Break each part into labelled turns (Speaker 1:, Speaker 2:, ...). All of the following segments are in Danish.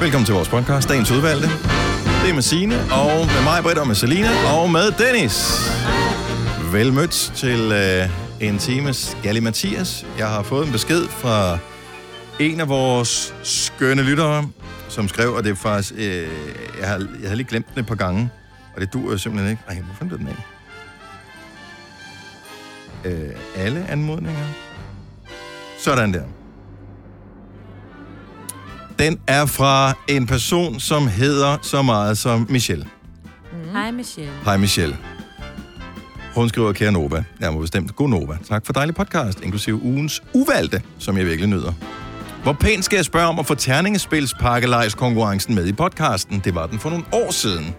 Speaker 1: Velkommen til vores podcast, dagens udvalgte. Det er med Signe, og med mig, Britt, og med Selina, og med Dennis. Velmødt til øh, en times Galli Mathias. Jeg har fået en besked fra en af vores skønne lyttere, som skrev, og det er faktisk... Øh, jeg, har, jeg havde lige glemt den et par gange, og det dur jo simpelthen ikke. Ej, hvorfor blev den af? Øh, alle anmodninger. Sådan der. Den er fra en person, som hedder så meget som Michelle.
Speaker 2: Mm. Hej Michelle.
Speaker 1: Hej Michelle. Hun skriver, kære Nova, jeg må bestemt, god Nova. Tak for dejlig podcast, inklusive ugens uvalgte, som jeg virkelig nyder. Hvor pænt skal jeg spørge om at få terningespilspakkelejskonkurrencen med i podcasten? Det var den for nogle år siden.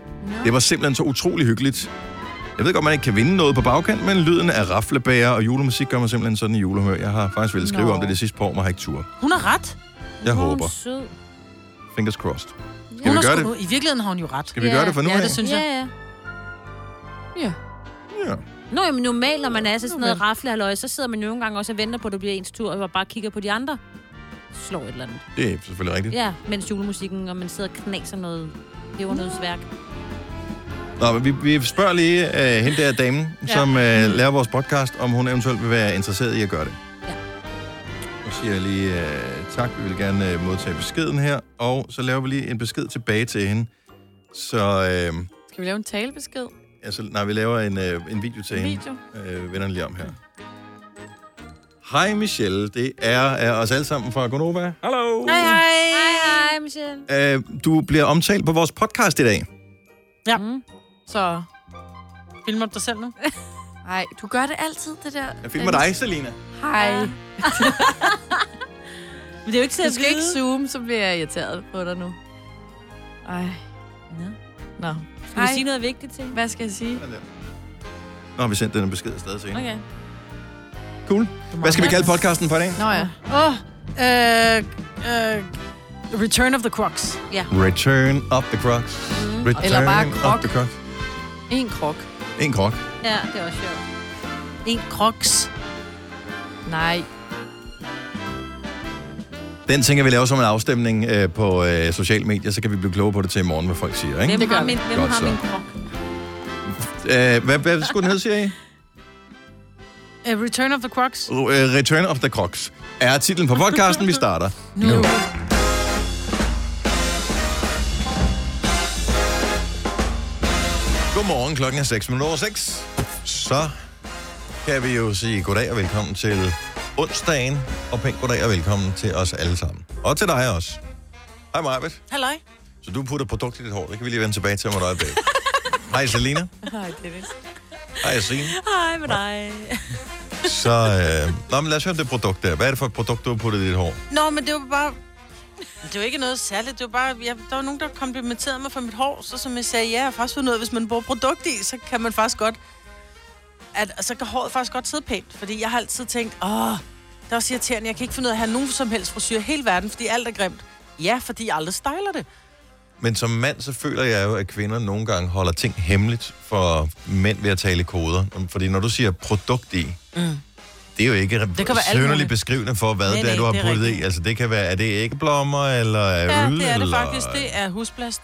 Speaker 1: Det var simpelthen så utrolig hyggeligt. Jeg ved godt, man ikke kan vinde noget på bagkant, men lyden af raflebager og julemusik gør mig simpelthen sådan i julehumør. Jeg har faktisk ville skrive
Speaker 2: Nå.
Speaker 1: Nå. om det det sidste par år, men har ikke tur.
Speaker 3: Hun har ret.
Speaker 1: Jeg
Speaker 2: Hun er
Speaker 1: håber.
Speaker 2: sød.
Speaker 1: Fingers crossed. Skal
Speaker 3: Hun
Speaker 1: vi
Speaker 3: har
Speaker 1: gøre
Speaker 3: sgu-
Speaker 1: det?
Speaker 3: I virkeligheden har hun jo ret.
Speaker 1: Skal vi gøre det for nu
Speaker 3: Ja,
Speaker 1: af?
Speaker 3: det synes jeg.
Speaker 2: Ja, ja.
Speaker 1: Ja.
Speaker 2: Nå, jamen normalt, når man er til sådan noget raflehalløj, så sidder man jo nogle gange også og venter på, at det bliver ens tur, og bare kigger på de andre. Slår et eller andet.
Speaker 1: Det er selvfølgelig rigtigt.
Speaker 2: Ja, mens julemusikken, og man sidder og knaser noget pebernødsværk.
Speaker 1: Nå, men vi, vi spørger lige øh, hende der damen, ja.
Speaker 2: Ja.
Speaker 1: som øh, laver vores podcast, om hun eventuelt vil være interesseret i at gøre det.
Speaker 2: Ja.
Speaker 1: Nu siger jeg lige øh, tak, vi vil gerne øh, modtage beskeden her, og så laver vi lige en besked tilbage til hende. Så, øh,
Speaker 3: Skal vi lave en talebesked?
Speaker 1: altså, nej, vi laver en, øh, en video til hende.
Speaker 3: Video?
Speaker 1: Øh, vender den lige om her. Hej Michelle, det er, er os alle sammen fra Gonova. Hallo!
Speaker 3: Hej, hej.
Speaker 2: Hej, hej, Michelle.
Speaker 1: Øh, du bliver omtalt på vores podcast i dag.
Speaker 3: Ja.
Speaker 2: Mm.
Speaker 3: Så filmer du dig selv nu?
Speaker 4: Nej, du gør det altid, det der. Øh,
Speaker 1: Jeg fik med dig, Selina.
Speaker 4: Hej.
Speaker 2: Ja. Men det er jo ikke til
Speaker 4: Du
Speaker 2: at
Speaker 4: skal ikke
Speaker 2: vide.
Speaker 4: zoome, så bliver jeg irriteret på dig nu. Ej.
Speaker 2: Nå.
Speaker 4: Nå.
Speaker 2: Skal vi
Speaker 4: Hej.
Speaker 2: sige noget vigtigt til hende?
Speaker 4: Hvad skal jeg sige?
Speaker 1: Nu har vi sendt den her besked afsted til hende.
Speaker 2: Okay.
Speaker 1: Cool. Hvad skal vi kalde podcasten for i dag?
Speaker 4: Nå ja.
Speaker 3: Åh, øh, øh, Return of the Crocs.
Speaker 1: Return of the Crocs.
Speaker 2: Mm.
Speaker 1: Return
Speaker 4: Eller bare Croc.
Speaker 1: Of the Crocs.
Speaker 4: En krok.
Speaker 1: En krok.
Speaker 2: Ja, det er også sjovt.
Speaker 3: En Crocs.
Speaker 4: Nej.
Speaker 1: Den tænker vi laver som en afstemning øh, på øh, sociale medier, så kan vi blive klogere på det til i morgen, hvad folk siger. Ikke?
Speaker 2: Hvem
Speaker 4: Det gør
Speaker 2: har
Speaker 4: vi.
Speaker 2: min, hvem
Speaker 1: Godt
Speaker 2: har
Speaker 1: så.
Speaker 2: min krop?
Speaker 1: Øh, hvad, hvad skulle den hedde, siger I?
Speaker 3: Uh, Return of the Crocs.
Speaker 1: Uh, Return of the Crocs er titlen på podcasten, vi starter.
Speaker 4: Nu.
Speaker 1: Godmorgen, klokken er 6 minutter over 6. Så kan vi jo sige goddag og velkommen til onsdagen, og pænt goddag og velkommen til os alle sammen. Og til dig også. Hej Marbet.
Speaker 3: Halløj.
Speaker 1: Så du putter produkt i dit hår, det kan vi lige vende tilbage til om et øjeblik. Hej Selina.
Speaker 4: Hej, Dennis.
Speaker 1: Hej Signe.
Speaker 2: Hej med dig.
Speaker 1: Så, øh, nå, men lad os høre om det produkt der. Hvad er det for et produkt, du har puttet i dit hår?
Speaker 3: Nå, men det var bare... Det var ikke noget særligt. Det var bare, jeg, der var nogen, der komplimenterede mig for mit hår, så som jeg sagde, ja, jeg har faktisk fundet ud af, hvis man bruger produkt i, så kan man faktisk godt... At, så kan håret faktisk godt sidde pænt, fordi jeg har altid tænkt, åh, det er også irriterende, jeg kan ikke finde ud af at have nogen som helst frisyr i hele verden, fordi alt er grimt. Ja, fordi jeg aldrig styler det.
Speaker 1: Men som mand, så føler jeg jo, at kvinder nogle gange holder ting hemmeligt for mænd ved at tale i koder. Fordi når du siger produkt i, mm. det er jo ikke det
Speaker 3: kan være alt
Speaker 1: sønderligt
Speaker 3: muligt.
Speaker 1: beskrivende for, hvad
Speaker 3: Nej,
Speaker 1: det er,
Speaker 3: nej,
Speaker 1: du har
Speaker 3: det er
Speaker 1: puttet i.
Speaker 3: rigtigt.
Speaker 1: Altså det kan være, er det æggeblommer, eller er
Speaker 3: Ja,
Speaker 1: øl,
Speaker 3: det er det
Speaker 1: eller...
Speaker 3: faktisk. Det er husplast.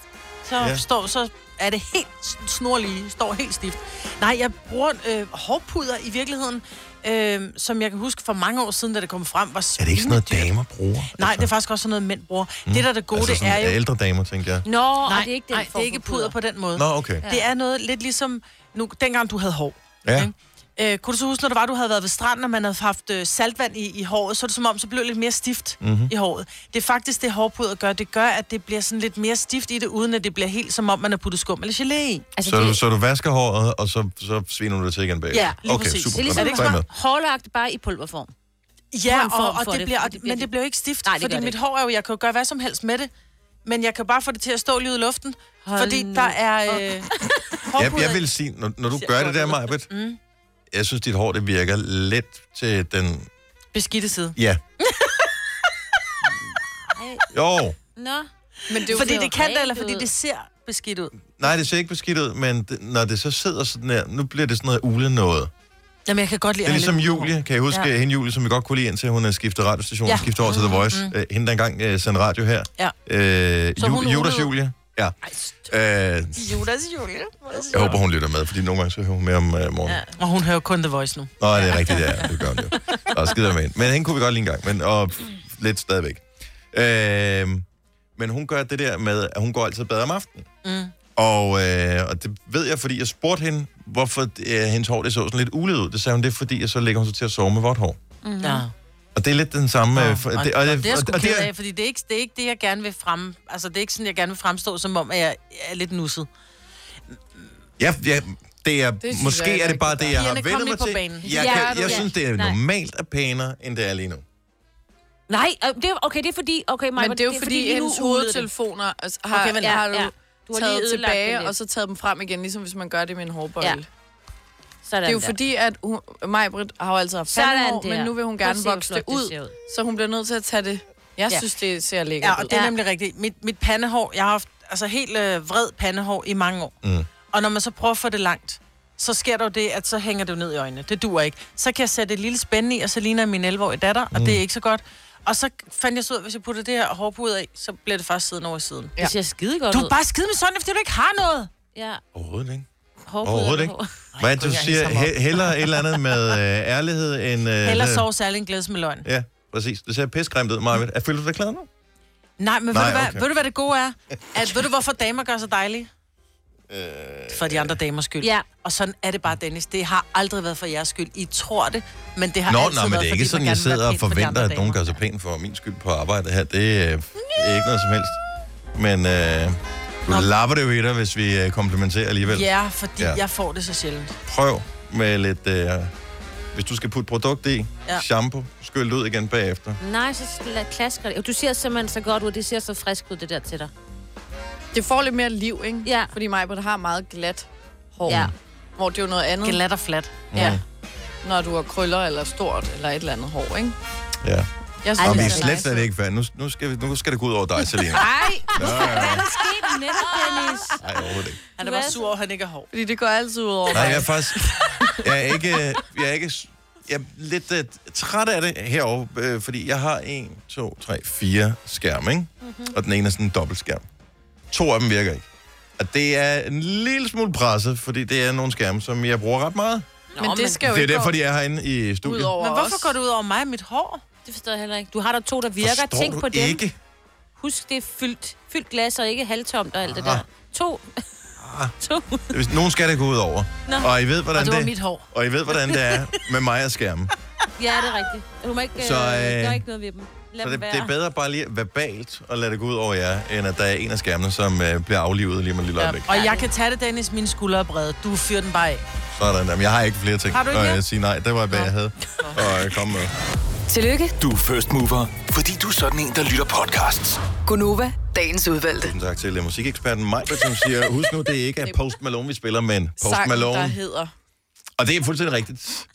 Speaker 3: Så,
Speaker 1: Ja.
Speaker 3: ja. står, så er det helt s- snorlige, står helt stift. Nej, jeg bruger øh, hårpuder i virkeligheden, øh, som jeg kan huske for mange år siden, da det kom frem, var
Speaker 1: Er det ikke sådan noget,
Speaker 3: svinedyrt.
Speaker 1: damer bruger?
Speaker 3: Nej, det er faktisk også sådan noget, mænd bruger. Mm. Det, der er det gode,
Speaker 1: altså,
Speaker 3: altså, det er jo...
Speaker 1: ældre damer, tænker jeg.
Speaker 2: Nå, og
Speaker 3: Nej,
Speaker 2: det er ikke den
Speaker 3: nej, det er ikke puder på den måde.
Speaker 1: Nå, okay.
Speaker 3: Ja. Det er noget lidt ligesom, nu, dengang du havde hår.
Speaker 1: Ja.
Speaker 3: Ikke? Øh, kunne du så huske, når det var, du havde været ved stranden, og man havde haft øh, saltvand i, i håret, så er det som om, så blev det lidt mere stift
Speaker 1: Mhm.
Speaker 3: mm-hmm. i håret. Det er faktisk det, hårpudret gør. Det gør, at det bliver sådan lidt mere stift i det, uden at det bliver helt som om, man har puttet skum eller gelé i.
Speaker 2: Altså,
Speaker 1: Så, du,
Speaker 2: det,
Speaker 1: så du vasker håret, og så, så sviner du det til igen bagefter?
Speaker 3: Ja, lige
Speaker 1: okay,
Speaker 3: præcis.
Speaker 1: Super,
Speaker 2: det er
Speaker 1: godt. Så jeg
Speaker 2: ligesom hårlagt bare i pulverform.
Speaker 3: Ja,
Speaker 2: en form
Speaker 3: og, og
Speaker 2: for
Speaker 3: det,
Speaker 2: det,
Speaker 3: bliver,
Speaker 2: for
Speaker 3: og,
Speaker 2: det
Speaker 3: det,
Speaker 2: bliver
Speaker 3: men
Speaker 2: det-
Speaker 3: det bliver jo ikke stift,
Speaker 2: Nej,
Speaker 3: Nej,
Speaker 2: det
Speaker 3: fordi
Speaker 2: gør det
Speaker 3: mit
Speaker 2: ikke.
Speaker 3: hår er jo, jeg kan jo gøre hvad som helst med det, men jeg kan bare få det til at stå lige i luften, Hold fordi
Speaker 2: nu
Speaker 3: der er øh,
Speaker 1: jeg,
Speaker 3: hårpudret
Speaker 1: jeg vil sige, når, når du gør det der, Majbet, mm. jeg synes, dit hår, det virker lidt til den...
Speaker 3: beskidte side.
Speaker 1: Ja,
Speaker 2: Ej,
Speaker 1: jo.
Speaker 2: Nå.
Speaker 4: Men det er jo
Speaker 3: Fordi
Speaker 4: fordi
Speaker 3: det kan det, eller
Speaker 2: rent
Speaker 3: fordi
Speaker 2: ud.
Speaker 3: det ser beskidt ud.
Speaker 1: Nej, det ser ikke beskidt ud, men det, når det så sidder sådan her, nu bliver det sådan noget ule noget.
Speaker 3: Jamen, jeg kan godt lide
Speaker 1: Det er ligesom
Speaker 3: Erling.
Speaker 1: Julie, kan jeg huske ja.
Speaker 3: Ja.
Speaker 1: hende Julie, som vi godt kunne lide, indtil hun havde skiftet radiostation, ja.
Speaker 3: Ja. Mm-hmm.
Speaker 1: skiftet over til The Voice. Mm. Hende, der engang øh, sendte radio her.
Speaker 3: Ja.
Speaker 1: Øh,
Speaker 3: Så hun
Speaker 1: Ju- Judas
Speaker 3: rullede.
Speaker 1: Julie. Ja. Øh,
Speaker 3: Judas Julie.
Speaker 1: jeg håber, hun lytter med, fordi nogle gange så hører hun med om øh, morgenen. Ja.
Speaker 3: Ja. Og hun hører kun The Voice nu.
Speaker 1: Nå, det er rigtigt, det er. Det gør hun jo. Og skider med hende. Men hende kunne vi godt lide en gang, men, og f- lidt stadigvæk. Øh, men hun gør det der med, at hun går altid bedre om aftenen.
Speaker 3: Mm.
Speaker 1: Og, øh, og det ved jeg, fordi jeg spurgte hende, hvorfor øh, hendes hår det så sådan lidt ulet ud. Det sagde hun, det er fordi, at så lægger hun sig til at sove med vådt hår.
Speaker 3: Ja.
Speaker 1: Og det er lidt den samme... øh, for-
Speaker 3: Mhm. Og, det, og, det er jeg sgu
Speaker 1: og det
Speaker 3: ked
Speaker 1: er-
Speaker 3: af, fordi det er, ikke, det er ikke det, jeg gerne vil frem... Altså, det er ikke sådan, jeg gerne vil fremstå, som om at jeg er lidt nusset.
Speaker 1: Ja, ja, det er, det
Speaker 5: synes
Speaker 1: måske
Speaker 5: jeg
Speaker 1: er det bare
Speaker 5: rigtig
Speaker 1: det, jeg har
Speaker 3: Pigerne, kom lidt
Speaker 1: vendt mig
Speaker 3: på
Speaker 1: til.
Speaker 3: banen.
Speaker 1: Jeg,
Speaker 2: Ja,
Speaker 1: kan,
Speaker 2: du-
Speaker 1: jeg
Speaker 2: ja.
Speaker 1: synes, det er
Speaker 2: Nej.
Speaker 1: normalt er pænere, end det er lige nu.
Speaker 2: Nej, øh, det, er- okay, det er fordi... Okay, Maja,
Speaker 5: Men det er jo fordi, fordi
Speaker 2: lige nu
Speaker 5: hendes
Speaker 2: ulede det.
Speaker 5: hovedtelefoner altså, har,
Speaker 2: Okay,
Speaker 5: okay,
Speaker 2: vel,
Speaker 5: vel,
Speaker 2: ja,
Speaker 5: har du
Speaker 2: ja.
Speaker 5: ja.
Speaker 2: Du har lige
Speaker 5: taget
Speaker 2: ødelagt det
Speaker 5: tilbage,
Speaker 2: lidt.
Speaker 5: og så taget dem frem igen, ligesom hvis man gør det med en hårbøjle.
Speaker 2: Ja.
Speaker 5: Ja.
Speaker 2: Sådan
Speaker 5: Det er jo
Speaker 2: der.
Speaker 5: fordi, at hun, Majbrit har jo altid haft
Speaker 2: Sådan
Speaker 5: pandehår,
Speaker 2: der.
Speaker 5: men nu vil hun
Speaker 2: Prøv at
Speaker 5: gerne
Speaker 2: se, hvor
Speaker 5: vokse det
Speaker 2: flot det
Speaker 5: ud,
Speaker 2: ser ud.
Speaker 5: så hun bliver nødt til at tage det. Jeg
Speaker 3: Ja.
Speaker 5: ja. synes, det ser lækkert
Speaker 3: Ja,
Speaker 5: ud.
Speaker 3: og det er
Speaker 2: Ja.
Speaker 3: nemlig rigtigt. Mit, mit pandehår, jeg har haft altså, helt øh, vred pandehår i mange år. Mm. Og når man så prøver at få det langt, så sker der jo det, at så hænger det jo ned i øjnene. Det duer ikke. Så kan jeg sætte et lille spænde i, og så ligner jeg min 11-årige datter,
Speaker 2: Mm.
Speaker 3: og det er ikke så godt. Og så fandt jeg så ud, at hvis jeg putter det her hårpude af, så bliver det faktisk siden over siden.
Speaker 2: Det ser skide godt
Speaker 3: Du
Speaker 2: ud.
Speaker 3: er bare skide med sådan, fordi du ikke har noget.
Speaker 2: Ja,
Speaker 1: Overhovedet ikke.
Speaker 2: hårpuder
Speaker 1: Overhovedet
Speaker 2: med
Speaker 1: ikke.
Speaker 2: hår.
Speaker 1: Hvad er det,
Speaker 3: kunne
Speaker 1: du
Speaker 3: jeg
Speaker 1: siger?
Speaker 3: hænge sammen
Speaker 1: He- Heller et eller andet med øh, ærlighed end... Øh,
Speaker 3: Heller
Speaker 1: det-
Speaker 3: sov særlig en glædes med løgn.
Speaker 1: Ja, præcis. Det ser pissegrimt ud, Marvind. Er føler du dig klar nu?
Speaker 3: Nej, men
Speaker 1: Nej,
Speaker 3: ved, du hvad,
Speaker 1: okay.
Speaker 3: ved du, hvad det gode er? At, ved du, hvorfor damer gør sig dejlige? Øh... For de andre damers skyld.
Speaker 2: Ja.
Speaker 3: Og sådan er det bare, Dennis. Det har aldrig været for jeres skyld. I tror det, men det har
Speaker 1: Nå,
Speaker 3: altid
Speaker 1: nej, men
Speaker 3: været,
Speaker 1: det er
Speaker 3: fordi
Speaker 1: ikke
Speaker 3: man
Speaker 1: sådan,
Speaker 3: gerne
Speaker 1: jeg
Speaker 3: vil være
Speaker 1: sidder og
Speaker 3: pæn for de
Speaker 1: forventer,
Speaker 3: andre
Speaker 1: at nogen
Speaker 3: damer.
Speaker 1: gør sig pæn for min skyld på arbejde her. Det er, øh, ikke noget som helst. Men øh, du lapper det jo i dig, hvis vi øh, komplementerer alligevel.
Speaker 3: Ja, fordi
Speaker 1: Ja.
Speaker 3: ja. jeg får det så sjældent.
Speaker 1: prøv med lidt... Øh, hvis du skal putte produkt i, ja.
Speaker 3: Ja.
Speaker 1: shampoo, skyl det ud igen bagefter.
Speaker 2: Nej, så sla- klasker det. Du ser simpelthen så godt ud. Det ser så frisk ud, det der til dig.
Speaker 5: Det får lidt mere liv, ikke?
Speaker 2: Ja.
Speaker 5: Fordi Majbrit har meget glat hår.
Speaker 2: Ja.
Speaker 5: Hvor det er jo noget andet,
Speaker 3: Glat og flat.
Speaker 5: ja, når du har krøller eller stort eller et eller andet hår, ikke?
Speaker 1: Ja.
Speaker 5: Jeg
Speaker 2: Ej,
Speaker 1: Og vi
Speaker 2: det
Speaker 1: er
Speaker 2: er
Speaker 1: slet slet ikke færdige. Nu, nu, skal, vi, nu skal det gå ud over dig, Selina.
Speaker 5: Nej,
Speaker 2: Hvad er der sket netop, Dennis?
Speaker 1: Nej, overhovedet ikke.
Speaker 3: Han er
Speaker 2: Du er
Speaker 3: bare sur over, at han ikke er hård.
Speaker 5: fordi det går altid ud over
Speaker 1: Nej, jeg er
Speaker 5: mig.
Speaker 1: faktisk... Jeg er ikke... øh, Jeg er ikke jeg er lidt uh, træt af det herovre, øh, fordi jeg har en, to, tre, fire skærme, ikke? Mm-hmm. Og den ene er sådan en dobbeltskærm. To af dem virker ikke. Og det er en lille smule presset, fordi det er nogle skærme, som jeg bruger ret meget.
Speaker 5: Men det skal jo
Speaker 1: Det er
Speaker 5: ikke
Speaker 1: derfor,
Speaker 5: gå
Speaker 1: de er herinde i
Speaker 5: ud
Speaker 1: studiet.
Speaker 5: over
Speaker 3: Men hvorfor
Speaker 5: os.
Speaker 3: går det ud over mig og mit hår?
Speaker 2: Det forstår jeg heller ikke. Du har der to, der virker.
Speaker 1: Forstår
Speaker 2: Tænk
Speaker 1: du
Speaker 2: på dem.
Speaker 1: ikke?
Speaker 2: Husk, det er fyldt, fyldt glas og ikke halvtomt og alt det der. To. to.
Speaker 1: Hvis nogen skal det gå ud over. Nå. Og I ved, hvordan
Speaker 3: Og det
Speaker 1: det,
Speaker 3: var mit hår.
Speaker 1: og I ved, hvordan det er med mig og skærmen.
Speaker 2: Ja, det er rigtigt. Du må ikke
Speaker 1: Så,
Speaker 2: så,
Speaker 1: øh,
Speaker 2: øh, gøre ikke noget ved dem. Lad dem
Speaker 1: Så det,
Speaker 2: være.
Speaker 1: det er bedre bare lige verbalt at lade det gå ud over jer, end at der er en af skærmene, som øh, bliver aflivet lige om et lille øjeblik.
Speaker 3: Og jeg kan tage det, Dennis, mine skuldre er brede. Du fyrer den bare af.
Speaker 1: Sådan der. Men jeg har ikke flere ting.
Speaker 3: Har du ikke
Speaker 1: Og
Speaker 3: mere?
Speaker 1: jeg siger nej, det var, hvad jeg havde at øh, komme med.
Speaker 6: Tillykke,
Speaker 7: Du er first mover, fordi du er sådan en, der lytter podcasts.
Speaker 6: Gunova, dagens udvalgte.
Speaker 1: Tusind tak til øh, musikeksperten Maj, som siger, husk nu, det er ikke er Post Malone, vi spiller, men Post
Speaker 5: Sangen, der
Speaker 1: Malone.
Speaker 5: hedder...
Speaker 1: Og det er fuldstændig rigtigt.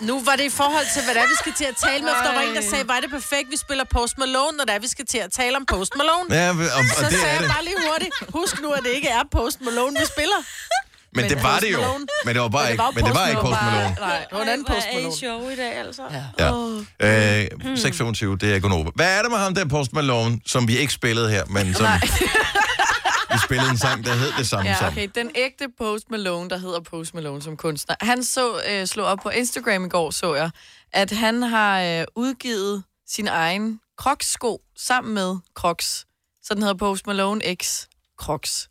Speaker 3: Nu var det i forhold til, hvad det er, vi skal til at tale med. For der var en, der sagde, var det perfekt, vi spiller Post Malone, når det er, vi skal til at tale om Post Malone.
Speaker 1: Ja, og, og
Speaker 3: Så
Speaker 1: det
Speaker 3: sagde
Speaker 1: er
Speaker 3: jeg
Speaker 1: det.
Speaker 3: bare lige hurtigt, husk nu, at det ikke er Post Malone, vi spiller.
Speaker 1: Men det var det jo.
Speaker 3: Post Malone.
Speaker 1: Men det var bare ikke, men det var ikke Post Malone.
Speaker 5: Nej,
Speaker 3: Det var en anden Post Malone.
Speaker 2: sjov i dag, altså. Ja.
Speaker 1: Ja. Øh, 625, det er Gunova. Hvad er det med ham der Post Malone, som vi ikke spillede her, men som... vi spillede en sang, der hed det samme
Speaker 5: Ja,
Speaker 1: sammen.
Speaker 5: okay. Den ægte Post Malone, der hedder Post Malone som kunstner, han så øh, slog op på Instagram i går, så jeg, at han har øh, udgivet sin egen Crocs-sko sammen med Crocs. Så den hedder Post Malone X Crocs.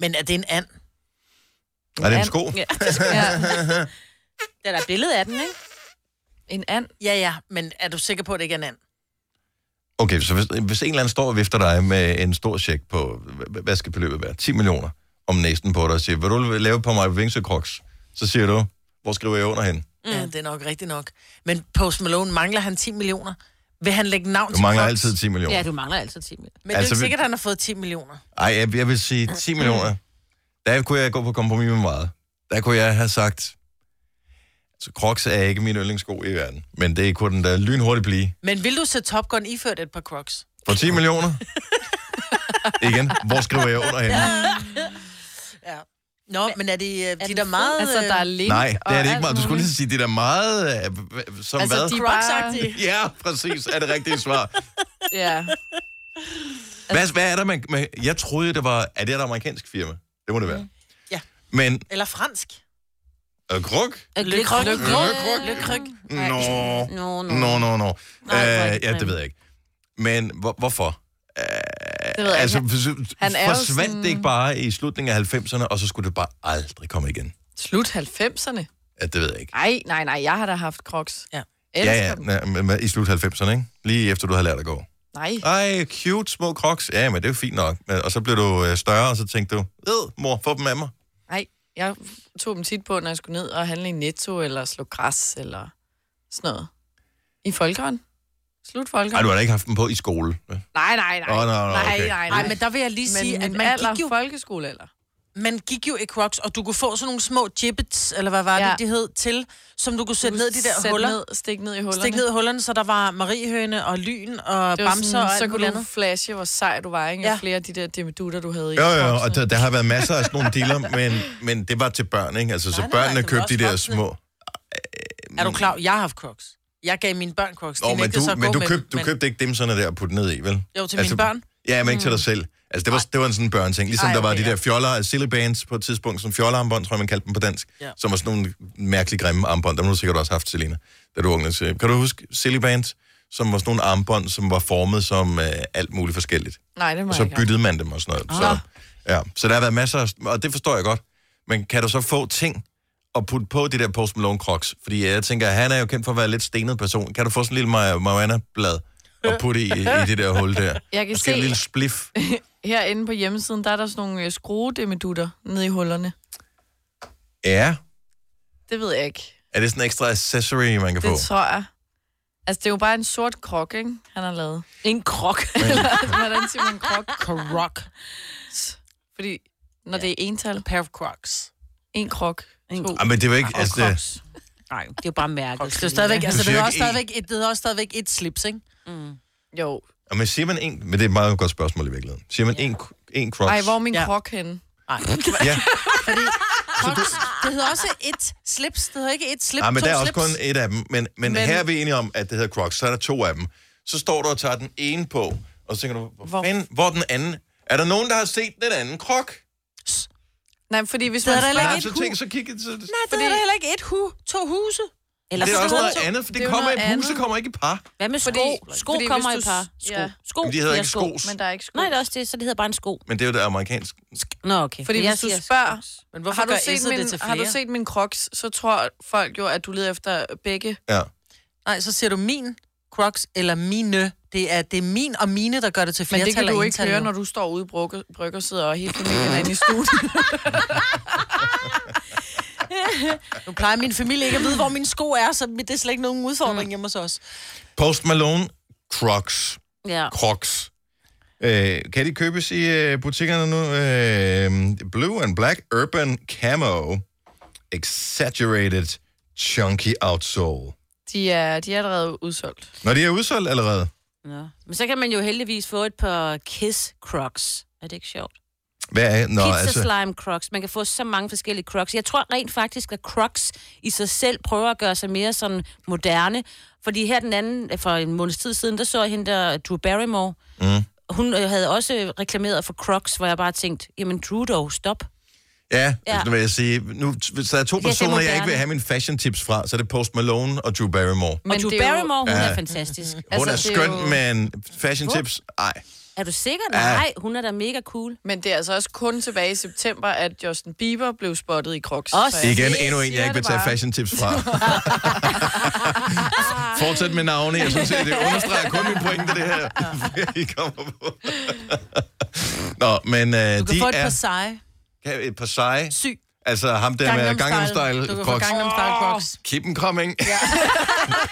Speaker 3: Men er det en and?
Speaker 1: Er det en sko?
Speaker 5: Ja. ja.
Speaker 2: Der er et billede af den, ikke?
Speaker 5: En and.
Speaker 3: Ja, ja, men er du sikker på, at det ikke er en and?
Speaker 1: Okay, så hvis, hvis en eller anden står og vifter dig med en stor check på, hvad- hvad skal beløbet være? 10 millioner om næsten på dig og siger, vil du lave på mig vingsøkroks? Så siger du, hvor skriver jeg under hen?
Speaker 3: Mm. Ja, det er nok rigtigt nok. Men Post Malone, mangler han 10 millioner? Vil han lægge navn
Speaker 1: Du mangler
Speaker 3: Crocs?
Speaker 1: altid 10 millioner.
Speaker 2: Ja, du mangler altid 10 minutter.
Speaker 3: Men
Speaker 1: Altså,
Speaker 3: det er jo ikke
Speaker 1: vi-
Speaker 3: sikkert, at han har fået 10 millioner.
Speaker 1: Ej, jeg, jeg vil sige 10 millioner. Der kunne jeg gå på kompromis med meget. Der kunne jeg have sagt, altså Crocs er ikke min yndlingssko i verden, men det kunne den da lynhurtigt blive.
Speaker 3: Men vil du se Top Gun iført et par Crocs?
Speaker 1: For 10 millioner? Igen, hvor skriver jeg under henne?
Speaker 3: Ja. Nå, men er det øh, de
Speaker 2: den
Speaker 3: der
Speaker 2: fed?
Speaker 3: meget...
Speaker 5: Altså, der er link
Speaker 1: Nej, det er
Speaker 5: og
Speaker 1: det ikke
Speaker 5: alt
Speaker 1: meget. Du skulle lige
Speaker 5: muligt.
Speaker 1: så sige, det er da meget... øh, hva- Som
Speaker 5: Altså,
Speaker 1: hvad?
Speaker 5: de-
Speaker 3: Crocs-agtige.
Speaker 1: Ja, præcis, er det rigtige svar.
Speaker 5: Ja. Altså-
Speaker 1: Hvad, hvad er der, man, man... Jeg troede, det var... Er det et amerikansk firma? Det må det være.
Speaker 3: Ja.
Speaker 1: Men
Speaker 3: Eller fransk.
Speaker 1: øh, kruk?
Speaker 2: Le Croc.
Speaker 5: Le
Speaker 1: Croc.
Speaker 5: Le Croc.
Speaker 1: Nå,
Speaker 2: Nå, nå.
Speaker 1: nå, nå, nå. Øh,
Speaker 2: det var ikke
Speaker 1: Ja, det
Speaker 2: nemt.
Speaker 1: ved jeg ikke. Men hvor, hvorfor? Øh,
Speaker 5: Det ved jeg
Speaker 1: altså,
Speaker 5: ikke.
Speaker 1: Han
Speaker 5: Han er jo
Speaker 1: forsvandt
Speaker 5: sådan-
Speaker 1: det ikke bare i slutningen af 90'erne, og så skulle det bare aldrig komme igen?
Speaker 5: Slut 90'erne.
Speaker 1: Ja, det ved jeg ikke.
Speaker 5: Nej, nej, nej, jeg har da haft Crocs.
Speaker 3: Ja.
Speaker 5: Elsker
Speaker 1: Ja, ja,
Speaker 5: dem.
Speaker 1: ja, men hvad- i slut 90'erne, ikke? Lige efter du havde lært at gå.
Speaker 5: Nej.
Speaker 1: Ej, cute små crocs. Ja, men det er jo fint nok. Men- Og så blev du øh, større, og så tænkte du, ved, mor, få dem af mig.
Speaker 5: Nej, jeg tog dem tit på, når jeg skulle ned og handle i Netto, eller slå græs, eller sådan noget. I folkeren. Slut
Speaker 1: Ej,
Speaker 5: folkeren.
Speaker 1: du har da ikke haft dem på i skole. Åh,
Speaker 5: Nej, nej, nej.
Speaker 1: oh, nej, nej, okay.
Speaker 5: nej, nej.
Speaker 3: Nej, men der vil jeg lige sige, at
Speaker 5: min
Speaker 3: man
Speaker 5: alder,
Speaker 3: gik, jo,
Speaker 5: folkeskolealder.
Speaker 3: man gik jo i Crocs, og du kunne få sådan nogle små gibbets, eller hvad var ja.
Speaker 5: Ja.
Speaker 3: det, det hed, til, som du kunne sætte
Speaker 5: Du
Speaker 3: ned i de der
Speaker 5: sæt
Speaker 3: huller.
Speaker 5: Ned, stik ned i hullerne.
Speaker 3: Stik ned i hullerne, så der var mariehøne og lyn og
Speaker 5: Det var
Speaker 3: bamser
Speaker 5: sådan,
Speaker 3: og
Speaker 5: så
Speaker 3: alt
Speaker 5: kunne
Speaker 3: muligt
Speaker 5: du
Speaker 3: andet.
Speaker 5: flashe, hvor sej du var, ikke?
Speaker 3: Ja.
Speaker 5: Ja. flere af de der dimidutter, du havde i.
Speaker 1: Jo, jo,
Speaker 5: Crocs'en.
Speaker 1: og der, der har været masser af sådan nogle dealer, men, men det var til børn, ikke? Altså, så
Speaker 3: Nej, nej, nej,
Speaker 1: børnene
Speaker 3: det var
Speaker 1: købte de
Speaker 3: også
Speaker 1: der
Speaker 3: voksne.
Speaker 1: små...
Speaker 3: Er du klar? Jeg har haft Crocs. Jeg gav mine børn Crocs. De
Speaker 1: Åh, Mm. men
Speaker 3: nægtede
Speaker 1: du,
Speaker 3: så at
Speaker 1: men
Speaker 3: gå
Speaker 1: du,
Speaker 3: med
Speaker 1: køb,
Speaker 3: dem,
Speaker 1: du
Speaker 3: men-
Speaker 1: købte ikke dem sådan der at putte ned i, vel? Altså,
Speaker 3: Jo, til mine børn. Mm.
Speaker 1: Ja, men ikke til dig selv. Altså, det var, det var en sådan børnting. Ligesom Ej,
Speaker 3: Ej,
Speaker 1: okay, der var
Speaker 3: okay,
Speaker 1: de
Speaker 3: ja.
Speaker 1: der fjoller, silly bands på et tidspunkt, som fjollearmbånd, tror jeg, man kaldte dem på dansk, ja.
Speaker 3: Ja.
Speaker 1: som var sådan nogle mærkelige grimme armbånd. Dem har du sikkert også haft, Selina, da du var ung. Så Kan du huske silly bands, som var sådan nogle armbånd, som var formet som øh, alt muligt forskelligt?
Speaker 5: Nej, det må
Speaker 1: Og
Speaker 5: jeg
Speaker 1: så
Speaker 5: ikke.
Speaker 1: byttede man dem og sådan noget. Ah. Så, ja. så der har været masser af... Og det forstår jeg godt. Men kan du så få ting og putte på de der Post Malone Crocs? Fordi jeg tænker, han er jo kendt for at være lidt stenet person. Kan du få sådan en lille Mariana-blad og putte i, i det der hul der?
Speaker 5: Jeg kan
Speaker 1: Måske en
Speaker 5: se-
Speaker 1: lille spliff.
Speaker 5: Herinde på hjemmesiden, der er der sådan nogle øh, skruedimidutter nede i hullerne.
Speaker 1: Ja.
Speaker 5: Det ved jeg ikke.
Speaker 1: Er det sådan en ekstra accessory, man kan
Speaker 5: Det
Speaker 1: få?
Speaker 5: tror jeg. Altså, det er jo bare en sort krok, ikke? Han har lavet.
Speaker 2: En krok.
Speaker 5: Hvordan siger man krok?
Speaker 3: Croc.
Speaker 5: Fordi når det er ental,
Speaker 3: Pair of Crocs.
Speaker 5: en krok,
Speaker 2: En
Speaker 5: to.
Speaker 1: Ah, men det var ikke...
Speaker 2: Og
Speaker 1: Altså, det,
Speaker 2: Crocs. Nej, det er jo bare mærket.
Speaker 3: Det er Mm. stadigvæk, altså,
Speaker 1: Du
Speaker 3: det
Speaker 1: siger
Speaker 3: er
Speaker 1: ikke
Speaker 3: også stadigvæk, et, det er også stadigvæk et slips, ikke?
Speaker 5: Jo.
Speaker 1: ah, men siger man en... Men det er et meget godt spørgsmål i virkeligheden. Siger man en, en Crocs?
Speaker 5: Ej, hvor er min
Speaker 3: Ja.
Speaker 5: krok henne?
Speaker 3: Nej.
Speaker 1: Ja.
Speaker 3: Crocs, det hedder også et slips. Det hedder ikke et slip,
Speaker 1: Nej, Ah, men
Speaker 3: to
Speaker 1: der er også
Speaker 3: slips.
Speaker 1: kun et af dem. Men, men, men
Speaker 5: Men-
Speaker 1: her er vi enige om, at det hedder Crocs. Så er der to af dem. Så står du og tager den ene på, og så tænker du, hvor, hvor?
Speaker 5: Hvor-
Speaker 1: Fanden, hvor er den anden? Er der nogen, der har set den anden krok?
Speaker 5: Nej, fordi hvis
Speaker 3: Det
Speaker 5: man...
Speaker 3: er der heller
Speaker 1: Nej,
Speaker 3: ikke
Speaker 1: så
Speaker 3: et
Speaker 1: tænk,
Speaker 3: hus.
Speaker 1: så kig... Så, Nej,
Speaker 3: Nej, det er der heller ikke et hu, to huse.
Speaker 2: Eller
Speaker 1: det er
Speaker 2: sko.
Speaker 1: også noget andet, for
Speaker 5: det
Speaker 1: det,
Speaker 5: er jo
Speaker 1: kommer i
Speaker 5: noget
Speaker 1: et hus, det
Speaker 5: andet.
Speaker 1: kommer ikke i par.
Speaker 2: Hvad med sko?
Speaker 5: Fordi-
Speaker 2: sko
Speaker 5: fordi
Speaker 2: kommer i
Speaker 5: hvis du-
Speaker 2: par. Sko.
Speaker 5: ja.
Speaker 2: Sko.
Speaker 1: Men de hedder
Speaker 2: Ja,
Speaker 1: ikke
Speaker 2: sko.
Speaker 1: skos.
Speaker 5: Men der er ikke sko.
Speaker 2: Nej, det er også det, så det hedder bare en sko.
Speaker 1: Men det er jo det amerikanske.
Speaker 2: Nå, okay.
Speaker 5: Fordi
Speaker 2: Jeg
Speaker 5: hvis du
Speaker 2: siger
Speaker 5: spørger,
Speaker 3: Men hvorfor
Speaker 5: har du,
Speaker 3: gør
Speaker 5: set
Speaker 3: S'et det til
Speaker 5: min, har du
Speaker 3: flere?
Speaker 5: set min crocs, så tror folk jo, at du leder efter begge.
Speaker 1: Ja.
Speaker 3: Nej, så siger du min Crocs eller mine. Det er, det er min og mine, der gør det til
Speaker 5: Men
Speaker 3: flertal
Speaker 5: det kan
Speaker 3: og
Speaker 5: du ikke
Speaker 3: ental,
Speaker 5: høre,
Speaker 3: jo.
Speaker 5: når du står ude i brygge- brygge og sidder og hele familien er inde i studiet.
Speaker 3: Nu plejer min familie ikke at vide, hvor mine sko er, så det er slet ikke nogen
Speaker 5: Mm.
Speaker 3: udfordring hjemme hos os.
Speaker 1: Post Malone, Crocs.
Speaker 2: Ja.
Speaker 1: Crocs. Øh, kan de købes i øh, butikkerne nu? Øh, blue and Black Urban Camo. Exaggerated Chunky Outsole.
Speaker 5: De er, de er allerede udsolgt.
Speaker 1: Når de er udsolgt allerede.
Speaker 2: Nå. Men så kan man jo heldigvis få et par Kiss Crocs. Er det ikke sjovt?
Speaker 1: Hvad er,
Speaker 2: Nå,
Speaker 1: når,
Speaker 2: Pizza altså... Slime Crocs. Man kan få så mange forskellige Crocs. Jeg tror rent faktisk, at Crocs i sig selv prøver at gøre sig mere sådan moderne. Fordi her den anden, øh, for en måneds tid siden, der så jeg hende der, Drew Barrymore. Mm. Hun øh, havde også reklameret for Crocs, hvor jeg bare tænkte, jamen Drew dog, stop.
Speaker 1: Ja, ja.
Speaker 2: Ja.
Speaker 1: vil jeg sige. Nu, hvis der er to
Speaker 2: det er
Speaker 1: personer, jeg ikke
Speaker 2: moderne.
Speaker 1: vil have mine fashion tips fra, så er det Post Malone og Drew Barrymore.
Speaker 2: Men og Drew
Speaker 5: det er jo-
Speaker 2: Barrymore, hun
Speaker 1: Ja.
Speaker 2: er fantastisk.
Speaker 1: Hun
Speaker 5: Altså,
Speaker 1: er
Speaker 5: det er
Speaker 1: skøn,
Speaker 5: jo-
Speaker 1: men fashion tips? Ej.
Speaker 2: Er du sikker?
Speaker 1: Ja.
Speaker 2: Nej, hun er da mega cool.
Speaker 5: Men det er altså også kun tilbage i september, at Justin Bieber blev spottet i Crocs.
Speaker 2: Også.
Speaker 5: Så jeg-
Speaker 1: Igen
Speaker 5: Jeg
Speaker 1: endnu en, jeg
Speaker 5: siger
Speaker 1: ikke vil
Speaker 5: det
Speaker 1: tage
Speaker 5: bare.
Speaker 1: fashion tips fra. Fortsæt med navne. Jeg synes, at det understreger kun min pointe, det her. I kommer på. Nå, men øh,
Speaker 3: Du kan
Speaker 1: de
Speaker 3: få et par
Speaker 1: er
Speaker 3: seje.
Speaker 1: kan- et par seje.
Speaker 3: Syg.
Speaker 1: Altså ham der med Gangnam
Speaker 3: Du
Speaker 1: Style
Speaker 3: kan få
Speaker 1: Crocs.
Speaker 3: Gangnam Style Crocs.
Speaker 1: Keep them coming.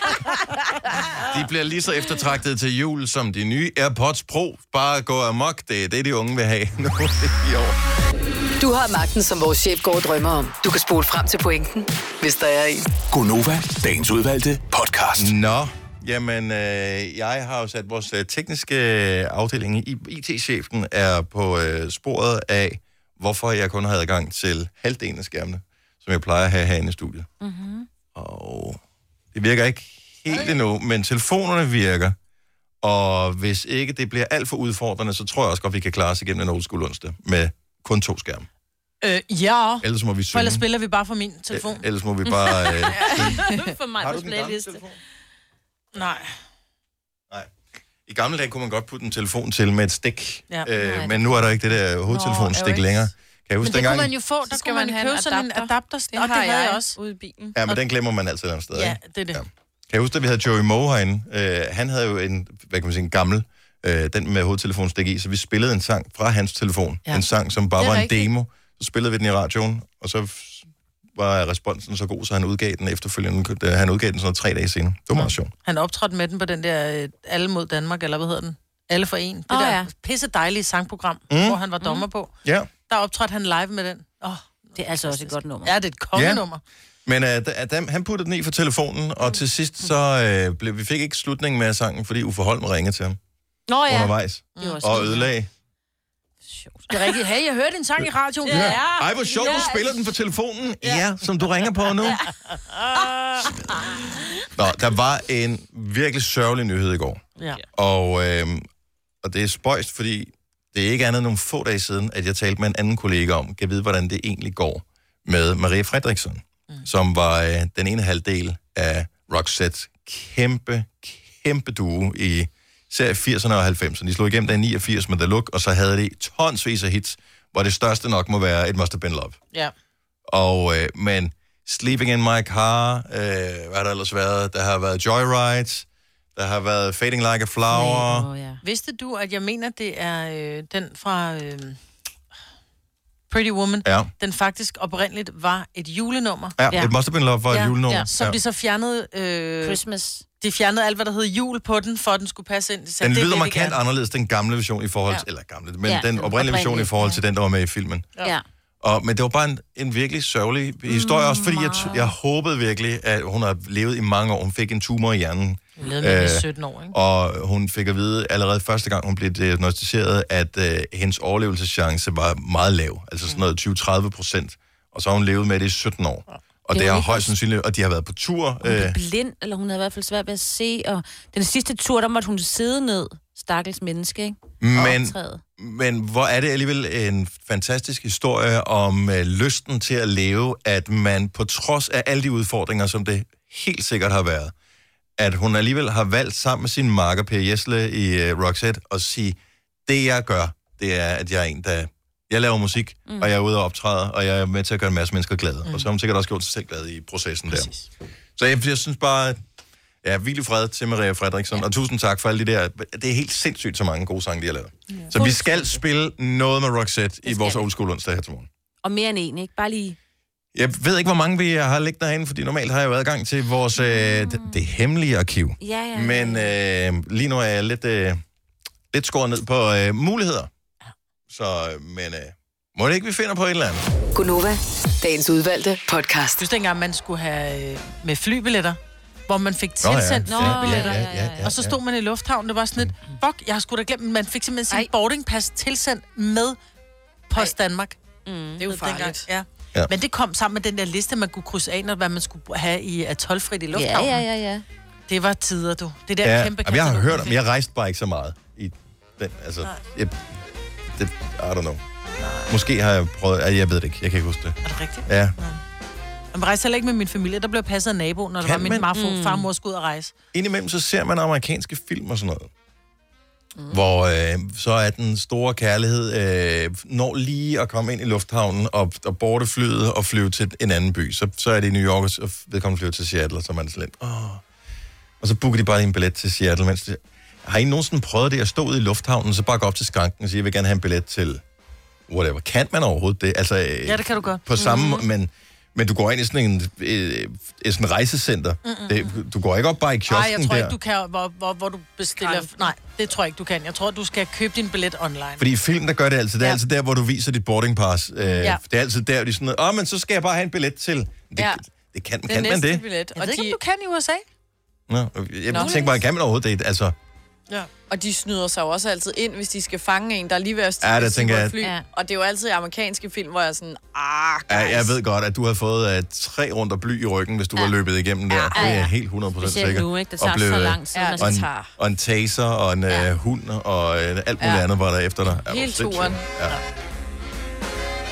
Speaker 1: de bliver lige så eftertragtede til jul som de nye AirPods Pro. Bare gå amok. Det er det, de unge vil have nu i år.
Speaker 6: Du har magten, som vores chef går og drømmer om. Du kan spole frem til pointen, hvis der er en.
Speaker 7: Gonova, dagens udvalgte podcast.
Speaker 1: Nå, jamen, øh, jeg har jo sat vores øh, tekniske afdeling, I- IT-chefen, er på øh, sporet af, hvorfor jeg kun har adgang til halvdelen af skærmene, som jeg plejer at have herinde i studiet.
Speaker 2: Mm-hmm.
Speaker 1: Og det virker ikke helt endnu, men telefonerne virker. Og hvis ikke det bliver alt for udfordrende, så tror jeg også godt, vi kan klare os igennem en old school onsdag med kun to skærme.
Speaker 3: Øh, ja.
Speaker 1: Ellers må vi
Speaker 3: For
Speaker 1: synge.
Speaker 3: ellers spiller vi bare fra min telefon.
Speaker 1: Øh, Ellers må vi bare... Øh,
Speaker 2: For mig
Speaker 1: Har
Speaker 2: på
Speaker 1: du den gamle
Speaker 2: playliste.
Speaker 3: Nej.
Speaker 1: I gamle dage kunne man godt putte en telefon til med et stik.
Speaker 3: Ja.
Speaker 1: øh, men nu er der ikke det der hovedtelefonstik
Speaker 5: ærgerligt.
Speaker 1: længere. Kan jeg huske
Speaker 3: Men det kunne
Speaker 1: dengang?
Speaker 3: man jo få, der
Speaker 5: skal
Speaker 3: kunne man,
Speaker 5: man
Speaker 3: jo
Speaker 5: have
Speaker 3: købe
Speaker 5: en
Speaker 3: sådan en
Speaker 5: adapter.
Speaker 3: adapter, og det havde jeg også.
Speaker 5: ude i bilen.
Speaker 1: Ja, men den glemmer man altid et eller andet sted,
Speaker 3: Ja,
Speaker 1: ikke?
Speaker 3: det er det.
Speaker 1: Ja. Kan jeg huske, da vi havde Joey Moe herinde? Øh, han havde jo en, hvad kan man sige, en gammel, øh, den med hovedtelefonstik i, så vi spillede en sang fra hans telefon. Ja.
Speaker 5: Ja.
Speaker 1: En sang, som bare
Speaker 5: Det er
Speaker 1: var en
Speaker 5: rigtigt.
Speaker 1: demo. Så spillede vi den i radioen, og så f- var responsen så god, så han udgav den efterfølgende. da Han udgav den sådan noget tre dage senere. Det var meget sjovt.
Speaker 3: Han optrådte med den på den der øh, Alle mod Danmark, eller hvad hedder den? Alle for en. Det
Speaker 2: Åh,
Speaker 3: der
Speaker 2: ja. Mm.
Speaker 3: pisse dejlige sangprogram,
Speaker 1: Mm.
Speaker 3: hvor han var dommer på.
Speaker 1: Ja.
Speaker 3: Der optrådte han live med den. Åh,
Speaker 2: Det er altså også et godt nummer.
Speaker 3: ja, det er et kongenummer.
Speaker 1: Men øh, da- da- han puttede den i for telefonen, og til sidst så øh, blev, vi fik ikke slutningen med sangen, fordi Uffe Holm ringede til ham
Speaker 2: Nå
Speaker 1: ja.
Speaker 2: ja,
Speaker 1: undervejs
Speaker 2: det var også
Speaker 1: og ødelagde.
Speaker 2: sjovt.
Speaker 3: Det er rigtigt. Hey, jeg hørte en sang i radioen.
Speaker 1: Ja. Ej, hvor sjovt, du spiller den på telefonen. Ja, som du ringer på nu. Nå, der var en virkelig sørgelig nyhed i går.
Speaker 3: Ja.
Speaker 1: Og, øh, og det er spøjst, fordi det er ikke andet end nogle få dage siden, at jeg talte med en anden kollega om, kan vide, hvordan det egentlig går med Maria Fredriksson, mm. som var øh, den ene halvdel af Roxettes kæmpe, kæmpe duo i serie 80'erne og 90'erne. De slog igennem der i 89 med The Look, og så havde de tonsvis af hits, hvor det største nok må være et Must Have Been Love.
Speaker 3: ja.
Speaker 1: Og, øh, men Sleeping in My Car, øh, hvad har der ellers været? Der har været Joyride, der har været Fading Like a Flower.
Speaker 2: Åh, ja.
Speaker 3: Vidste du, at jeg mener, det er øh, den fra øh, Pretty Woman?
Speaker 1: Ja.
Speaker 3: Den faktisk oprindeligt var et julenummer.
Speaker 1: Ja, ja.
Speaker 2: Ja.
Speaker 1: It Must Have Been Love var ja. et julenummer. Ja.
Speaker 3: Som de så fjernede... Øh,
Speaker 2: Christmas.
Speaker 3: de fjernede alt, hvad der hed jul på den, for at den skulle passe ind. De sagde,
Speaker 1: Den
Speaker 3: det er
Speaker 1: lyder
Speaker 3: det, vi
Speaker 1: markant
Speaker 3: gerne-
Speaker 1: anderledes, den gamle version i forhold til, ja. eller gamle, men ja, den oprindelige version i
Speaker 2: oprindelige,
Speaker 1: forhold
Speaker 2: ja.
Speaker 1: til den, der var med i filmen.
Speaker 2: Ja. ja.
Speaker 1: Og, men det var bare en, en virkelig sørgelig historie, også fordi jeg,
Speaker 2: Mm,
Speaker 1: t- jeg håbede virkelig, at hun har levet i mange år. Hun fik en tumor i hjernen,
Speaker 3: Hun lavede med
Speaker 1: Øh,
Speaker 3: øh, 17 år, ikke?
Speaker 1: og hun fik at vide allerede første gang, hun blev diagnostiseret, at øh, hendes overlevelseschance var meget lav. Altså
Speaker 2: Mm.
Speaker 1: sådan noget 20-30 procent. Og så har hun levet med det i 17 år. Og
Speaker 2: Det
Speaker 1: det
Speaker 2: er
Speaker 1: har
Speaker 2: jo ikke-
Speaker 1: højst sandsynligt, og de har været på tur.
Speaker 2: Hun blev
Speaker 1: Øh,
Speaker 2: blind, eller hun havde i hvert fald svært ved at se. Og den sidste tur, der måtte hun sidde ned. Stakkels menneske, ikke?
Speaker 1: men,
Speaker 2: Optræde.
Speaker 1: men hvor er det alligevel en fantastisk historie om øh, lysten til at leve, at man på trods af alle de udfordringer, som det helt sikkert har været, at hun alligevel har valgt sammen med sin marker Per Jesle i øh, Roxette at sige, det jeg gør, det er, at jeg er en, der... Jeg laver musik, mm. og jeg er ude og optræder, og jeg er med til at gøre en masse mennesker glade. Mm. Og så har hun sikkert også gjort sig selv glad i processen Præcis. der. Så jeg, jeg synes bare, ja, vildt fred til Maria Fredriksson, ja. og tusind tak for alle de der... Det er helt sindssygt så mange gode sange, de har lavet. Ja. Så vi skal spille noget med Roxette i vores old school onsdag her til morgen.
Speaker 2: Og mere end en, ikke? Bare lige...
Speaker 1: Jeg ved ikke, hvor mange vi har lægt derhen, fordi normalt har jeg jo adgang til vores, øh,
Speaker 3: Mm.
Speaker 1: det, det hemmelige arkiv.
Speaker 2: Ja, ja.
Speaker 1: Men øh, lige nu er jeg lidt, øh, lidt skåret ned på øh, muligheder. Så, øh, men øh, må det ikke, vi finder på et eller andet?
Speaker 6: Gunova, dagens udvalgte podcast.
Speaker 3: Jeg Altså, synes dengang, man skulle have øh, med flybilletter, hvor man fik
Speaker 1: Nå, ja.
Speaker 3: tilsendt
Speaker 1: Ja,
Speaker 3: Nå,
Speaker 1: ja, ja,
Speaker 3: flybilletter.
Speaker 1: ja, ja, ja, Mm. ja.
Speaker 3: Og så stod man i lufthavnen, det var sådan et, fuck, jeg har sgu da glemt, men man fik simpelthen sin boardingpas tilsendt med Post Danmark.
Speaker 2: Mm,
Speaker 5: Det er jo farligt.
Speaker 3: Ja.
Speaker 1: Ja.
Speaker 3: Ja. Men det kom sammen med den der liste, man kunne krydse af, når hvad man skulle have i atolfrit i
Speaker 2: Ja,
Speaker 3: lufthavnen.
Speaker 2: ja, ja, ja.
Speaker 3: Det var tider, du. Det der
Speaker 1: Ja,
Speaker 3: kæmpe
Speaker 1: jamen, jeg har
Speaker 3: katalog,
Speaker 1: hørt
Speaker 3: man
Speaker 1: om,
Speaker 3: fik.
Speaker 1: jeg rejste bare ikke så meget. I den, altså, jeg, det, I don't know. Måske har jeg prøvet, ej, jeg ved det ikke, jeg kan ikke huske det.
Speaker 3: Er det rigtigt?
Speaker 1: Ja,
Speaker 3: Man rejste heller ikke med min familie, der blev passet af naboen, når der
Speaker 1: Kan
Speaker 3: var min
Speaker 1: man?
Speaker 3: marfo,
Speaker 2: Mm.
Speaker 3: farmor skulle ud og rejse.
Speaker 1: indimellem så ser man amerikanske film og sådan noget. Mm. Hvor øh, så er den store kærlighed øh, når lige at komme ind i lufthavnen og, og borte flyet og flyve til en anden by. Så, så er det i New York, og så- vedkommende flyver til Seattle, og så er man sådan lidt, åh. Og så booker de bare lige en billet til Seattle. Mens de, har I nogensinde prøvet det at stå ude i lufthavnen, så bare gå op til skranken og sige, jeg vil gerne have en billet til whatever. Kan man overhovedet det? Altså, øh,
Speaker 3: Ja, det kan du godt.
Speaker 1: på samme mm-hmm. men, men du går ind i sådan en, øh, et sådan rejsecenter. Mm-hmm. Det, du går ikke op bare i kiosken
Speaker 3: Nej, jeg tror
Speaker 1: der.
Speaker 3: ikke, du kan, hvor, hvor, hvor du bestiller... Nej, det tror jeg ikke, du kan. Jeg tror, du skal købe din billet online.
Speaker 1: Fordi i film, der gør det altid. Det er ja.
Speaker 3: Ja.
Speaker 1: altid der, hvor du viser dit boarding pass. Øh, ja. Det er altid der, hvor de er sådan noget, åh, men så skal jeg bare have en billet til. Det, ja.
Speaker 5: Ja.
Speaker 1: det kan, det
Speaker 5: Den
Speaker 1: kan man
Speaker 5: næste
Speaker 1: det?
Speaker 5: billet.
Speaker 3: Jeg ved ikke, om du kan i USA.
Speaker 1: Nå, jeg Nå, tænker bare, kan man overhovedet det? Altså,
Speaker 3: Ja.
Speaker 5: Og de snyder sig jo også altid ind, hvis de skal fange en, der er lige ved at
Speaker 1: Ja, der
Speaker 5: hvis de
Speaker 1: tænker
Speaker 5: går
Speaker 1: jeg,
Speaker 5: i
Speaker 1: at-
Speaker 5: fly.
Speaker 2: Ja.
Speaker 5: Og det er jo altid i amerikanske film, hvor jeg er sådan, ah, guys.
Speaker 1: Ja, jeg ved godt, at du har fået uh, tre runder bly i ryggen, hvis du ja. var løbet igennem der. Ja, ja. Det er jeg helt 100%
Speaker 2: Specielt
Speaker 1: sikker.
Speaker 2: nu, ikke? Det
Speaker 1: Og
Speaker 2: tager
Speaker 1: blev,
Speaker 2: så
Speaker 1: øh,
Speaker 2: lang tid.
Speaker 5: Ja,
Speaker 2: man
Speaker 1: Og
Speaker 5: det
Speaker 2: skal-
Speaker 1: en,
Speaker 5: tager.
Speaker 1: og en taser, og en ja. hund, og øh, alt muligt ja. andet var der efter dig. Ja,
Speaker 5: Hele
Speaker 1: hvor sindssygt.
Speaker 5: turen.
Speaker 1: Ja.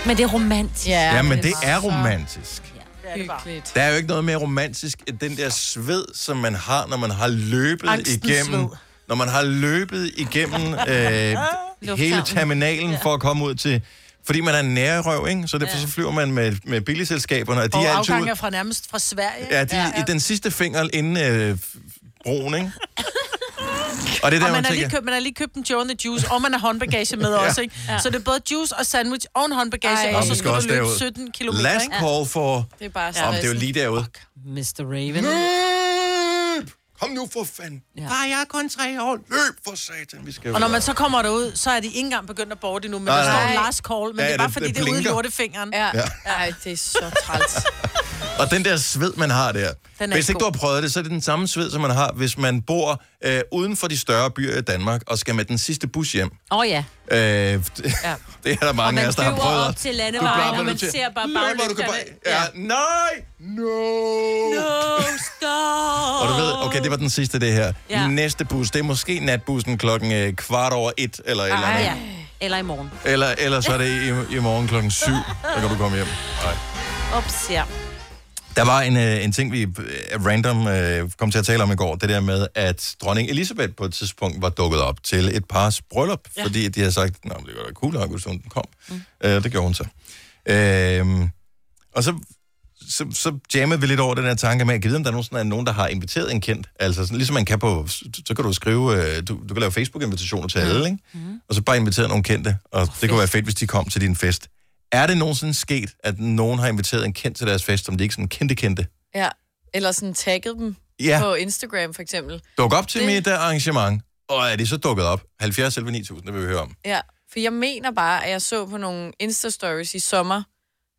Speaker 2: Men det er romantisk.
Speaker 1: Ja, ja, men det,
Speaker 5: var
Speaker 1: er
Speaker 5: så
Speaker 1: romantisk.
Speaker 3: Det er det bare.
Speaker 5: Hyggeligt.
Speaker 1: Der er jo ikke noget mere romantisk end den der sved, som man har, når man har løbet
Speaker 3: Angstens
Speaker 1: igennem...
Speaker 3: sved.
Speaker 1: Når man har løbet igennem øh, hele terminalen for at komme ud til... Fordi man er nærrøv, ikke? Så derfor så flyver man med, med billigselskaberne, og de
Speaker 3: Og
Speaker 1: er altid...
Speaker 3: afgangen er fra nærmest fra Sverige.
Speaker 1: Ja, de, ja. i den sidste finger inden øh, broen, ikke? Og det er der,
Speaker 3: Og man
Speaker 1: man
Speaker 3: har, lige
Speaker 1: tænker...
Speaker 3: købt, man har lige købt en Joe and the Juice, og man har håndbagage med ja. også, ikke? Så det er både juice og sandwich og en håndbagage,
Speaker 5: Ej.
Speaker 3: og
Speaker 1: Nå,
Speaker 3: så skal
Speaker 1: vi skal
Speaker 3: du
Speaker 1: også
Speaker 3: løbe
Speaker 1: derud.
Speaker 3: 17 km,
Speaker 1: Last
Speaker 3: ikke?
Speaker 1: call for...
Speaker 5: Det er bare
Speaker 1: Ja. Om det er
Speaker 5: stressende.
Speaker 1: jo lige derude.
Speaker 2: Mr. Raven.
Speaker 1: Løb! Kom nu for fanden.
Speaker 2: Ja.
Speaker 1: Far, jeg er kun tre år. Løb for satan. Vi skal
Speaker 3: Og når man så kommer derud, så er de ikke engang begyndt at borte endnu, men
Speaker 1: Nej,
Speaker 3: der
Speaker 1: nej.
Speaker 3: står last call, men
Speaker 1: Ja,
Speaker 3: det er bare
Speaker 1: det-
Speaker 3: fordi,
Speaker 1: det
Speaker 3: det, er ude i
Speaker 1: blinker.
Speaker 3: lortefingeren.
Speaker 5: Ja. Ej, det er så træls.
Speaker 1: Og den der sved, man har der.
Speaker 3: Den er
Speaker 1: Hvis
Speaker 3: ikke
Speaker 1: ikke du har prøvet det, så er det den samme sved, som man har, hvis man bor øh, uden for de større byer i Danmark, og skal med den sidste bus hjem.
Speaker 2: Åh oh, ja.
Speaker 1: Øh, ja. Det er der mange af os, der har prøvet.
Speaker 2: op til
Speaker 1: Du er
Speaker 2: landevejen,
Speaker 1: bare
Speaker 2: og man
Speaker 1: nødt til-
Speaker 2: ser bare
Speaker 1: Løb, hvor du kan
Speaker 2: baglygterne.
Speaker 1: bare- Ja, nej! No! no.
Speaker 2: stop.
Speaker 1: Og du ved, okay, det var den sidste, det her. Ja.
Speaker 2: Ja.
Speaker 1: Næste bus, det er måske natbussen klokken øh, kvart over et, eller et eller
Speaker 2: Ah,
Speaker 1: andet.
Speaker 2: ja. Eller i morgen.
Speaker 1: Eller, eller så er det i, i morgen klokken 7, der kan du komme hjem. Nej.
Speaker 2: Ups, ja.
Speaker 1: Der var en, øh, en ting, vi øh, random øh, kom til at tale om i går. Det der med, at dronning Elisabeth på et tidspunkt var dukket op til et pars bryllup. Ja. Fordi de havde sagt, at det var da cool, nok, hvis hun kom. Mm. Øh, det gjorde hun så. Øh, og så, så, så jammede vi lidt over den her tanke med, at jeg ved, om der nogensinde er nogen, der har inviteret en kendt. Altså sådan, ligesom man kan på, så kan du skrive, øh, du, du kan lave Facebook-invitationer til alle, ikke? Mm. Og så bare invitere nogle kendte, og det kunne være fedt, hvis de kom til din fest. Er det nogensinde sket, at nogen har inviteret en kendt til deres fest, som de ikke sådan kendte kendte?
Speaker 5: Ja. Eller sådan tagget dem
Speaker 1: Ja,
Speaker 5: på Instagram, for eksempel.
Speaker 1: duk op til
Speaker 5: det-
Speaker 1: mit øh, arrangement. Og er de så dukket op? 70 eller 9000, det vil vi høre om.
Speaker 5: Ja, for jeg mener bare, at jeg så på nogle Insta-stories i sommer,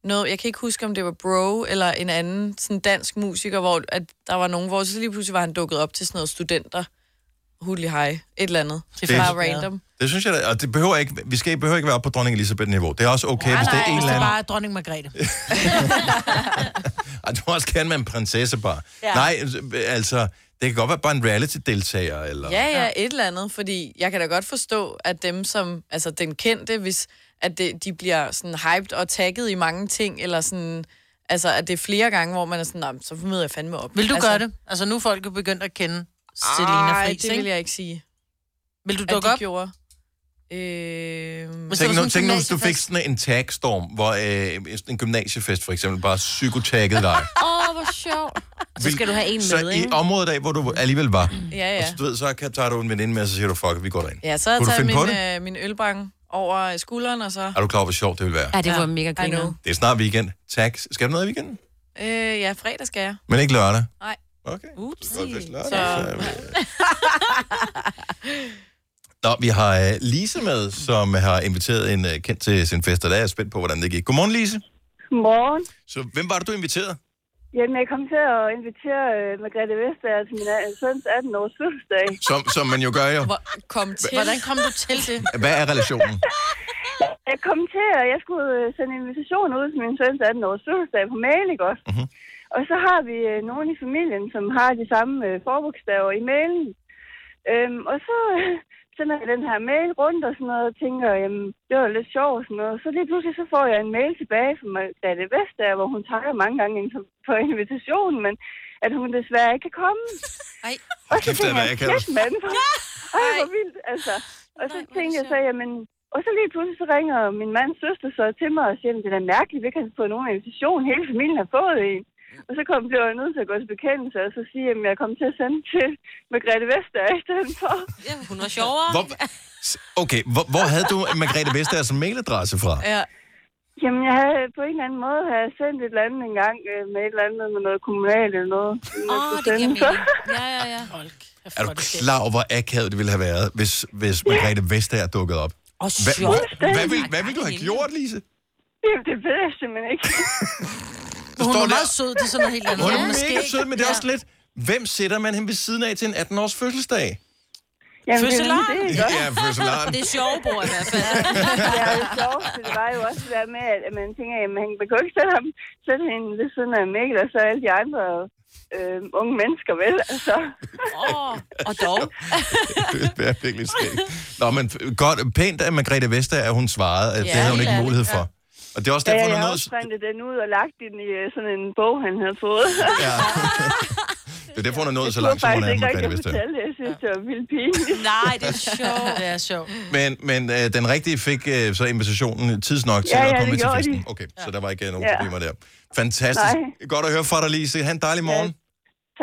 Speaker 5: noget, jeg kan ikke huske, om det var Bro eller en anden sådan dansk musiker, hvor at der var nogen, hvor så lige pludselig var han dukket op til sådan noget studenter. Hudli hej, et eller andet. Det
Speaker 1: er
Speaker 5: er bare
Speaker 1: fedt.
Speaker 5: random.
Speaker 1: Det synes jeg, da- og det behøver ikke, vi skal, behøver ikke være oppe på dronning Elisabeth-niveau. Det er også okay, hvis det er en
Speaker 3: Hvis
Speaker 1: eller
Speaker 3: det
Speaker 1: anden.
Speaker 3: bare er dronning Margrethe.
Speaker 1: Ej, du også kan med en prinsesse bare. Ja. Nej, altså, det kan godt være bare en reality-deltager, eller...
Speaker 5: Ja, ja, et eller andet, fordi jeg kan da godt forstå, at dem som, altså den kendte, hvis at det, de bliver sådan hyped og tagget i mange ting, eller sådan, altså at det er flere gange, hvor man er sådan, "Nå, men så møder jeg fandme op.
Speaker 3: Vil du
Speaker 5: altså,
Speaker 3: gøre det? Altså, nu er folk jo begyndt at kende Mm. Selina
Speaker 5: Nej,
Speaker 3: Friis,
Speaker 5: det vil
Speaker 3: ikke?
Speaker 5: jeg ikke sige.
Speaker 3: Vil du
Speaker 5: at
Speaker 3: dukke
Speaker 5: de
Speaker 3: op?
Speaker 5: gjorde. Øh,
Speaker 3: Hvis
Speaker 1: Tænk
Speaker 3: det var
Speaker 1: nu,
Speaker 3: sådan
Speaker 1: tænk
Speaker 3: en
Speaker 1: nu, hvis du fik
Speaker 3: gymnasiefest.
Speaker 1: sådan en tagstorm, hvor øh, en gymnasiefest for eksempel bare psykotaggede dig.
Speaker 2: Åh, oh, hvor sjovt. Og så skal du have en
Speaker 1: så
Speaker 2: med,
Speaker 1: i
Speaker 2: ikke?
Speaker 1: området af, hvor du alligevel var,
Speaker 5: ja,
Speaker 1: og
Speaker 5: ja.
Speaker 1: så, du ved, så kan, tager du en veninde med, og så siger du, fuck, vi går derind.
Speaker 5: Ja, så havde
Speaker 1: Kunne du
Speaker 5: jeg taget
Speaker 1: finde på
Speaker 5: min, øh, min ølbank over øh, skulderen, og så...
Speaker 1: Er du klar, over, hvor sjovt det vil være?
Speaker 2: Ja, det var mega
Speaker 5: I know.
Speaker 2: griner.
Speaker 1: Det er snart weekend. Tak. Skal du noget i weekenden?
Speaker 5: Øh, ja, fredag skal jeg.
Speaker 1: Men ikke lørdag?
Speaker 5: Nej.
Speaker 1: Okay.
Speaker 2: Upsi.
Speaker 1: Godt, hvis lørdag,
Speaker 5: Så-
Speaker 1: så- Nå, vi har øh, Lise med, som har inviteret en øh, kendt til sin fest, og der er jeg spændt på, hvordan det gik. Godmorgen, Lise.
Speaker 8: Godmorgen.
Speaker 1: Så hvem var det, du inviterede?
Speaker 8: Jamen, jeg kom til at invitere øh, Margrethe Vestager til min øh, søns 18-års fødselsdag.
Speaker 1: Som, som man jo gør jo.
Speaker 5: Hvor, kom til.
Speaker 3: Hvordan kom du til det?
Speaker 1: Hvad er relationen?
Speaker 8: Jeg kom til, at jeg skulle øh, sende invitationer ud til min søns 18-års fødselsdag på mail, ikke også?
Speaker 1: Mhm.
Speaker 8: Mm-hmm. Og så har vi øh, nogen i familien, som har de samme øh, forbogstaver i mailen. Øhm, og så øh, sender jeg den her mail rundt og sådan noget, og tænker, jamen, det var lidt sjovt og sådan noget. Så lige pludselig så får jeg en mail tilbage fra Margrethe Vestager, hvor hun takker mange gange for invitationen, men at hun desværre ikke kan komme. Og
Speaker 1: Hold
Speaker 8: så
Speaker 1: kæft, det
Speaker 8: tænkte
Speaker 1: er,
Speaker 8: jeg,
Speaker 1: jeg kan
Speaker 8: kæft mand, hvor- ej, hvor vildt, altså. Og så tænkte jeg så, jamen, og så lige pludselig så ringer min mands søster så til mig og siger, "Men det er da mærkeligt, vi ikke har fået nogen invitation, hele familien har fået en. Og så kom, blev jeg nødt til at gå til bekendelse og så sige, at jeg kom til at sende til Margrethe Vestager i stedet for.
Speaker 2: Ja, hun var sjovere.
Speaker 1: Hvor, s- okay, hvor, hvor havde du Margrethe Vestager som mailadresse fra?
Speaker 5: Ja.
Speaker 8: Jamen, jeg havde på en eller anden måde havde jeg sendt et eller andet en gang øh, med et eller andet med noget kommunalt eller noget.
Speaker 2: Åh,
Speaker 8: man
Speaker 2: oh,
Speaker 8: skulle
Speaker 2: det giver
Speaker 8: sende. Så-
Speaker 2: mening. Ja, ja, ja.
Speaker 3: Hold kæft,
Speaker 1: Er
Speaker 3: hvor
Speaker 1: du
Speaker 3: det fedt.
Speaker 1: klar over, hvor akavet det ville have været, hvis, hvis Margrethe Vestager dukkede op?
Speaker 2: Og
Speaker 1: Hva, hva,
Speaker 2: sjovt.
Speaker 1: hvad, vil, hvad vil du have gjort, Lise?
Speaker 8: Jamen, det ved jeg simpelthen ikke.
Speaker 1: Du
Speaker 3: Hun
Speaker 1: står
Speaker 3: er
Speaker 1: der,
Speaker 3: meget sød, det er sådan noget helt andet.
Speaker 1: Hun er
Speaker 3: Hun er
Speaker 1: mega
Speaker 3: skæg.
Speaker 1: sød, men det er også lidt... Hvem sætter man hende ved siden af til en 18-års fødselsdag?
Speaker 8: Jamen, det er
Speaker 3: Fødselar?
Speaker 8: nemlig det, ikke også?
Speaker 1: Ja, fødselaren.
Speaker 2: Det er sjove bord i hvert fald.
Speaker 8: Ja, det sjoveste, det var jo også det der med, at at man tænker, at man kan jo ikke sætte ham, sætte hende ved siden af Mikkel og så alle de andre øh, unge mennesker, vel? Altså,
Speaker 2: Åh, og dog.
Speaker 1: det er virkelig skægt. Nå, men f- godt, pænt af Margrethe Vestager, at hun svarede. at det
Speaker 2: Ja,
Speaker 1: havde
Speaker 2: helt
Speaker 1: hun ikke
Speaker 2: ærligt,
Speaker 1: mulighed for. Og det er også
Speaker 8: ja,
Speaker 1: derfor,
Speaker 8: jeg
Speaker 1: hun
Speaker 8: har
Speaker 1: nåede...
Speaker 8: også printet den ud og lagt den i øh, sådan en bog, han havde fået.
Speaker 1: Ja. det er derfor, hun er nået så
Speaker 8: Jeg
Speaker 1: langt, som hun
Speaker 8: faktisk ikke
Speaker 1: er,
Speaker 8: rigtig
Speaker 1: Margrethe
Speaker 8: at
Speaker 1: Vestager.
Speaker 8: fortælle det. Jeg synes, det var vildt pinligt.
Speaker 2: Nej, det er sjovt.
Speaker 3: Det er sjovt.
Speaker 1: Men, men øh, den rigtige fik øh, så invitationen tidsnok til
Speaker 8: Ja,
Speaker 1: at
Speaker 8: ja,
Speaker 1: komme
Speaker 8: det
Speaker 1: med til
Speaker 8: gjorde
Speaker 1: festen.
Speaker 8: de.
Speaker 1: Okay, så der var ikke øh, nogen
Speaker 8: Ja.
Speaker 1: problemer der. Fantastisk.
Speaker 8: Nej.
Speaker 1: Godt at høre fra dig, Lise. Ha' en dejlig morgen.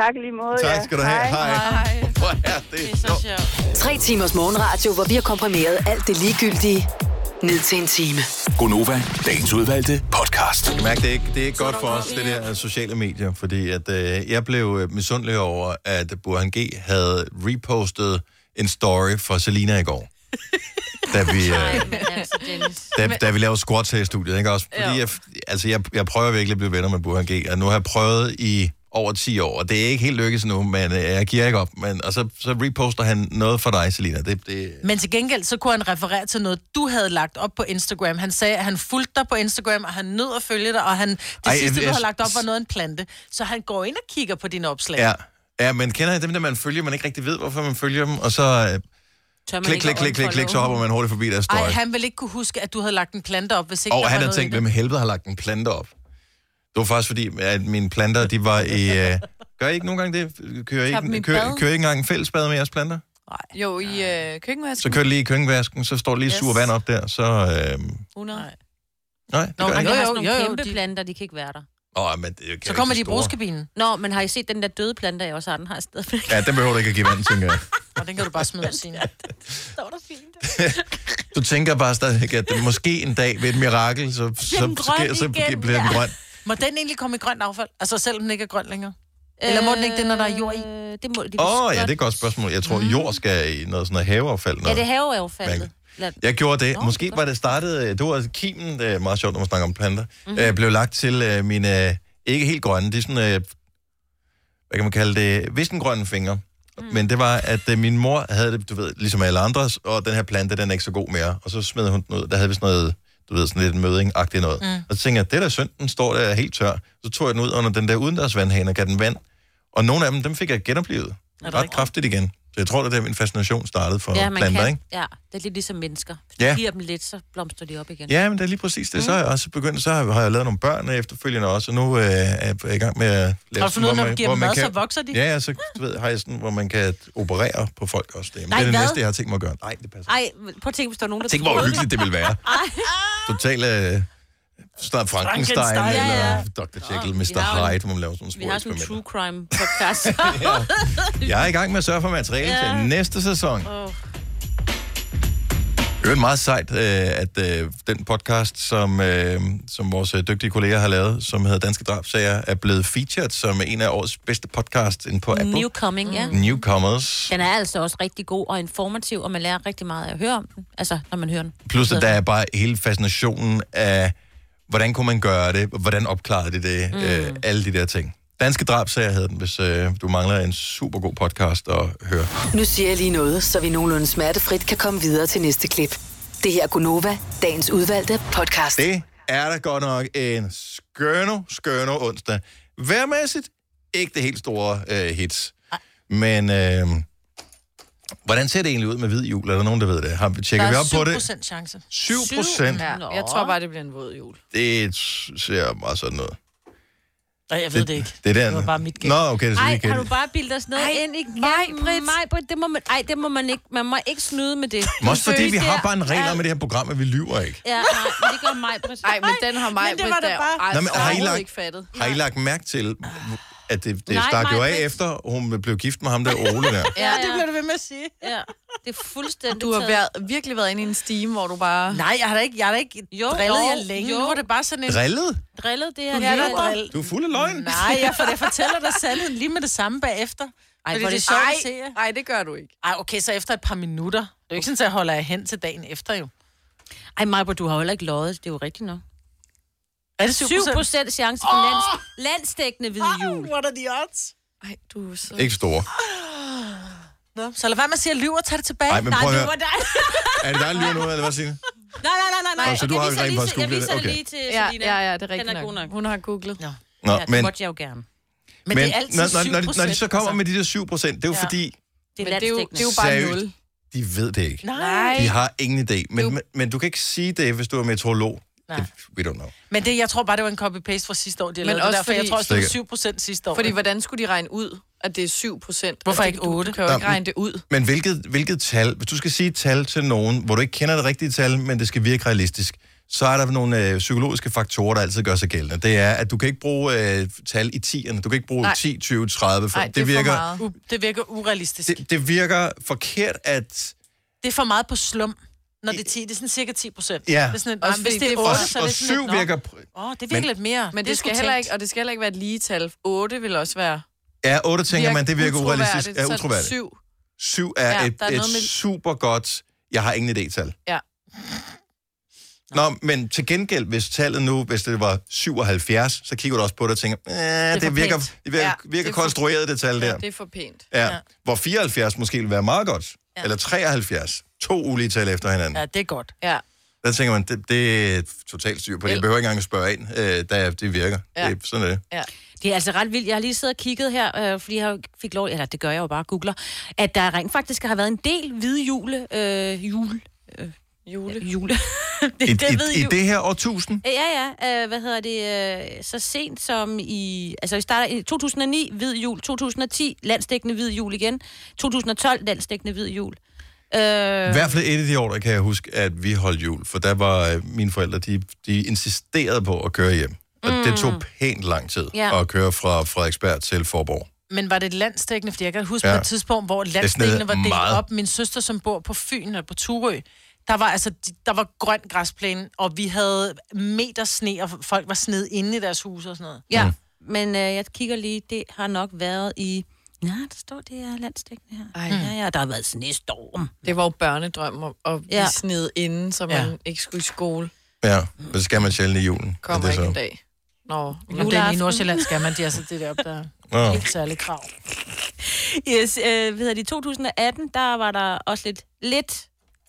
Speaker 8: Tak i lige måde.
Speaker 1: Tak
Speaker 8: ja.
Speaker 1: skal du have. Hej. Hej. Hvor er det,
Speaker 3: Det er så sjovt.
Speaker 6: Tre timers morgenradio, hvor vi har komprimeret alt det ligegyldige ned til en time.
Speaker 7: Gonova, dagens udvalgte podcast.
Speaker 1: Jeg mærker, det er ikke, det er ikke godt for os, det der øh, sociale medier, fordi at, øh, jeg blev øh, misundelig over, at Burhan G. havde repostet en story fra Selina i går. Da vi, øh,
Speaker 2: Men altså, Dennis.
Speaker 1: da, da vi lavede squats her i studiet, ikke også? Fordi jeg, altså, jeg, jeg prøver virkelig at blive venner med Burhan G., og nu har jeg prøvet i over 10 år, og det er ikke helt lykkedes nu, men øh, jeg giver ikke op. Men, og så, så reposter han noget for dig, Selina. Det, det,
Speaker 3: Men til gengæld, så kunne han referere til noget, du havde lagt op på Instagram. Han sagde, at han fulgte dig på Instagram, og han nød at følge dig, og han, det
Speaker 1: Ej,
Speaker 3: Ej, sidste,
Speaker 1: jeg-
Speaker 3: du
Speaker 1: jeg-
Speaker 3: har lagt op, var noget af en plante. Så han går ind og kigger på dine opslag.
Speaker 1: ja. ja, men kender jeg dem, der man følger, man ikke rigtig ved, hvorfor man følger dem, og så øh,
Speaker 2: Tør man
Speaker 1: klik,
Speaker 2: ikke
Speaker 1: klik, klik, klik, klik, så hopper man hurtigt forbi deres story.
Speaker 3: Ej, han ville ikke kunne huske, at du havde lagt en plante op, hvis ikke
Speaker 1: Og
Speaker 3: der
Speaker 1: han
Speaker 3: var
Speaker 1: havde
Speaker 3: noget i
Speaker 1: tænkt,
Speaker 3: det.
Speaker 1: hvem helvede har lagt en plante op? Det var faktisk fordi, at mine planter, de var i... Øh, gør I ikke nogen gange det? Kører I
Speaker 5: Tager dem
Speaker 1: ikke,
Speaker 5: i
Speaker 1: kører,
Speaker 5: bad?
Speaker 1: kører I ikke engang en fællesbad med jeres planter?
Speaker 5: Jo, i øh, køkkenvasken.
Speaker 1: Så kører det lige i køkkenvasken, så står det lige yes.
Speaker 5: Yes.
Speaker 1: sur vand op der, så... Øh,
Speaker 5: 100.
Speaker 3: Nej.
Speaker 1: nej, det
Speaker 3: Nå,
Speaker 2: Og
Speaker 1: gør jeg
Speaker 2: de
Speaker 1: ikke.
Speaker 2: har
Speaker 3: Jo,
Speaker 2: sådan nogle
Speaker 3: jo, jo,
Speaker 2: kæmpe
Speaker 3: de-
Speaker 2: planter, de kan ikke være der.
Speaker 1: Åh, men det kan
Speaker 3: Så kommer de i
Speaker 1: store.
Speaker 3: bruskabinen,
Speaker 2: Nå, men har I set den der døde plante, jeg også har? Den har jeg stadigvæk.
Speaker 1: Ja, den behøver du ikke at give vand, tænker jeg.
Speaker 3: og den kan du bare smide sine.
Speaker 2: Står der fint.
Speaker 1: Du tænker bare stadigvæk, at det måske en dag ved et mirakel, så, så,
Speaker 2: den grøn
Speaker 1: sker, så
Speaker 2: igen,
Speaker 1: bliver den
Speaker 2: ja.
Speaker 1: grøn.
Speaker 3: Må den egentlig komme i grønt affald? Altså selvom den ikke er grøn længere? Eller må den ikke det, når der er jord i?
Speaker 2: Øh, Det må, de vist
Speaker 1: Åh, ja,
Speaker 2: godt.
Speaker 1: det er et godt spørgsmål. Jeg tror, jord skal i noget sådan noget haveaffald.
Speaker 2: Ja,
Speaker 1: Noget.
Speaker 2: det er haveaffaldet. Lad...
Speaker 1: Jeg gjorde det.
Speaker 2: Nå,
Speaker 1: Måske
Speaker 2: godt.
Speaker 1: var det startet... øh, Det var kimen, det er meget sjovt, når man snakker om planter.
Speaker 2: Mhm.
Speaker 1: Mm-hmm. Øh, blev lagt til øh, mine... Øh, ikke helt grønne, det er sådan... Øh, hvad kan man kalde det? Vissengrønne fingre. Mm. Men det var, at øh, min mor havde det, du ved, ligesom alle andre, og den her plante, den er ikke så god mere. Og så smed hun den ud. Der havde vi sådan noget, du ved, sådan lidt møding-agtigt noget. Mm. Og så tænkte jeg, det der synd, den står der helt tør. Så tog jeg den ud under den der udendørs vandhane og gav den vand. Og nogle af dem, dem fik jeg genoplevet. Ret kraftigt igen. Så jeg tror, det er der, min fascination startede for
Speaker 2: Ja, man
Speaker 1: planter,
Speaker 2: kan.
Speaker 1: ikke?
Speaker 2: Ja, det er lidt ligesom mennesker. Hvis
Speaker 1: Ja.
Speaker 2: du giver dem lidt, så blomstrer de op igen.
Speaker 1: Ja, men det er lige præcis det. Så er jeg også begyndt, så har jeg lavet nogle børn efterfølgende også, og nu øh, er jeg i gang med at lave...
Speaker 3: Har du fundet ud af, når du giver dem mad, så vokser de?
Speaker 1: Ja, ja, så du ved, har jeg sådan, hvor man kan operere på folk også. Det. Men
Speaker 2: Nej,
Speaker 1: det er det
Speaker 2: hvad?
Speaker 1: næste, jeg har tænkt mig at gøre. Nej, det passer.
Speaker 2: Ej, prøv at tænke, hvis der er nogen, der
Speaker 1: Tænk, hvor hyggeligt det ville være. Total øh, snart Frankenstein,
Speaker 3: Frankenstein,
Speaker 1: Frankenstein,
Speaker 2: ja,
Speaker 1: eller
Speaker 2: ja.
Speaker 1: Dr. Jekyll,
Speaker 2: Ah, vi har jo en-
Speaker 1: Mr. Hyde, hvor man laver sådan nogle
Speaker 2: Vi
Speaker 1: små
Speaker 2: har sådan en
Speaker 1: eksperimenter.
Speaker 2: true crime podcast.
Speaker 1: Jeg er i gang med at sørge for materiale ja. til næste sæson. Oh. Det er meget sejt, øh, at øh, den podcast, som, øh, som vores øh, dygtige kolleger har lavet, som hedder Danske Drabsager, er blevet featured som en af årets bedste podcasts inde på Apple.
Speaker 2: Newcoming, ja.
Speaker 1: Mm. Newcomers.
Speaker 2: Den er altså også rigtig god og informativ, og man lærer rigtig meget af at høre om den. Altså, når man hører den.
Speaker 1: Plus, at der er bare hele fascinationen af, hvordan kunne man gøre det, hvordan opklarede de det, mm. øh, alle de der ting. Danske Drabsager hedder den, hvis øh, du mangler en super god podcast at høre.
Speaker 6: Nu siger jeg lige noget, så vi nogenlunde smertefrit kan komme videre til næste klip. Det her er Gunova, dagens udvalgte podcast.
Speaker 1: Det er da godt nok en skønne, skønne onsdag. Værmæssigt ikke det helt store øh, hits. Men øh, hvordan ser det egentlig ud med hvid jul? Er der nogen, der ved det? Har, tjekker vi op på
Speaker 3: Der er
Speaker 1: det?
Speaker 3: 7% chance.
Speaker 1: 7 procent.
Speaker 5: Ja,
Speaker 2: Nå.
Speaker 5: jeg tror bare, det bliver en våd jul.
Speaker 1: Det ser meget sådan ud.
Speaker 3: Nej, jeg ved det ikke.
Speaker 1: Det, er der.
Speaker 3: Det var bare mit gæt.
Speaker 1: Nå, okay, det er
Speaker 2: Ej,
Speaker 1: sådan
Speaker 2: har du bare bildet os noget
Speaker 5: Ej,
Speaker 2: ind igen?
Speaker 5: Maj-Brit.
Speaker 2: Maj-Brit, det må man, ej, det må man ikke. Man må ikke snyde med det.
Speaker 1: Men Også fordi
Speaker 5: Seriøst,
Speaker 1: vi
Speaker 5: det
Speaker 1: har
Speaker 5: er-
Speaker 1: bare en regel om i det her program, at vi lyver ikke.
Speaker 2: Ja, nej, men det gør Maj-Brit.
Speaker 5: Nej, men den har mig
Speaker 3: men det var da bare-
Speaker 5: Ej,
Speaker 1: Nå, men har I
Speaker 5: overhovedet
Speaker 1: lagt-
Speaker 5: ikke fattet.
Speaker 1: Har I lagt mærke til, at det, det
Speaker 2: Nej,
Speaker 1: stak jo af
Speaker 2: Maj-Brit.
Speaker 1: efter, hun blev gift med ham der Ole der?
Speaker 3: Ja,
Speaker 2: Ja,
Speaker 3: det
Speaker 2: ja.
Speaker 3: bliver du ved med at sige.
Speaker 2: Ja, det er fuldstændig
Speaker 5: Du har
Speaker 2: taget.
Speaker 5: været, virkelig været inde i en steam, hvor du bare...
Speaker 3: Nej, jeg har da ikke, jeg har da ikke
Speaker 2: Jo,
Speaker 3: drillet
Speaker 2: jo,
Speaker 3: jer længe.
Speaker 2: jo.
Speaker 3: Nu var det bare sådan en...
Speaker 1: Drillet?
Speaker 2: drillet det her.
Speaker 3: Ja, der
Speaker 2: hele-
Speaker 3: er drill.
Speaker 1: Du er fuld af løgn.
Speaker 3: Nej, jeg, for jeg fortæller dig sandheden lige med det samme bagefter. Ej, fordi
Speaker 2: hvor er
Speaker 3: det er
Speaker 2: det
Speaker 3: sjovt at se jer.
Speaker 5: Ej, ej, det gør du ikke.
Speaker 3: Ej, okay, så efter et par minutter. Det er jo ikke sådan, at jeg holder jer hen til dagen efter, jo.
Speaker 2: Ej, Maj-Brit, du har jo heller ikke løjet. Det er jo rigtigt nok.
Speaker 3: Er det Ah! 7
Speaker 2: 7 procent chance for lands, landsdækkende hvide jul.
Speaker 3: What are the odds?
Speaker 5: Ej, du er så...
Speaker 1: Ikke store.
Speaker 3: Nå, så lad være med at sige, at jeg lyver og tage det tilbage.
Speaker 1: Ej, men prøv at
Speaker 2: det
Speaker 1: høre.
Speaker 2: var dig.
Speaker 1: Er det dig, der lyver nu, eller hvad, Signe?
Speaker 2: nej, nej, nej, nej. nej.
Speaker 1: Nå, så du
Speaker 2: Jeg
Speaker 1: har
Speaker 2: viser
Speaker 1: rent
Speaker 2: lige-
Speaker 1: faktisk
Speaker 2: Jeg
Speaker 1: googlet
Speaker 2: viser
Speaker 1: det.
Speaker 2: det
Speaker 1: Okay.
Speaker 2: lige til
Speaker 5: Ja,
Speaker 2: Selina.
Speaker 5: ja, ja, det er rigtigt
Speaker 2: Den er
Speaker 5: nok.
Speaker 2: god nok.
Speaker 5: Hun har googlet. Ja.
Speaker 1: Nå,
Speaker 2: Ja, det
Speaker 1: men,
Speaker 2: måtte jeg jo gerne.
Speaker 3: Men,
Speaker 1: men
Speaker 3: det er altid
Speaker 1: når, når, når, de, når de
Speaker 3: 7%,
Speaker 1: så kommer med de der 7 procent, det er jo
Speaker 3: Ja.
Speaker 1: fordi,
Speaker 2: Det er
Speaker 5: Men det er, jo, det er jo
Speaker 2: landsdækkende.
Speaker 5: bare
Speaker 1: Seriøst?
Speaker 5: nul.
Speaker 1: de ved det ikke.
Speaker 3: Nej.
Speaker 1: De har ingen idé. Men,
Speaker 5: Jo.
Speaker 1: men, men du kan ikke sige det, hvis du er meteorolog.
Speaker 3: Nej.
Speaker 1: Det, we don't know.
Speaker 3: Men det, jeg tror bare, det var en copy-paste fra sidste år, de har
Speaker 5: Men
Speaker 3: lavet
Speaker 5: også
Speaker 3: det der, for jeg
Speaker 5: fordi-
Speaker 3: tror også, det var
Speaker 1: Sikkert.
Speaker 3: 7 procent sidste år.
Speaker 5: Fordi hvordan skulle de regne ud, at det er 7 procent?
Speaker 3: Hvorfor
Speaker 5: altså,
Speaker 3: ikke
Speaker 5: du-
Speaker 3: otte?
Speaker 5: Du kan jo ikke
Speaker 1: Nå,
Speaker 5: regne det ud.
Speaker 1: Men hvilket, hvilket tal, hvis du skal sige et tal til nogen, hvor du ikke kender det rigtige tal, men det skal virke realistisk, så er der nogle øh, psykologiske faktorer, der altid gør sig gældende. Det er, at du kan ikke bruge øh, tal i 10'erne. Du kan ikke bruge
Speaker 5: Nej.
Speaker 1: 10, 20, 30. For
Speaker 5: Nej, det,
Speaker 1: det,
Speaker 5: er for
Speaker 1: virker,
Speaker 5: meget.
Speaker 3: U- det virker urealistisk. Det,
Speaker 1: det, det virker forkert, at...
Speaker 3: det er for meget på slum, når det er 10. Det er sådan cirka 10 procent.
Speaker 1: Ja.
Speaker 3: Det er sådan, et,
Speaker 5: Også
Speaker 3: hvis
Speaker 5: fordi
Speaker 3: det
Speaker 5: det
Speaker 3: er
Speaker 5: er
Speaker 3: 8,
Speaker 5: for-
Speaker 3: så er
Speaker 1: og
Speaker 3: det sådan
Speaker 1: syv
Speaker 3: lidt, nå,
Speaker 1: virker...
Speaker 3: Åh, det er virkelig
Speaker 1: Men-
Speaker 3: lidt mere.
Speaker 5: Men det,
Speaker 3: er
Speaker 5: det
Speaker 3: sgu
Speaker 5: skal heller
Speaker 3: tænkt.
Speaker 5: ikke, og det skal heller ikke være et lige tal. 8 vil også være
Speaker 1: Ja, 8 tænker man, det virker urealistisk. Ja,
Speaker 5: så det
Speaker 1: utroværdigt.
Speaker 5: 7.
Speaker 1: 7 er
Speaker 5: Ja,
Speaker 1: ja, et,
Speaker 5: der er
Speaker 1: et
Speaker 5: noget med-
Speaker 1: super godt, jeg har ingen idé-tal.
Speaker 5: Ja.
Speaker 1: Nå, men til gengæld, hvis tallet nu, hvis det var 77, så kigger du også på det og tænker, "Eh, det,
Speaker 3: for
Speaker 1: det virker,
Speaker 3: pænt."
Speaker 1: det virker,
Speaker 5: Ja,
Speaker 1: ja,
Speaker 5: det
Speaker 1: virker
Speaker 5: er
Speaker 1: det
Speaker 5: for-
Speaker 1: konstrueret, det tal
Speaker 5: Ja,
Speaker 1: der.
Speaker 5: det er for pænt.
Speaker 1: Ja,
Speaker 3: Ja.
Speaker 1: Hvor 74 måske ville være meget godt, ja. eller 73. To ulige tal efter hinanden.
Speaker 3: Ja,
Speaker 1: Ja.
Speaker 3: det er godt.
Speaker 5: Ja.
Speaker 1: Der tænker man, det, det er totalt styr på det. Jeg behøver ikke engang at spørge ind, øh, der, det virker. Ja.
Speaker 5: Ja.
Speaker 1: Det, er- sådan er det.
Speaker 2: Det er altså ret vildt. Jeg har lige siddet og kigget her, øh, fordi jeg jo fik lov, eller det gør jeg jo bare, googler, at der rent faktisk har været en del hvide jule, øh, jule,
Speaker 5: Jule.
Speaker 2: jule. det,
Speaker 1: I,
Speaker 2: det ved
Speaker 1: i, I
Speaker 2: jo.
Speaker 1: det her årtusind,
Speaker 2: Ja, ja. Øh, hvad hedder det? Øh, så sent som i... Altså, vi starter i 2009, hvid jul. 2010, landsdækkende hvid jul igen. 2012, landsdækkende hvid jul. Øh,
Speaker 1: I hvert fald et af de år, der kan jeg huske, at vi holdt jul, for der var øh, mine forældre, de, de insisterede på at køre hjem. Og mm. det tog pænt lang tid
Speaker 2: Ja.
Speaker 1: at køre fra Frederiksberg til Forborg.
Speaker 3: Men var det landsdækkende? Fordi jeg kan huske
Speaker 1: Ja.
Speaker 3: ja. på et tidspunkt, hvor
Speaker 1: sådan
Speaker 3: landsdækkende var
Speaker 1: noget
Speaker 3: delt
Speaker 1: meget-
Speaker 3: meget. op. Min søster, som bor på Fyn eller på Turø, der var, altså, de- der var grøn græsplæne, og vi havde meter sne, og folk var sned inde i deres hus og sådan noget. Mm.
Speaker 1: Mm.
Speaker 2: ja, men øh, jeg kigger lige. Det har nok været i... Nej, der står, det er landsdækkende her.
Speaker 5: Ej.
Speaker 2: Ja, ja, der har været snestorm.
Speaker 5: Det var jo børnedrøm at, at blive
Speaker 2: Ja.
Speaker 5: sned inden, så man ikke skulle i skole.
Speaker 1: Ja, og så skal man sjældent i julen. er
Speaker 5: Kommer
Speaker 1: det
Speaker 5: ikke en
Speaker 1: så.
Speaker 5: dag. Nå,
Speaker 3: Og det er i
Speaker 2: Juleaften.
Speaker 3: Nordsjælland, skal man, de er så det der op, der
Speaker 1: Nå.
Speaker 3: er helt særlige krav.
Speaker 2: Yes, øh, hvad hedder det? I 2018, der var der også lidt, lidt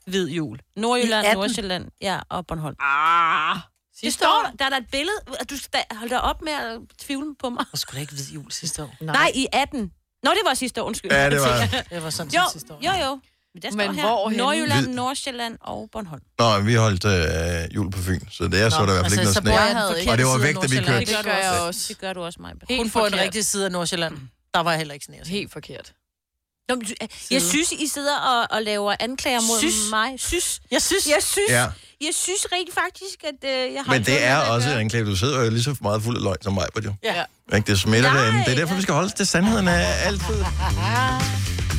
Speaker 2: hvid jul.
Speaker 3: I
Speaker 2: Nordjylland,
Speaker 3: 18?
Speaker 2: Nordsjælland, ja, og Bornholm. Ah, det står der. Der er der et billede. og Du skal da- hold da op med at tvivle på mig.
Speaker 3: Og skulle da ikke vide jul sidste år.
Speaker 2: Nej. Nej, i 18. Nå, det var sidste år, undskyld.
Speaker 1: Ja, det var...
Speaker 3: Det var sådan
Speaker 2: Jo,
Speaker 3: set sidste år.
Speaker 2: jo, jo. Men, der står
Speaker 5: Men
Speaker 2: her,
Speaker 5: hvorhenne?
Speaker 2: Nordjylland,
Speaker 1: Hvid-
Speaker 2: Nordsjælland og Bornholm.
Speaker 1: Nå, vi holdt øh, jul på Fyn, så det er så der i hvert fald ikke noget
Speaker 3: så
Speaker 1: sne.
Speaker 3: bor jeg havde
Speaker 5: Og
Speaker 3: ikke.
Speaker 1: Og det var væk, da vi kørte.
Speaker 5: Det gør jeg også.
Speaker 2: Det gør du også, Maja. Mm.
Speaker 3: Hun på en rigtig side af Nordsjælland. Der var heller ikke sne.
Speaker 5: Helt forkert.
Speaker 2: Nå, men, øh, jeg synes, I sidder og, og laver anklager mod
Speaker 3: Synes?
Speaker 2: mig. Synes.
Speaker 3: Jeg synes,
Speaker 2: Jeg synes,
Speaker 1: Ja.
Speaker 2: ja. jeg synes rent faktisk, at øh, jeg har...
Speaker 1: Men det
Speaker 2: noget
Speaker 1: er
Speaker 2: med at
Speaker 1: også
Speaker 2: gøre.
Speaker 1: en anklage. Du sidder jo lige så meget fuld af løgn som mig på det.
Speaker 3: Ja.
Speaker 1: Ikke? Det smitter
Speaker 2: Nej.
Speaker 1: derinde. Det er derfor, vi skal holde os til sandheden af altid.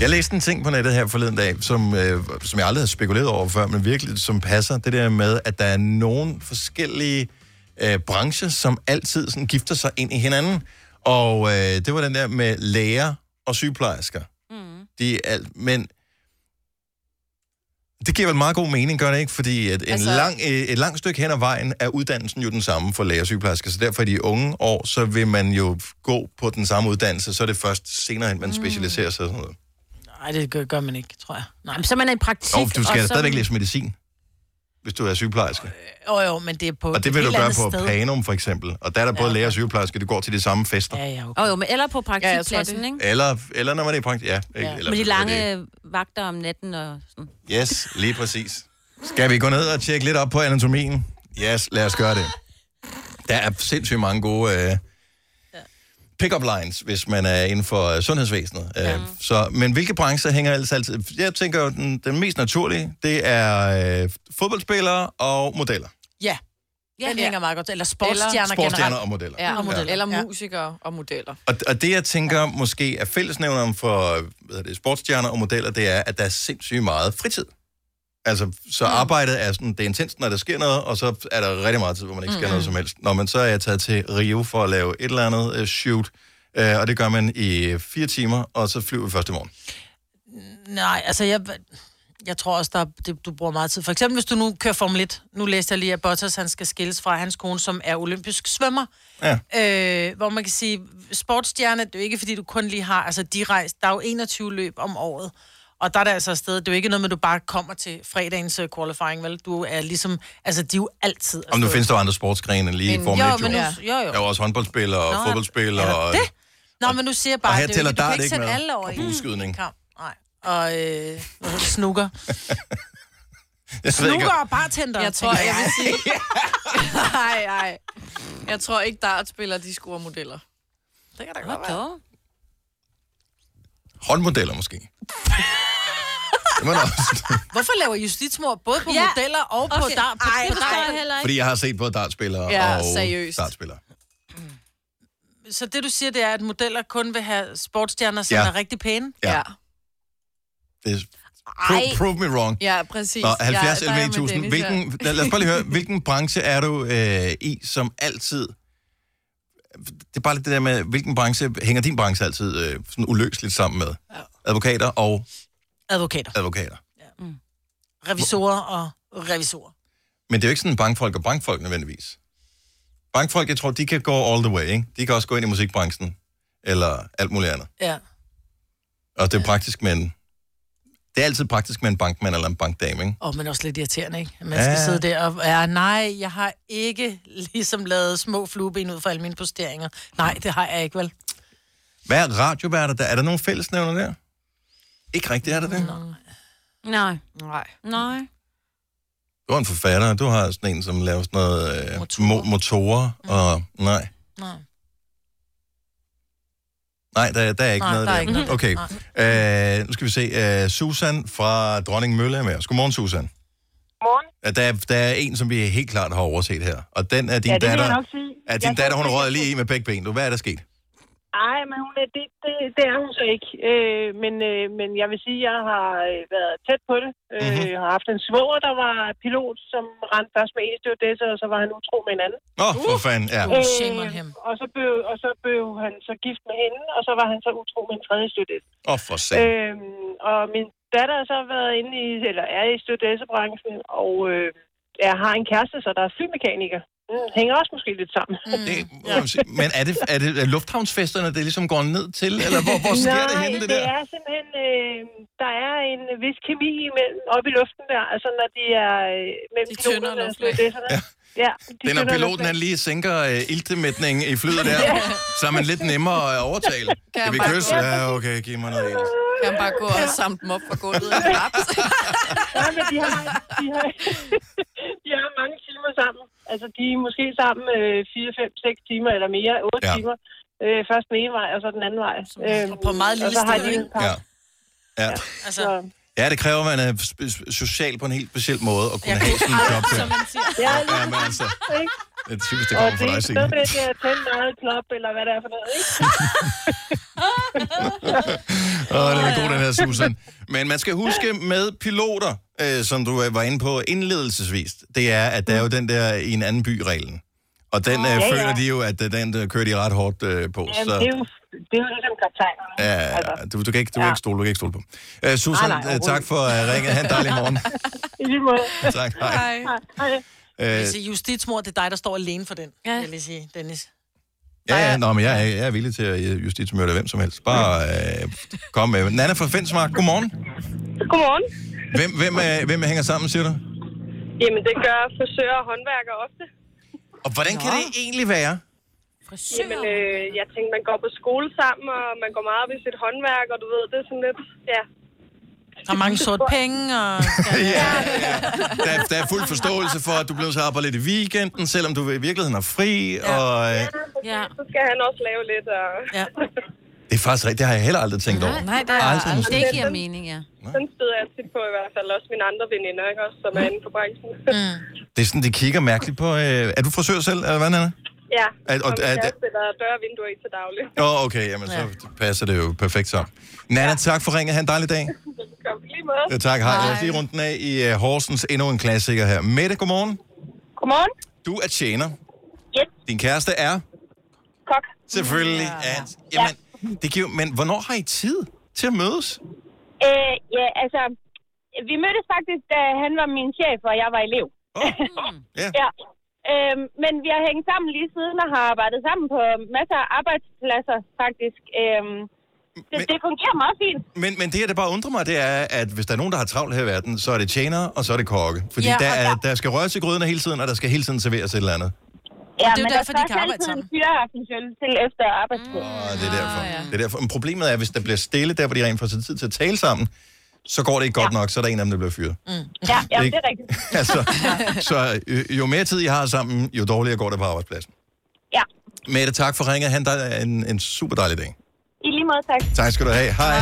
Speaker 1: Jeg læste en ting på nettet her forleden dag, som, øh, som jeg aldrig havde spekuleret over før, men virkelig som passer. Det der med, at der er nogle forskellige øh, brancher, som altid sådan, gifter sig ind i hinanden. Og øh, det var den der med læger og sygeplejersker. Mm. De er alt, men det giver vel meget god mening, gør det ikke? Fordi at en altså...
Speaker 5: Altså-
Speaker 1: lang, øh, et langt stykke hen ad vejen er uddannelsen jo den samme for læger og sygeplejersker. Så derfor i de unge år, så vil man jo gå på den samme uddannelse. Så er det først senere hen, man specialiserer sig og sådan noget.
Speaker 3: Nej, det gør, gør man ikke, tror jeg. Nej.
Speaker 2: Jamen, så er man er i praktik.
Speaker 1: Jo, du
Speaker 2: og
Speaker 1: skal da
Speaker 2: så-
Speaker 1: stadigvæk læse medicin, hvis du er sygeplejerske.
Speaker 3: Jo, jo, men det er på
Speaker 1: Og det
Speaker 3: Øh, et
Speaker 1: vil du
Speaker 3: helt
Speaker 1: gøre
Speaker 3: andet
Speaker 1: på
Speaker 3: sted.
Speaker 1: Panum, for eksempel. Og der er der både
Speaker 3: Ja.
Speaker 1: læger og sygeplejersker, de går til de samme fester.
Speaker 3: Ja, ja, okay.
Speaker 2: Åh, jo, men eller på
Speaker 5: Ja, jeg tror,
Speaker 2: praktikpladsen,
Speaker 5: det-
Speaker 2: ikke?
Speaker 1: Eller, eller når man er i praktik. Ja, ikke?
Speaker 3: Ja.
Speaker 1: Eller,
Speaker 2: Med de
Speaker 1: hvad
Speaker 2: lange
Speaker 1: det er.
Speaker 2: vagter om natten og sådan.
Speaker 1: Yes, lige præcis. Skal vi gå ned og tjekke lidt op på anatomien? Yes, lad os gøre det. Der er sindssygt mange gode øh, pick-up lines, hvis man er inden for øh, sundhedsvæsenet. Øh, så, men hvilke brancher hænger ellers altid? Jeg tænker, jo, den, den mest naturlige, det er øh, fodboldspillere og modeller.
Speaker 3: Ja,
Speaker 2: Ja,
Speaker 3: den
Speaker 2: ja.
Speaker 3: hænger meget godt. Eller sportsstjerner
Speaker 1: Sportsstjerner
Speaker 3: generelt.
Speaker 1: og modeller.
Speaker 5: Ja.
Speaker 3: Og modeller.
Speaker 5: Eller
Speaker 3: Ja.
Speaker 5: musikere og modeller.
Speaker 1: Og, og det, jeg tænker måske er fællesnævneren for hvad hedder det, sportsstjerner og modeller, det er, at der er sindssygt meget fritid. Altså, så
Speaker 3: Mm.
Speaker 1: arbejdet er sådan, det er intenst, når der sker noget, og så er der rigtig meget tid, hvor man ikke skal noget som helst. Når man så er jeg taget til Rio for at lave et eller andet øh, shoot, øh, og det gør man i øh, fire timer, og så flyver vi første morgen.
Speaker 3: Nej, altså jeg, jeg tror også, der, er- det, du bruger meget tid. For eksempel, hvis du nu kører Formel 1. Nu læste jeg lige, at Bottas han skal skilles fra hans kone, som er olympisk svømmer.
Speaker 1: Ja.
Speaker 3: Øh, hvor man kan sige, sportsstjerne, det er jo ikke fordi, du kun lige har... Altså, de rejser, der er jo 21 løb om året. Og der er det altså afsted. Det er jo ikke noget med, at du bare kommer til fredagens øh, qualifying, vel? Du er ligesom... Altså, de er jo altid
Speaker 1: Om nu
Speaker 3: afsted.
Speaker 1: findes der jo andre sportsgrene end lige
Speaker 3: Men-
Speaker 1: men, Formel
Speaker 3: jo,
Speaker 1: 1, jo.
Speaker 3: men nu-
Speaker 1: Ja.
Speaker 3: jo, jo.
Speaker 1: Der er jo også håndboldspillere og
Speaker 3: Nå,
Speaker 1: fodboldspillere.
Speaker 3: er
Speaker 1: og-
Speaker 3: der det? Nå, men nu siger jeg bare,
Speaker 1: og her
Speaker 3: det er jo
Speaker 1: tæller
Speaker 3: ikke, du
Speaker 1: dart
Speaker 3: kan ikke
Speaker 1: ikke
Speaker 3: sætte
Speaker 1: med.
Speaker 3: alle over
Speaker 1: Og
Speaker 3: i
Speaker 1: bueskydning.
Speaker 3: en kamp. Nej. Og øh, hvad hedder det? snukker.
Speaker 1: Jeg ved ikke,
Speaker 3: Snukker og bartender.
Speaker 5: Jeg tror, jeg vil sige... Nej, nej. Jeg tror ikke, dartspillere, de scorer modeller.
Speaker 3: Det kan da godt være.
Speaker 2: Hvad
Speaker 1: håndmodeller måske. det må der også.
Speaker 3: Hvorfor laver justitsmor både på
Speaker 2: Ja.
Speaker 3: modeller og på
Speaker 2: Okay.
Speaker 3: dar? På
Speaker 2: Ej, det forstår jeg heller ikke.
Speaker 1: Fordi jeg har set både dartspillere
Speaker 5: Ja,
Speaker 1: og
Speaker 5: seriøst.
Speaker 1: dartspillere.
Speaker 3: Så det, du siger, det er, at modeller kun vil have sportsstjerner, som ja.
Speaker 1: Ja.
Speaker 3: er rigtig pæne?
Speaker 1: Ja.
Speaker 5: Ja,
Speaker 1: Det er, prove, prove me wrong.
Speaker 5: ja præcis.
Speaker 1: Nå,
Speaker 5: Ja,
Speaker 1: 70
Speaker 5: der er jeg
Speaker 1: 11
Speaker 5: med
Speaker 1: 1000.
Speaker 5: Dennis her.
Speaker 1: Hvilken, lad, lad os bare lige høre, hvilken branche er du øh, i, som altid... Det er bare lidt det der med, hvilken branche hænger din branche altid øh, sådan uløseligt sammen med? Ja. Advokater og
Speaker 3: Advokater,
Speaker 1: advokater.
Speaker 3: revisorer og revisorer.
Speaker 1: Men det er jo ikke sådan bankfolk og bankfolk nødvendigvis. Bankfolk, jeg tror, de kan gå all the way, ikke? De kan også gå ind i musikbranchen, eller alt muligt andet.
Speaker 3: Ja.
Speaker 1: Og det er praktisk med en... Det er altid praktisk med en bankmand eller en bankdame, ikke?
Speaker 3: Og men også lidt irriterende, ikke? At Man skal
Speaker 1: Ja.
Speaker 3: sidde der og... Ja, nej, jeg har ikke ligesom lavet små flueben ud for alle mine posteringer. Nej, det har jeg ikke, vel?
Speaker 1: Hvad er radioværter? Der? Er der nogle fællesnævner der? Ikke rigtigt, er der det?
Speaker 2: Nej,
Speaker 5: Nej.
Speaker 2: nej.
Speaker 1: Du er en forfatter, og du har sådan en, som laver sådan noget øh,
Speaker 3: Motorer. Mm.
Speaker 1: motorer, mo- motorer og nej.
Speaker 3: Nej.
Speaker 1: Nej, der, der er ikke
Speaker 3: Nej,
Speaker 1: noget
Speaker 3: der er
Speaker 1: der.
Speaker 3: ikke noget der.
Speaker 1: okay, øh, nu skal vi se. Øh, Susan fra Dronning Mølle er med os. Godmorgen, Susan.
Speaker 9: Morgen.
Speaker 1: Øh, Der er, der er en, som vi helt klart har overset her, og den er din
Speaker 9: Ja, det vil
Speaker 1: datter.
Speaker 9: jeg nok sige.
Speaker 1: Er din
Speaker 9: Jeg
Speaker 1: datter, hun
Speaker 9: synes,
Speaker 1: rød
Speaker 9: jeg-
Speaker 1: lige i med begge ben. Du, hvad er der sket?
Speaker 9: Nej, men hun er, det, det, det er hun så ikke. Øh, men, øh, men jeg vil sige, at jeg har øh, været tæt på det. Øh,
Speaker 1: Mhm.
Speaker 9: Jeg har haft en svoger, der var pilot, som rendte først med en stewardesse, og så var han utro med en anden. Øh,
Speaker 1: Åh, oh, for fanden, ja.
Speaker 3: Uh. shame on him.
Speaker 9: og, så blev, og så blev han så gift med hende, og så var han så utro med en tredje stewardesse.
Speaker 1: Åh, oh, for satan.
Speaker 9: Øhm, og min datter har så været inde i, eller er i stewardessebranchen, og øh, jeg har en kæreste, så der er flymekaniker. Mm, hænger også måske lidt sammen.
Speaker 5: Mm.
Speaker 1: Det, må man sige. Men er det, er det er lufthavnsfesterne, det ligesom går ned til? Eller hvor, hvor sker det henne, det
Speaker 9: det
Speaker 1: der?
Speaker 9: er simpelthen, øh, der er en vis kemi imellem, oppe i luften der, altså når de er øh, mellem
Speaker 5: De tynder
Speaker 9: piloterne og
Speaker 5: luftlag.
Speaker 9: stewardesserne. Ja. ja, de
Speaker 1: Det er, når
Speaker 9: tynder
Speaker 1: piloten han
Speaker 9: luftlag.
Speaker 1: lige sænker øh, iltemætningen i flyet der, så er man lidt nemmere at overtale. Kan vi
Speaker 5: bare
Speaker 1: kysse?
Speaker 5: gå?
Speaker 1: Ja, okay, giv mig noget ild.
Speaker 5: Kan han bare gå og samle dem op fra gulvet og klappe?
Speaker 9: Ja, men de har, de, har, de har mange timer sammen. Altså de er måske sammen øh, 4, 5, 6 timer eller mere, 8
Speaker 1: Ja.
Speaker 9: ja. timer. Øh, først den ene vej, og så den anden vej. Øhm,
Speaker 3: på meget lille
Speaker 9: og så har
Speaker 3: sted,
Speaker 9: de
Speaker 3: ikke?
Speaker 9: en par.
Speaker 1: Ja. Ja.
Speaker 3: Altså,
Speaker 9: Så,
Speaker 1: ja, det kræver, at man er sp- sp- social på en helt speciel måde at kunne have sådan en job der.
Speaker 9: ja,
Speaker 1: Ja, men altså,
Speaker 9: ikke?
Speaker 1: det er typisk, det
Speaker 9: Og
Speaker 1: kommer
Speaker 9: det
Speaker 1: fra dig,
Speaker 9: er sådan
Speaker 1: Signe.
Speaker 9: noget, at tænde meget klop, eller hvad det er for noget, ikke?
Speaker 1: Åh, oh, den er god, den her Susan. Men man skal huske med piloter, øh, som du øh, var inde på indledelsesvis, det er, at der er jo den der i en anden by-reglen. Og den øh,
Speaker 9: Mm. ja.
Speaker 1: føler de jo, at øh, den der kører de ret hårdt øh, på.
Speaker 9: Jamen, det, er
Speaker 1: Så,
Speaker 9: jo, det er jo ligesom kaptajnerne.
Speaker 1: ja, du, du kan ikke, du kan ikke stole, du kan ikke stole på. Øh, Susan,
Speaker 9: Nej, nej,
Speaker 1: øh, tak
Speaker 9: overhovedet.
Speaker 1: for øh, ringet. Ha' en dejlig morgen.
Speaker 9: I lige måde.
Speaker 1: tak, hej.
Speaker 9: Hej.
Speaker 1: Øh,
Speaker 3: altså, justitsmor, det er dig, der står alene for den, ja. jeg vil sige, Dennis.
Speaker 1: Ja, ja, nå, men jeg, er- jeg er villig til at øh, justitsmyrde hvem som helst. Bare øh, kom med. Nana fra Fensmark, godmorgen.
Speaker 9: Godmorgen.
Speaker 1: Hvem, hvem, øh, hvem hænger sammen, siger du?
Speaker 9: Jamen, det gør frisører og håndværkere ofte.
Speaker 1: Og hvordan kan det egentlig være?
Speaker 9: Jamen, øh, jeg tænkte, man går på skole sammen, og man går meget op i sit håndværk, og du ved, det er sådan lidt, ja.
Speaker 3: Der er mange sorte penge, og...
Speaker 1: Der, der er fuld forståelse for, at du bliver så arbejde lidt i weekenden, selvom du i virkeligheden er fri. Ja. Og, øh,
Speaker 2: Ja.
Speaker 9: Så skal han også lave lidt, og
Speaker 3: Ja.
Speaker 1: det er faktisk rigtigt, det har jeg heller aldrig tænkt over.
Speaker 5: Nej, der er
Speaker 1: Aldrig.
Speaker 2: Det giver mening, ja.
Speaker 9: sådan støder jeg tit på i hvert fald også mine andre veninder, ikke også, som er inde for branchen. Mm.
Speaker 1: Det er sådan, de kigger mærkeligt på... Øh, er du frisør selv, eller hvad, Nana?
Speaker 9: ja,
Speaker 1: At- og-
Speaker 9: og, min
Speaker 1: at-
Speaker 9: kæreste, der er døre og vinduer i til daglig.
Speaker 1: Åh, oh, okay, jamen, så passer det jo perfekt sammen. Nana, tak for ringet. Ha' en dejlig dag.
Speaker 9: Kom lige måde.
Speaker 1: Ja, tak, hej. Lad os lige rundt den af i uh, Horsens. Endnu en klassiker her. Mette, godmorgen.
Speaker 9: Godmorgen.
Speaker 1: Du er tjener.
Speaker 9: Yes.
Speaker 1: Din kæreste er
Speaker 9: Kok.
Speaker 1: selvfølgelig... Ja. At, jamen, det giver, men hvornår har I tid til at mødes?
Speaker 9: Øh, ja, altså, vi mødtes faktisk, da han var min chef, og jeg var elev.
Speaker 1: Åh, oh, ja.
Speaker 9: Ja. Øhm, men vi har hængt sammen lige siden og har arbejdet sammen på masser af arbejdspladser, faktisk. Øhm, Det, det fungerer meget fint.
Speaker 1: Men, men det, der bare undrer mig, det er, at hvis der er nogen, der har travlt her i verden, så er det tjenere, og så er det kokke. Fordi
Speaker 9: Ja,
Speaker 1: ja,
Speaker 9: og
Speaker 1: der, er,
Speaker 9: der-
Speaker 1: der skal røres i gryden hele tiden, og der skal hele tiden serveres et eller andet.
Speaker 9: Ja,
Speaker 10: det er jo
Speaker 9: men der
Speaker 10: derfor, de
Speaker 9: skal
Speaker 10: kan
Speaker 9: også
Speaker 10: arbejde
Speaker 9: altid en
Speaker 10: sammen.
Speaker 9: fyraften til- til efter arbejdstid.
Speaker 1: Og det er derfor. Det er derfor. Men problemet er, hvis der bliver stille, der hvor de rent får tid til at tale sammen, så går det ikke godt nok, så er der en af dem, der bliver fyret.
Speaker 9: Mm. Ja, ja, det er rigtigt.
Speaker 1: altså, så øh, jo mere tid I har sammen, jo dårligere går det på arbejdspladsen.
Speaker 9: Ja,
Speaker 1: Mette, tak for ringet. Han dig en, en super dejlig dag.
Speaker 9: i lige måde, tak.
Speaker 1: Tak skal du have. Hej.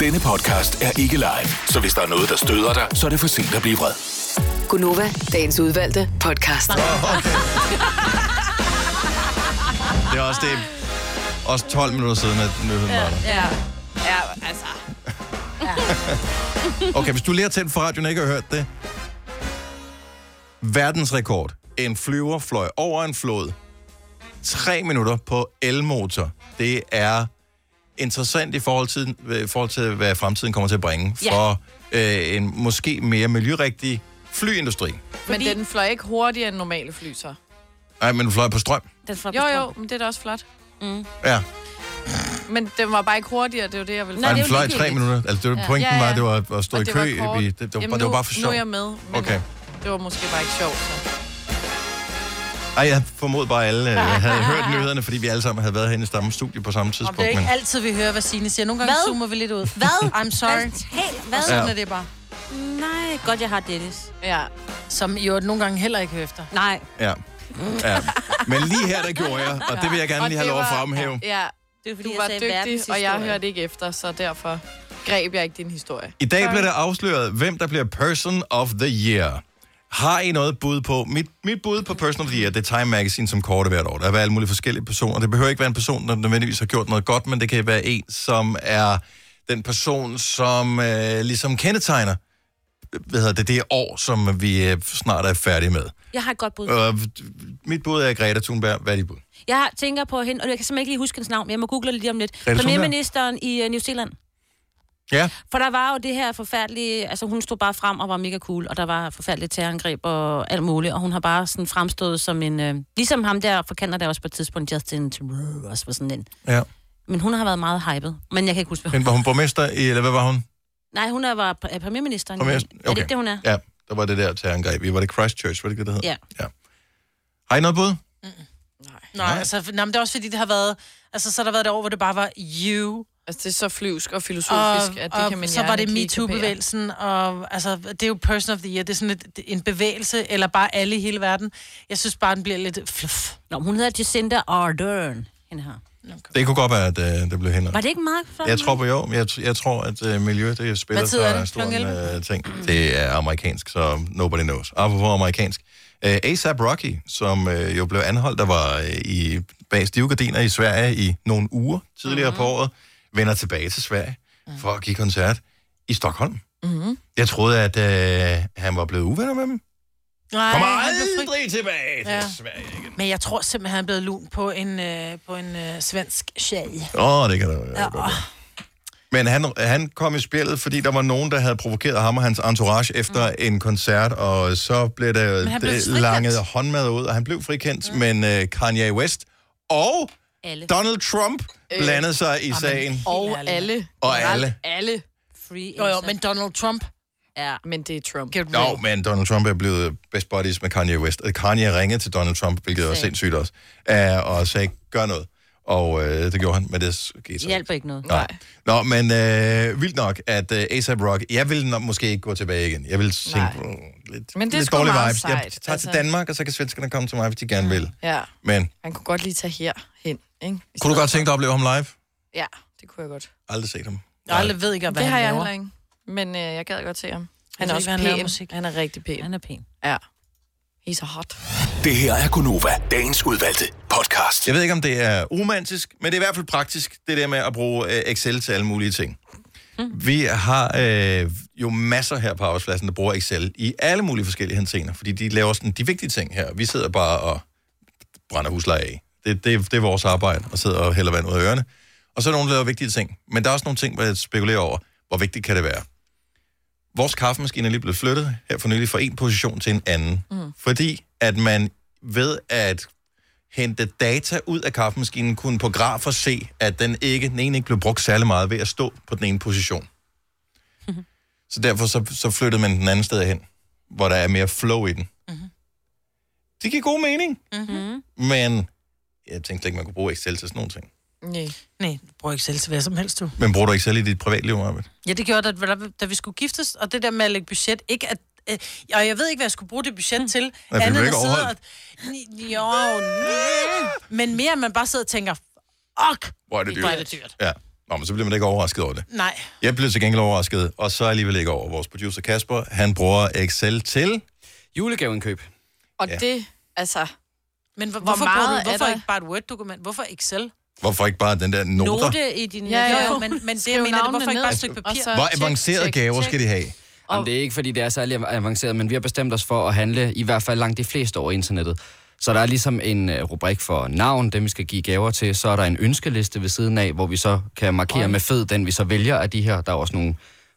Speaker 7: Denne podcast er ikke live, så hvis der er noget, der støder dig, så er det for sent at blive vred.
Speaker 6: Gunova, dagens udvalgte podcast.
Speaker 1: Det er også det. Også 12 minutter siden, at nyheden var der.
Speaker 5: Ja. Ja, altså. Ja.
Speaker 1: Okay, hvis du lige har tændt for radioen og ikke har hørt det. Verdensrekord. En flyver fløj over en flod. 3 minutter på elmotor. Det er interessant i forhold til, øh, i forhold til hvad fremtiden kommer til at bringe
Speaker 5: Ja.
Speaker 1: for øh, en måske mere miljørigtig flyindustri.
Speaker 5: Fordi... Men den fløj ikke hurtigere end normale fly, så.
Speaker 1: Nej, men den fløj på strøm.
Speaker 2: Den fløj
Speaker 5: jo, jo, men det er da også flot. Mm.
Speaker 1: Ja,
Speaker 5: Men den var bare ikke hurtigere, det var det, jeg ville
Speaker 1: Nej, den fløj i tre minutter. Altså, det var, pointen ja, ja. var, at det var at stå
Speaker 5: Og
Speaker 1: i
Speaker 5: det
Speaker 1: kø.
Speaker 5: var
Speaker 1: i-
Speaker 5: kort.
Speaker 1: i, det, det, var,
Speaker 5: Jamen,
Speaker 1: bare- det var
Speaker 5: nu-
Speaker 1: bare for sjov.
Speaker 5: Nu er jeg med, men
Speaker 1: Okay.
Speaker 5: det var måske bare ikke sjovt, så.
Speaker 1: Ej, jeg formod bare, at alle øh, havde hørt nyhederne, fordi vi alle sammen havde været herinde i samme studie på samme
Speaker 3: Og det
Speaker 1: tidspunkt.
Speaker 3: er
Speaker 1: Men
Speaker 3: ikke altid, vi hører, hvad Signe siger. Nogle gange
Speaker 2: Hvad?
Speaker 3: zoomer vi lidt ud.
Speaker 2: Hvad?
Speaker 3: I'm sorry.
Speaker 2: Helt hvad?
Speaker 3: Og sådan
Speaker 1: Ja.
Speaker 3: er det bare.
Speaker 2: Nej, godt jeg har Dennis.
Speaker 5: Ja.
Speaker 3: Som jo nogle gange heller ikke hører efter.
Speaker 2: Nej.
Speaker 1: Ja. ja. Men lige her, der gjorde jeg, og det vil jeg gerne
Speaker 5: Og
Speaker 1: lige have
Speaker 5: det
Speaker 1: lov at
Speaker 5: var-
Speaker 1: fremhæve.
Speaker 5: Ja,
Speaker 2: det er, fordi
Speaker 5: du
Speaker 2: jeg
Speaker 5: var
Speaker 2: sagde
Speaker 5: dygtig, og jeg
Speaker 2: verdenshistorie.
Speaker 5: hørte ikke efter, så derfor greb jeg ikke din historie.
Speaker 1: I dag bliver det afsløret, hvem der bliver Person of the Year. Har I noget bud på? Mit, mit bud på Person of the Year, det er Time Magazine, som korte hvert år. Der er alle mulige forskellige personer. Det behøver ikke være en person, der nødvendigvis har gjort noget godt, men det kan være en, som er den person, som øh, ligesom kendetegner hvad hedder det, det år, som vi øh, snart er færdige med.
Speaker 2: Jeg har et godt bud.
Speaker 1: Øh, mit bud er Greta Thunberg. Hvad er dit bud?
Speaker 2: Jeg tænker på hende, og jeg kan simpelthen ikke lige huske hendes navn, men jeg må google det lige om lidt.
Speaker 1: Thunberg?
Speaker 2: Premierministeren i uh, New Zealand.
Speaker 1: Ja.
Speaker 2: For der var jo det her forfærdelige... Altså, hun stod bare frem og var mega cool, og der var forfærdelige terrorangreb og alt muligt, og hun har bare sådan fremstået som en... Øh, ligesom ham der fra Canada også på et tidspunkt, Justin Trudeau også var sådan en...
Speaker 1: Ja.
Speaker 2: Men hun har været meget hyped, men jeg kan ikke huske, hvad
Speaker 1: Men
Speaker 2: hun...
Speaker 1: var hun borgmester, i, eller hvad var hun?
Speaker 2: Nej, hun er, var pr- er premierministeren.
Speaker 1: Borgmester?
Speaker 2: Mm-hmm. Er det ikke det, hun er?
Speaker 1: Ja, der var det der terrorangreb. Vi var det Christchurch, var det ikke det, det hed?
Speaker 3: Ja.
Speaker 1: Har I noget bud?
Speaker 3: Nej, altså, nej, men det er også fordi, det har været... Altså, så har der været det år, hvor det bare var you.
Speaker 5: Altså, det er så flyvsk og filosofisk, at det
Speaker 3: og
Speaker 5: kan man
Speaker 3: så
Speaker 5: hjerne
Speaker 3: var det
Speaker 5: ikke lige kapere.
Speaker 3: MeToo-bevægelsen, og altså, det er jo person of the year. Det er sådan et, en bevægelse, eller bare alle i hele verden. Jeg synes bare, den bliver lidt fluff.
Speaker 2: Nå, hun hedder Jacinda Ardern, hende her.
Speaker 1: Det kunne godt være, at øh, det blev henrettet.
Speaker 2: Var det ikke meget flot?
Speaker 1: Jeg tror på jo. Jeg, tr- jeg tror, at øh, miljø, det spiller
Speaker 2: Hvad tid er
Speaker 1: så
Speaker 2: det?
Speaker 1: stor en
Speaker 2: Klokken
Speaker 1: øh, ting. Det er amerikansk, så nobody knows. Apropos amerikansk. Øh, A$AP Rocky, som øh, jo blev anholdt, der var øh, i, bag stive gardiner i Sverige i nogle uger tidligere
Speaker 2: Mhm.
Speaker 1: mm-hmm. på året, vender tilbage til Sverige for at give koncert i Stockholm.
Speaker 5: Mm-hmm.
Speaker 1: Jeg troede, at øh, han var blevet uvenner med dem.
Speaker 3: Nej,
Speaker 1: Kommer
Speaker 3: han blev fri-
Speaker 1: aldrig tilbage til
Speaker 3: Ja.
Speaker 1: Sverige igen.
Speaker 3: Men jeg tror simpelthen, han er blevet lun på en, øh, på en øh, svensk sjæl.
Speaker 1: Åh, oh, det kan der
Speaker 3: Ja.
Speaker 1: Men han, han kom i spillet, fordi der var nogen, der havde provokeret ham og hans entourage efter mm. en koncert, og så blev der
Speaker 11: Men han blev
Speaker 1: det
Speaker 11: frikendt.
Speaker 1: langet håndmad ud, og han blev frikendt, mm. men uh, Kanye West og
Speaker 2: Alle.
Speaker 1: Donald Trump øh. blandede sig i
Speaker 3: Jamen,
Speaker 1: sagen.
Speaker 5: Og alle.
Speaker 1: Og alle.
Speaker 5: Alle.
Speaker 2: Free
Speaker 3: jo, jo, men Donald Trump.
Speaker 2: Ja,
Speaker 5: men det er Trump.
Speaker 3: Get
Speaker 1: Jo, men Donald Trump er blevet best buddies med Kanye West. Og Kanye ringede til Donald Trump, hvilket var
Speaker 2: Sag.
Speaker 1: sindssygt også, uh, og sagde, gør noget. Og øh, det gjorde han, men det skete så
Speaker 2: Det hjælper ikke noget.
Speaker 1: Nej. Nå, men øh, vildt nok, at øh, A$AP Rock, jeg vil nok måske ikke gå tilbage igen. Jeg vil tænke,
Speaker 5: Nej.
Speaker 1: mm, lidt,
Speaker 5: Men det er
Speaker 1: lidt
Speaker 5: sgu
Speaker 1: dårlig
Speaker 5: meget
Speaker 1: vibes. jeg
Speaker 5: sejt,
Speaker 1: tager altså...
Speaker 5: altså.
Speaker 1: til Danmark, og så kan svenskerne komme til mig, hvis de gerne vil.
Speaker 5: Ja,
Speaker 1: Men
Speaker 5: han kunne godt lige tage her hen, ikke? I
Speaker 1: kunne du
Speaker 5: stedet
Speaker 1: godt tænke dig at opleve ham live?
Speaker 5: for- Ja, det kunne jeg godt.
Speaker 1: Aldrig set ham.
Speaker 3: Jeg aldrig ved ikke, hvad
Speaker 5: det
Speaker 3: han
Speaker 5: har jeg
Speaker 3: laver.
Speaker 5: heller ikke. Men øh, jeg gad godt se ham. Han er
Speaker 3: ved ikke,
Speaker 5: også
Speaker 3: hvad han laver
Speaker 5: pæn.
Speaker 3: musik.
Speaker 5: Han er rigtig pæn.
Speaker 2: Han er pæn.
Speaker 5: Ja. He's a hot.
Speaker 7: Det her er Gunova, dagens udvalgte podcast.
Speaker 1: Jeg ved ikke, om det er romantisk, men det er i hvert fald praktisk, det der med at bruge øh, Excel til alle mulige ting. Mm. Vi har øh, jo masser her på arbejdspladsen, der bruger Excel i alle mulige forskellige hensener, fordi de laver sådan de vigtige ting her. Vi sidder bare og brænder husleje af. Det, det, det er vores arbejde, og sidder og hælder vand ud af ørerne. Og så er der nogen, der laver vigtige ting. Men der er også nogle ting, hvor jeg spekulerer over, hvor vigtigt kan det være. Vores kaffemaskine er lige blevet flyttet her for nylig fra en position til en anden. Mm. Fordi at man ved at hente data ud af kaffemaskinen, kunne på grafer se, at den, ikke, den ene ikke blev brugt særlig meget ved at stå på den ene position. Så derfor så, så flyttede man den anden sted hen, hvor der er mere flow i den. Det giver god mening,
Speaker 3: Mm-hmm.
Speaker 1: men jeg tænkte slet ikke, man kunne bruge Excel til sådan nogle ting.
Speaker 5: Nej.
Speaker 3: Nej, du bruger Excel til hvad som helst, du.
Speaker 1: Men bruger du Excel i dit privatliv, Marvind?
Speaker 3: Ja, det gjorde, da, da- da vi skulle giftes, og det der med at lægge budget, ikke at øh, og jeg ved ikke, hvad jeg skulle bruge det budget til.
Speaker 1: blev ikke
Speaker 3: og... Ni- Jo, næh. Men mere, at man bare sidder og tænker, fuck,
Speaker 1: Hvor er det dyrt.
Speaker 3: Hvor er det dyrt.
Speaker 1: Ja. Nå, men så bliver man da ikke overrasket over det.
Speaker 3: Nej.
Speaker 1: Jeg blev til gengæld overrasket, og så alligevel ikke over. Vores producer Kasper, han bruger Excel til...
Speaker 10: Julegaveindkøb.
Speaker 5: Og
Speaker 1: Ja.
Speaker 5: ja. det, altså...
Speaker 3: Men hvor,
Speaker 5: Hvor
Speaker 3: hvorfor, bruger
Speaker 5: meget
Speaker 3: du,
Speaker 5: er
Speaker 3: hvorfor
Speaker 5: der?
Speaker 3: ikke bare et Word-dokument? Hvorfor Excel?
Speaker 1: Hvorfor ikke bare den der noter?
Speaker 3: Note i din...
Speaker 5: Ja, ja.
Speaker 3: Jo, jo, men, men det,
Speaker 5: Skriv
Speaker 3: jeg mener, det, hvorfor
Speaker 5: navnene
Speaker 3: ikke bare et
Speaker 5: ned,
Speaker 3: stykke
Speaker 5: og
Speaker 3: papir?
Speaker 5: så-
Speaker 1: Hvor
Speaker 5: Tjek,
Speaker 1: avancerede
Speaker 5: tjek,
Speaker 1: gaver
Speaker 5: tjek.
Speaker 1: skal de have?
Speaker 10: Jamen, det er ikke, fordi det er særlig avanceret, men vi har bestemt os for at handle, i hvert fald langt de fleste over internettet. Så der er ligesom en øh, rubrik for navn, dem vi skal give gaver til. Så er der en ønskeliste ved siden af, hvor vi så kan markere med fed, den vi så vælger af de her. Der er også nogle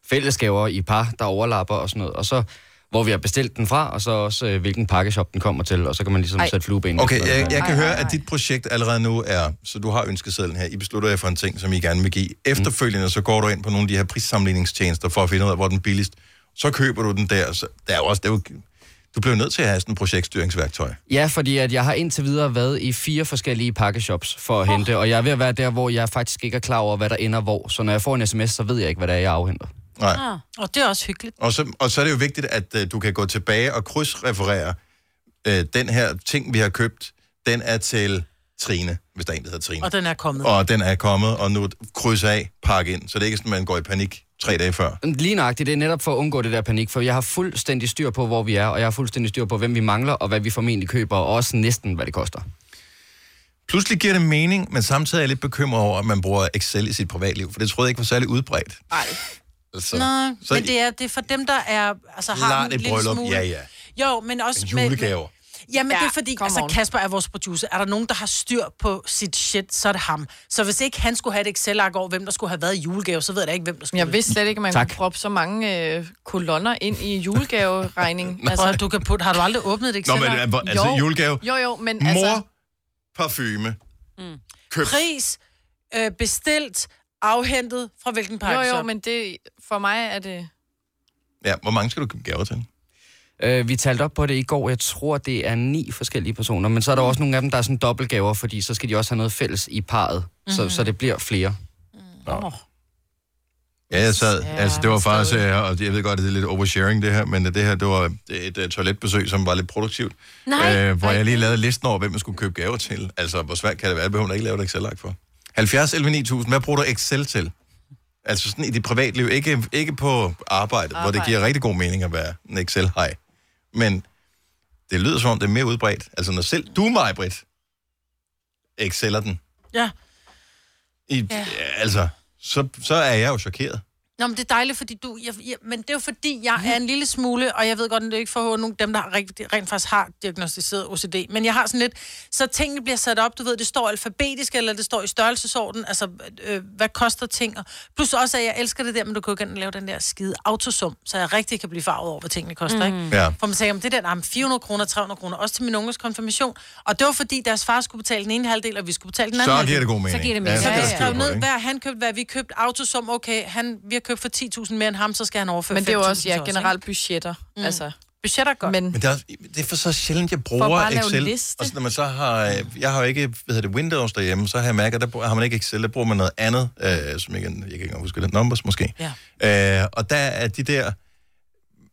Speaker 10: fællesgaver i par, der overlapper og sådan noget. Og så hvor vi har bestilt den fra, og så også øh, hvilken pakkeshop den kommer til, og så kan man ligesom Ej.
Speaker 5: Ej.
Speaker 10: sætte flueben.
Speaker 1: Okay, jeg, jeg kan høre, at dit projekt allerede nu er... Så du har ønskesedlen her. I beslutter jer for en ting, som I gerne vil give. Efterfølgende så går du ind på nogle af de her prissammenligningstjenester for at finde ud af, hvor den er billigst. Så køber du den der. Så der er jo også... Der er jo, du bliver jo nødt til at have sådan et projektstyringsværktøj.
Speaker 10: Ja, fordi at jeg har indtil videre været i fire forskellige pakkeshops for at hente, og jeg er ved at være der, hvor jeg faktisk ikke er klar over, hvad der ender hvor. Så når jeg får en sms, så ved jeg ikke, hvad det er, jeg afhenter.
Speaker 1: Nej.
Speaker 2: Ah.
Speaker 3: Og det er også hyggeligt.
Speaker 1: Og så, og så er det jo vigtigt, at øh, du kan gå tilbage og krydsreferere øh, den her ting, vi har købt. Den er til Trine, hvis der er en, der hedder Trine.
Speaker 3: Og den er kommet.
Speaker 1: Og den er kommet, og nu kryds af, pakke ind. Så det er ikke sådan, man går i panik tre dage før.
Speaker 10: Lige nøjagtigt, det er netop for at undgå det der panik, for jeg har fuldstændig styr på, hvor vi er, og jeg har fuldstændig styr på, hvem vi mangler, og hvad vi formentlig køber, og også næsten, hvad det koster.
Speaker 1: Pludselig giver det mening, men samtidig er jeg lidt bekymret over, at man bruger Excel i sit privatliv, for det troede jeg ikke var særlig udbredt.
Speaker 3: Nej.
Speaker 1: Altså,
Speaker 3: Nej,
Speaker 1: så
Speaker 3: men det er, det er for dem, der er, altså, har
Speaker 1: Klart
Speaker 3: en
Speaker 1: et
Speaker 3: lille
Speaker 1: bryllup,
Speaker 3: smule...
Speaker 1: ja, ja.
Speaker 3: Jo, men også...
Speaker 1: Men
Speaker 3: med-
Speaker 1: julegaver.
Speaker 3: Med, ja, men ja, det er fordi,
Speaker 5: come
Speaker 3: altså
Speaker 5: on.
Speaker 3: Kasper er vores producer. Er der nogen, der har styr på sit shit, så er det ham. Så hvis ikke han skulle have et Excel-ark over, hvem der skulle have været i julegave, så ved jeg da ikke, hvem der skulle.
Speaker 5: Jeg vidste slet ikke, at man
Speaker 10: Tak.
Speaker 5: tak. kunne proppe så mange øh, kolonner ind i julegaveregningen.
Speaker 3: Altså, du kan putte, har du aldrig åbnet et
Speaker 1: Nå,
Speaker 3: Excel? ark?
Speaker 1: men altså, altså
Speaker 5: Jo.
Speaker 1: julegave,
Speaker 5: Jo, jo, men Mor. altså...
Speaker 1: mor, Mm. parfume, købt.
Speaker 3: Pris, øh, bestilt, afhentet fra hvilken
Speaker 5: Jo,
Speaker 3: pakke
Speaker 5: jo, men det, for mig er det...
Speaker 1: Ja, hvor mange skal du købe gaver til?
Speaker 10: Øh, vi talte op på det i går, jeg tror, det er ni forskellige personer, men så er der også nogle af dem, der er sådan dobbeltgaver, fordi så skal de også have noget fælles i parret, mm-hmm.
Speaker 3: Mhm.
Speaker 10: så, så det bliver flere.
Speaker 1: Ja, jeg sad. Ja, altså, det var faktisk, øh, og jeg ved godt, at det er lidt oversharing det her, men øh, det her, det var et øh, toiletbesøg, som var lidt produktivt.
Speaker 2: Nej.
Speaker 1: øh, hvor jeg lige lavede listen over, hvem man skulle købe gaver til. Altså, hvor svært kan det være? Det behøver man ikke lave et Excel-ark for. 70 11 9000, hvad bruger du Excel til? Altså sådan i dit privatliv, ikke, ikke på arbejdet, Arbejde. hvor det giver rigtig god mening at være en Excel-hej. Men det lyder som om, det er mere udbredt. Altså når selv du, mig, Britt, Exceler den.
Speaker 3: Ja.
Speaker 1: I, ja. Altså, så, så er jeg jo chokeret.
Speaker 3: Nå, men det er dejligt, fordi du... Jeg, jeg, men det er jo fordi, jeg er en lille smule, og jeg ved godt, at det er ikke for at håne nogen dem, der har rigtig, rent faktisk har diagnostiseret OCD. Men jeg har sådan lidt... Så tingene bliver sat op, du ved, det står alfabetisk, eller det står i størrelsesorden, altså, øh, hvad koster ting? Og, plus også, at jeg elsker det der, men du kan jo ikke engang lave den der skide autosum, så jeg rigtig kan blive farvet over, hvad tingene koster, mm. ikke?
Speaker 1: Ja.
Speaker 3: For man sagde, om det der, nah, 400 kroner, 300 kroner, også til min unges konfirmation. Og det var fordi, deres far skulle betale den ene halvdel, og vi skulle betale den anden
Speaker 1: Så
Speaker 3: halvdel.
Speaker 1: giver det god mening.
Speaker 2: giver det mening.
Speaker 3: Så
Speaker 2: Ja,
Speaker 3: vi
Speaker 2: ja,
Speaker 1: det
Speaker 2: ja.
Speaker 1: skriver
Speaker 3: skrev
Speaker 1: på,
Speaker 3: ned,
Speaker 1: ikke?
Speaker 3: hvad han købte, hvad vi købte. Autosum, okay, han, vi har købt for 10.000 mere end ham, så skal han overføre
Speaker 5: Men det er jo
Speaker 3: 5.000
Speaker 5: også,
Speaker 3: til
Speaker 5: ja,
Speaker 3: os, ikke?
Speaker 5: generelt budgetter. Mm. Altså,
Speaker 3: Budget er godt. Men,
Speaker 5: men
Speaker 1: Men det er, også- det er for så sjældent, jeg bruger
Speaker 5: bare at lave en
Speaker 1: Excel.
Speaker 5: liste.
Speaker 1: Og så, når man så har, øh, jeg har jo ikke hvad hedder det, Windows derhjemme, så har jeg mærket, at der bruger- har man ikke Excel, der bruger man noget andet, øh, som jeg, kan- jeg kan ikke engang huske, det Numbers måske. Ja. Øh, og der er de der,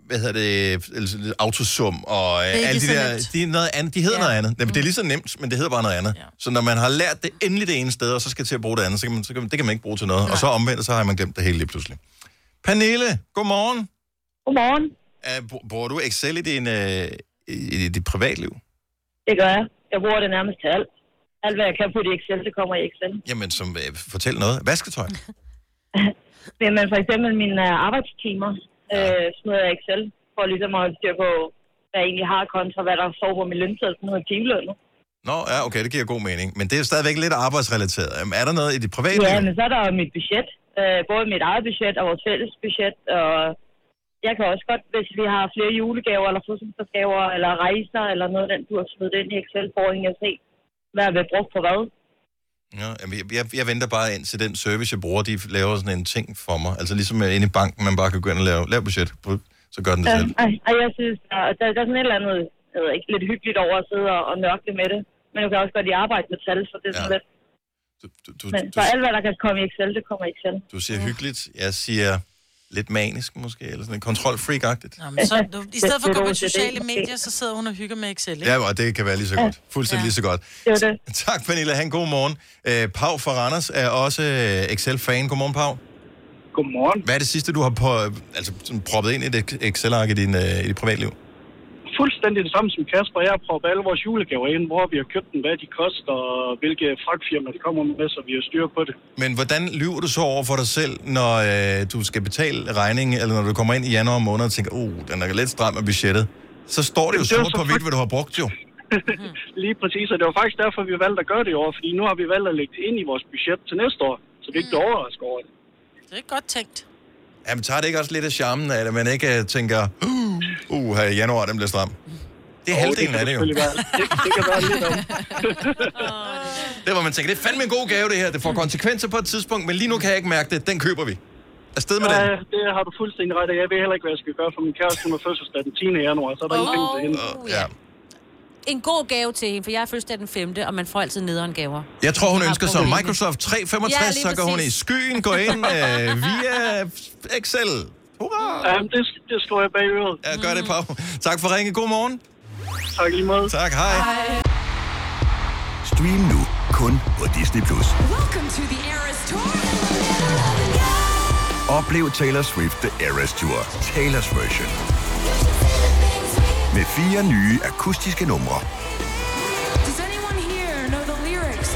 Speaker 1: hvad hedder det, altså, lidt autosum og øh,
Speaker 3: ikke
Speaker 1: alle de
Speaker 3: så
Speaker 1: der,
Speaker 3: nemt.
Speaker 1: de, er noget andet, de hedder
Speaker 3: Ja.
Speaker 1: noget andet. Det, det er lige så nemt, men det hedder bare noget andet. Ja. Så når man har lært det endelig det ene sted, og så skal til at bruge det andet, så kan man, så kan man, det kan man ikke bruge til noget. Og så omvendt, så har man glemt det hele lige pludselig. Pernille, godmorgen.
Speaker 8: Godmorgen.
Speaker 1: Er, br- bruger du Excel i, din, øh, i, i dit privatliv?
Speaker 8: Det gør jeg. Jeg bruger det nærmest til alt. Alt, hvad jeg kan putte i Excel, det kommer i Excel.
Speaker 1: Jamen, som, øh, fortæl noget. Vasketøj.
Speaker 8: Men men for eksempel mine øh, arbejdstimer øh, smider jeg i Excel, for ligesom at holde styr på, hvad jeg egentlig har kontra, hvad der står på min lønseddel, sådan noget timeløn.
Speaker 1: Nå, ja, okay, det giver god mening. Men det er jo stadigvæk lidt arbejdsrelateret. Jamen, er der noget i dit privatliv?
Speaker 8: Ja, men så er der jo mit budget. Øh, både mit eget budget og vores fælles budget. Og jeg kan også godt, hvis vi har flere julegaver eller fødselsdagsgaver eller rejser eller noget af den, du har smidt ind i Excel, for at jeg se.
Speaker 11: hvad er blevet brugt på hvad.
Speaker 1: Ja, jamen, jeg, jeg, jeg venter bare ind til den service, jeg bruger, de laver sådan en ting for mig. Altså ligesom øh, inde i banken, man bare kan gå ind og lave, lave budget, Brr, så gør den det
Speaker 11: Ja,
Speaker 1: selv.
Speaker 11: ej, Øhm, ej, jeg synes, der, der, der er sådan et eller andet jeg ved ikke, lidt hyggeligt over at sidde og, og nørkle med det. Men jeg kan også godt lide at arbejde med tal, så det er sådan ja. lidt...
Speaker 1: Du, du,
Speaker 11: Men så alt, hvad der kan komme i Excel, det kommer i Excel.
Speaker 1: Du siger hyggeligt, jeg siger lidt manisk måske, eller sådan en kontrolfreak-agtigt.
Speaker 3: Jamen, så, du, I stedet for at gå på
Speaker 11: Det er det,
Speaker 3: sociale
Speaker 11: måske.
Speaker 3: medier, så sidder hun og hygger med Excel, ikke?
Speaker 1: Ja, og det kan være lige så
Speaker 3: Ja.
Speaker 1: godt. Fuldstændig
Speaker 3: Ja.
Speaker 1: lige så godt.
Speaker 11: Det var det.
Speaker 1: Tak, Pernille. Han god morgen. Øh, Pau fra Randers er også øh, Excel-fan. Godmorgen, Pau.
Speaker 12: Godmorgen.
Speaker 1: Hvad er det sidste, du har på, altså, sådan proppet ind i et Excel-ark i, din, øh, i dit privatliv?
Speaker 12: fuldstændig det samme som Kasper. Jeg har proppet alle vores julegaver ind, hvor vi har købt dem, hvad de koster, og hvilke fragtfirma de kommer med, så vi har styr på det.
Speaker 1: Men hvordan lyver du så over for dig selv, når øh, du skal betale regningen, eller når du kommer ind i januar måned og tænker, oh, den er lidt stram af budgettet? Så står det jo
Speaker 12: Jamen, det er jo
Speaker 1: sort
Speaker 12: så
Speaker 1: på hvidt,
Speaker 12: fakt-
Speaker 1: hvad du har brugt jo.
Speaker 12: Lige præcis, og det var faktisk derfor, vi valgte at gøre det i år, fordi nu har vi valgt at lægge det ind i vores budget til næste år, så vi ikke bliver overrasket over det.
Speaker 3: Mm. Det er godt tænkt.
Speaker 1: Jamen, tager det ikke også lidt af charmen, at man ikke øh, tænker, uh, uh her i januar, den bliver stram? Det er
Speaker 12: Jo,
Speaker 1: halvdelen
Speaker 12: det kan
Speaker 1: af det jo.
Speaker 12: selvfølgelig være. Det, det kan være lidt om.
Speaker 1: Det var man tænker, det er fandme en god gave, det her. Det får konsekvenser på et tidspunkt, men lige nu kan jeg ikke mærke det. Den køber vi. Afsted med
Speaker 12: Ja,
Speaker 1: den.
Speaker 12: det har du fuldstændig ret i. Jeg ved heller ikke, hvad jeg skal gøre, for min kæreste hun har fødselsdag den 10. januar, så er der oh. ingenting til hende.
Speaker 1: Ja.
Speaker 2: En god gave til hende, for jeg er fødselsdag den 5., og man får altid nederen gaver.
Speaker 1: Jeg tror, hun
Speaker 2: har
Speaker 1: ønsker sig
Speaker 2: problemer.
Speaker 1: Microsoft 365,
Speaker 2: Ja,
Speaker 1: ja,
Speaker 2: lige
Speaker 1: så går hun i
Speaker 2: præcis.
Speaker 1: skyen, går ind øh, via Excel. Hurra!
Speaker 12: Jamen, det, det slår jeg bag øret.
Speaker 1: Ja, gør det, Pau. Tak for ringe. God morgen.
Speaker 12: Tak lige måde.
Speaker 1: Tak, hej.
Speaker 13: Stream nu kun på Disney+. Plus.
Speaker 14: Welcome to the Eras Tour.
Speaker 13: Oplev Taylor Swift The Eras Tour, Taylor's version. Med fire nye akustiske numre.
Speaker 14: Does anyone here know the lyrics?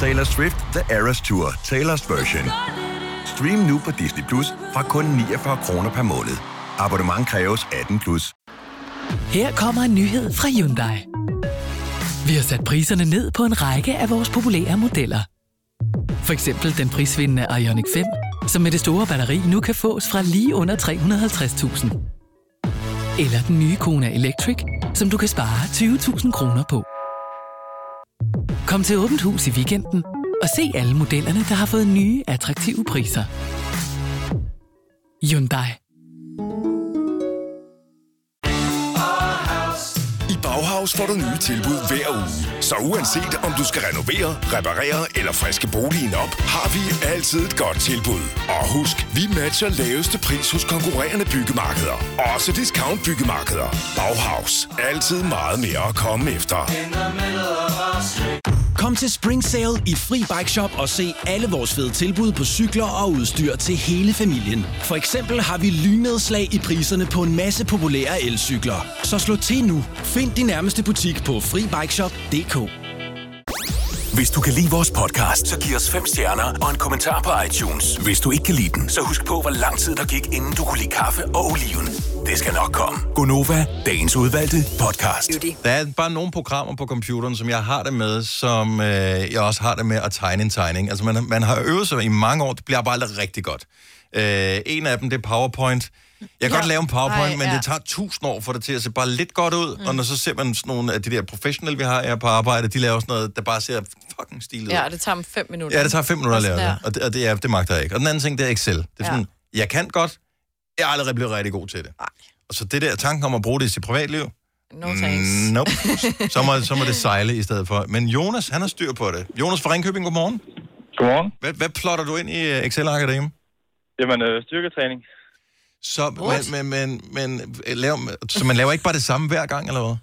Speaker 13: Taylor Swift The Eras Tour, Taylor's version. Stream nu på Disney Plus fra kun 49 kroner per måned. Abonnement kræves 18 plus.
Speaker 15: Her kommer en nyhed fra Hyundai. Vi har sat priserne ned på en række af vores populære modeller. For eksempel den prisvindende Ioniq 5, som med det store batteri nu kan fås fra lige under 350.000. Eller den nye Kona Electric, som du kan spare 20.000 kroner på. Kom til Åbent Hus i weekenden og se alle modellerne, der har fået nye, attraktive priser. Hyundai.
Speaker 7: I Bauhaus får du nye tilbud hver uge. Så uanset om du skal renovere, reparere eller friske boligen op, har vi altid et godt tilbud. Og husk, vi matcher laveste pris hos konkurrerende byggemarkeder. Også discount byggemarkeder. Bauhaus. Altid meget mere at komme efter.
Speaker 16: Kom til Spring Sale i Fri Bike Shop og se alle vores fede tilbud på cykler og udstyr til hele familien. For eksempel har vi lynedslag i priserne på en masse populære elcykler. Så slå til nu. Find din nærmeste butik på FriBikeShop.dk
Speaker 7: Hvis du kan lide vores podcast, så giv os fem stjerner og en kommentar på iTunes. Hvis du ikke kan lide den, så husk på, hvor lang tid der gik, inden du kunne lide kaffe og oliven. Det skal nok komme.
Speaker 1: Gonova, dagens udvalgte podcast. Der er bare nogle programmer på computeren, som jeg har det med, som øh, jeg også har det med at tegne en tegning. Altså man, man har øvet sig i mange år, det bliver bare aldrig rigtig godt. Øh, en af dem, det er PowerPoint. Jeg kan
Speaker 7: Ja.
Speaker 1: godt lave en PowerPoint,
Speaker 7: Ej,
Speaker 1: men
Speaker 7: ja.
Speaker 1: det tager tusind år for det til at se bare lidt godt ud. Mm. Og når så ser man sådan nogle af de der professionelle, vi har her på arbejde, de laver sådan noget, der bare ser fucking stilet ud.
Speaker 5: Ja, og det tager om fem minutter.
Speaker 1: Ja, det tager fem minutter at
Speaker 5: Altså,
Speaker 1: lave
Speaker 5: der.
Speaker 1: det, og det, og det, er, det magter jeg ikke. Og den anden ting, det er Excel. Det er
Speaker 5: Ja.
Speaker 1: sådan, ja. jeg kan godt, jeg er aldrig blevet rigtig god til det. Ej. Og så det der tanken om at bruge det i sit privatliv, Mm,
Speaker 5: No thanks.
Speaker 1: nope. så, må, så må det sejle i stedet for. Men Jonas, han har styr på det. Jonas fra Ringkøbing, godmorgen.
Speaker 17: Godmorgen.
Speaker 1: Hvad, hvad plotter du ind i øh, Excel-arket derhjemme?
Speaker 17: Jamen, øh, styrketræning.
Speaker 1: Så, men, men, men, men, øh, lav, så man laver ikke bare det samme hver gang, eller hvad?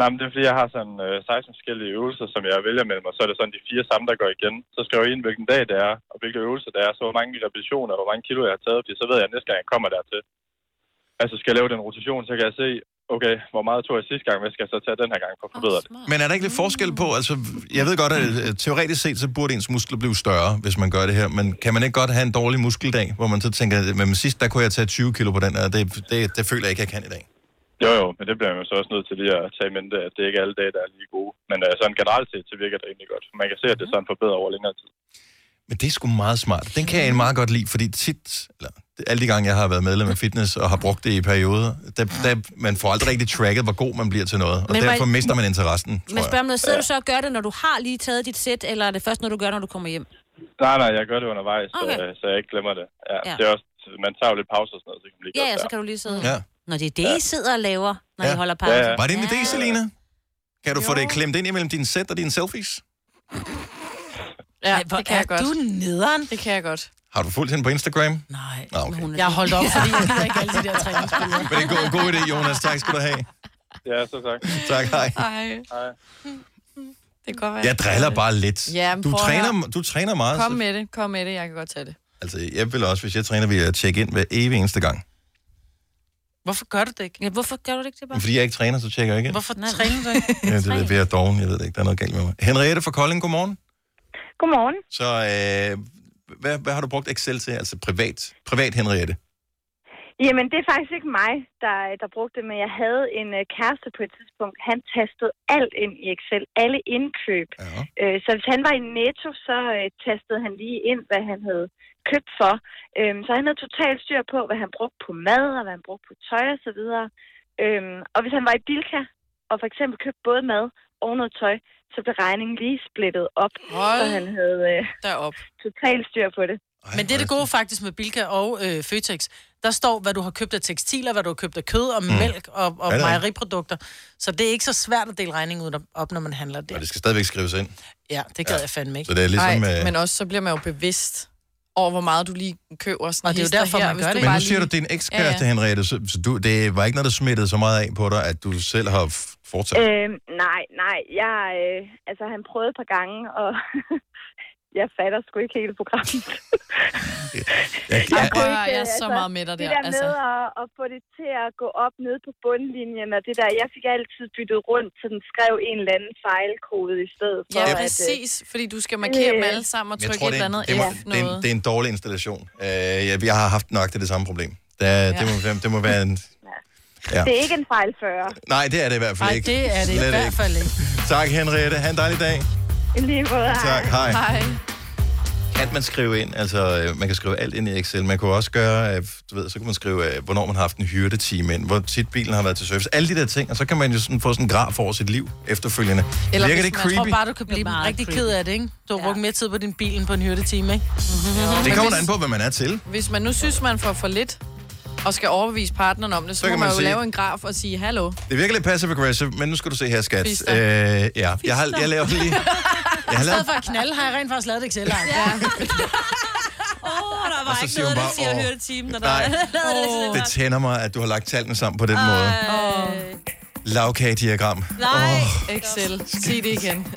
Speaker 17: Nej, men det er fordi, jeg har sådan øh, 16 forskellige øvelser, som jeg vælger mellem, og så er det sådan de fire samme, der går igen. Så skriver jeg ind, hvilken dag det er, og hvilke øvelser det er, så hvor mange repetitioner, hvor mange kilo jeg har taget, fordi så ved jeg, at næste gang jeg kommer dertil. Altså, skal jeg lave den rotation, så kan jeg se, okay, hvor meget tog jeg sidste gang, hvad skal jeg så tage den her gang for at forbedre det?
Speaker 1: Men er der ikke lidt forskel på, altså, jeg ved godt, at øh, teoretisk set, så burde ens muskler blive større, hvis man gør det her, men kan man ikke godt have en dårlig muskeldag, hvor man så tænker, men sidst, der kunne jeg tage 20 kilo på den her, det, det, det føler jeg ikke, jeg kan i dag.
Speaker 17: Jo, jo, men det bliver man så også nødt til lige at tage i mente, at det ikke er alle dage, der er lige gode. Men øh, sådan generelt set, så virker det egentlig godt. Man kan se, at det sådan forbedrer over længere tid.
Speaker 1: Men det er sgu meget smart. Den kan jeg meget godt lide, fordi tit, eller alle de gange, jeg har været medlem af fitness og har brugt det i perioder, der, der, man får aldrig rigtig tracket, hvor god man bliver til noget, og
Speaker 2: Men
Speaker 1: Men
Speaker 2: var-
Speaker 1: derfor mister man interessen, tror
Speaker 2: Men
Speaker 1: jeg.
Speaker 2: spørg om noget, sidder du så og gør det, når du har lige taget dit sæt, eller er det først noget, du gør, når du kommer hjem?
Speaker 17: Nej, nej, jeg gør det undervejs, okay.
Speaker 2: Okay.
Speaker 17: så, så jeg ikke glemmer det. Ja,
Speaker 2: Ja.
Speaker 17: ja. Det er også, man tager jo lidt pauser og sådan noget, så kan man lige
Speaker 2: Ja,
Speaker 17: gøre
Speaker 2: ja,
Speaker 17: det
Speaker 2: så
Speaker 17: der.
Speaker 2: kan du lige sidde.
Speaker 1: Ja.
Speaker 2: Når det er det, I sidder og laver, når I holder pause.
Speaker 1: Ja, ja. Var det en idé, Selina? Kan du jo. få det klemt ind imellem dine sæt og dine selfies?
Speaker 5: Ja,
Speaker 2: hvor
Speaker 5: det kan
Speaker 2: er
Speaker 5: jeg godt.
Speaker 2: du
Speaker 5: nederen? Det kan jeg godt.
Speaker 1: Har du fulgt hende på Instagram? Nej. Nå, okay.
Speaker 5: Jeg har holdt op, fordi jeg gider ikke alle de der
Speaker 1: Men det er en god, god idé, Jonas. Tak skal du have.
Speaker 17: Ja, så tak.
Speaker 1: Tak, hej.
Speaker 17: Hej.
Speaker 5: Det kan godt være.
Speaker 1: Jeg driller bare lidt.
Speaker 5: Ja, men
Speaker 1: du,
Speaker 5: prøv at
Speaker 1: træner,
Speaker 5: høre.
Speaker 1: du træner meget.
Speaker 5: Kom
Speaker 1: Så,
Speaker 5: med det, kom med det, jeg kan godt tage det.
Speaker 1: altså, jeg vil også, hvis jeg træner, vil jeg tjekke ind hver evig eneste gang.
Speaker 3: Hvorfor gør du det ikke?
Speaker 2: Ja, hvorfor gør du det ikke det
Speaker 1: Men fordi jeg ikke træner, så tjekker jeg ikke ind.
Speaker 3: Hvorfor træner du ikke?
Speaker 1: Ja, det ved jeg, fordi jeg er doven. Jeg ved det ikke, der er noget galt med mig. Henriette fra Kolding, godmorgen.
Speaker 18: Godmorgen.
Speaker 1: Så øh, hvad, hvad har du brugt Excel til? Altså privat, privat Henriette.
Speaker 18: Jamen, det er faktisk ikke mig, der, der brugte det, men jeg havde en øh, kæreste på et tidspunkt. Han tastede alt ind i Excel, alle indkøb.
Speaker 1: Ja.
Speaker 18: Øh, så hvis han var i Netto, så øh, tastede han lige ind, hvad han havde købt for. Øhm, så han havde totalt styr på, hvad han brugte på mad, og hvad han brugte på tøj og så videre. Øhm, og hvis han var i Bilka, og for eksempel købte både mad og noget tøj, så blev regningen lige splittet op, Hold så han havde øh,
Speaker 5: derop.
Speaker 18: totalt styr på det.
Speaker 3: Men det er det gode faktisk med Bilka og øh, Føtex. Der står, hvad du har købt af tekstiler, hvad du har købt af kød og
Speaker 1: Mm.
Speaker 3: mm. mælk og, og
Speaker 1: Ja, det er
Speaker 3: mejeriprodukter. Så det er ikke så svært at dele regningen ud op, når man handler det.
Speaker 1: Og det skal stadigvæk skrives ind.
Speaker 3: Ja, det gad ja. jeg fandme ikke.
Speaker 1: Så det er ligesom...
Speaker 5: Ej,
Speaker 1: øh,
Speaker 5: men også så bliver man jo bevidst over, hvor meget du lige køber. Sådan
Speaker 3: Og det er jo
Speaker 5: hister
Speaker 3: derfor,
Speaker 5: her,
Speaker 3: man
Speaker 5: hvis
Speaker 3: gør
Speaker 5: du
Speaker 3: det.
Speaker 1: Men
Speaker 5: bare
Speaker 1: nu siger du,
Speaker 5: lige-
Speaker 1: det er en ekskæreste, ja, ja. Henriette, så, så du, det var ikke noget, der smittede så meget af på dig, at du selv har f- fortsat. Øh.
Speaker 18: Øhm, nej, nej. Jeg, øh, altså, han prøvede et par gange, og jeg fatter sgu ikke hele programmet.
Speaker 1: Jeg,
Speaker 5: jeg,
Speaker 18: kunne
Speaker 5: jeg,
Speaker 18: ikke,
Speaker 5: jeg er så
Speaker 18: altså,
Speaker 5: meget med dig
Speaker 18: Det
Speaker 5: der.
Speaker 18: der
Speaker 5: altså.
Speaker 18: med at, at få det til at gå op ned på bundlinjen, og det der, jeg fik altid byttet rundt, så den skrev en eller anden fejlkode i stedet for.
Speaker 5: Ja,
Speaker 18: at, øh,
Speaker 5: præcis, fordi du skal markere dem alle sammen og
Speaker 1: Jeg
Speaker 5: trykke
Speaker 1: tror,
Speaker 5: et
Speaker 1: det
Speaker 5: eller
Speaker 1: er, en,
Speaker 5: andet
Speaker 1: det, må,
Speaker 5: F
Speaker 1: det, er en,
Speaker 5: noget.
Speaker 1: det er en dårlig installation. Øh, jeg, jeg har haft nok det, det samme problem. Der, ja. det, må, være- det må være en... Ja.
Speaker 18: Det er ikke en fejlfører.
Speaker 1: Nej, det er det i hvert fald
Speaker 3: Nej,
Speaker 1: ikke.
Speaker 3: det er det i
Speaker 1: Slet
Speaker 3: hvert
Speaker 1: ikke.
Speaker 3: fald ikke.
Speaker 1: Tak, Henriette. Ha' en dejlig dag.
Speaker 18: I lige måde.
Speaker 1: Tak, hej.
Speaker 5: Hej.
Speaker 1: Kan man skrive ind? Altså, øh, man kan skrive alt ind i Excel. Man kunne også gøre, øh, du ved, så kan man skrive, øh, hvornår man har haft en hyrdetime ind, hvor tit bilen har været til service. Alle de der ting, og så kan man jo sådan få sådan en graf over sit liv efterfølgende. Eller Virker
Speaker 3: hvis
Speaker 1: det
Speaker 3: man-
Speaker 1: creepy?
Speaker 3: Jeg tror bare, du kan blive rigtig ked af det, ikke? Du har brugt mere tid på din bil end på en hyrdetime, ikke? Mm-hmm.
Speaker 1: Det kommer an på, hvad man er til.
Speaker 5: Hvis man nu synes, man får for lidt, og skal overbevise partneren om det, så, så
Speaker 1: Så
Speaker 5: må
Speaker 1: kan
Speaker 5: man,
Speaker 1: man
Speaker 5: jo
Speaker 1: sige-
Speaker 5: lave en graf og sige, hallo.
Speaker 1: Det virker lidt passive-aggressive, men nu skal du se her, skat. Øh,
Speaker 5: Fister.
Speaker 1: ja, jeg har, jeg laver lige... Jeg har
Speaker 3: I stedet
Speaker 1: lavet,
Speaker 3: for at knalde, har jeg rent faktisk lavet et Excel-ark. Ja.
Speaker 2: Åh, der
Speaker 1: Og
Speaker 2: var
Speaker 1: så
Speaker 2: ikke
Speaker 1: siger
Speaker 2: noget,
Speaker 1: hun
Speaker 2: der
Speaker 1: bare,
Speaker 2: siger at
Speaker 1: åh,
Speaker 2: høre timen, når der
Speaker 1: nej.
Speaker 2: er lavet
Speaker 1: det tænder mig, at du har lagt tallene sammen på den måde.
Speaker 2: det
Speaker 1: Lavkagediagram.
Speaker 2: Nej,
Speaker 5: Excel. Sig det igen.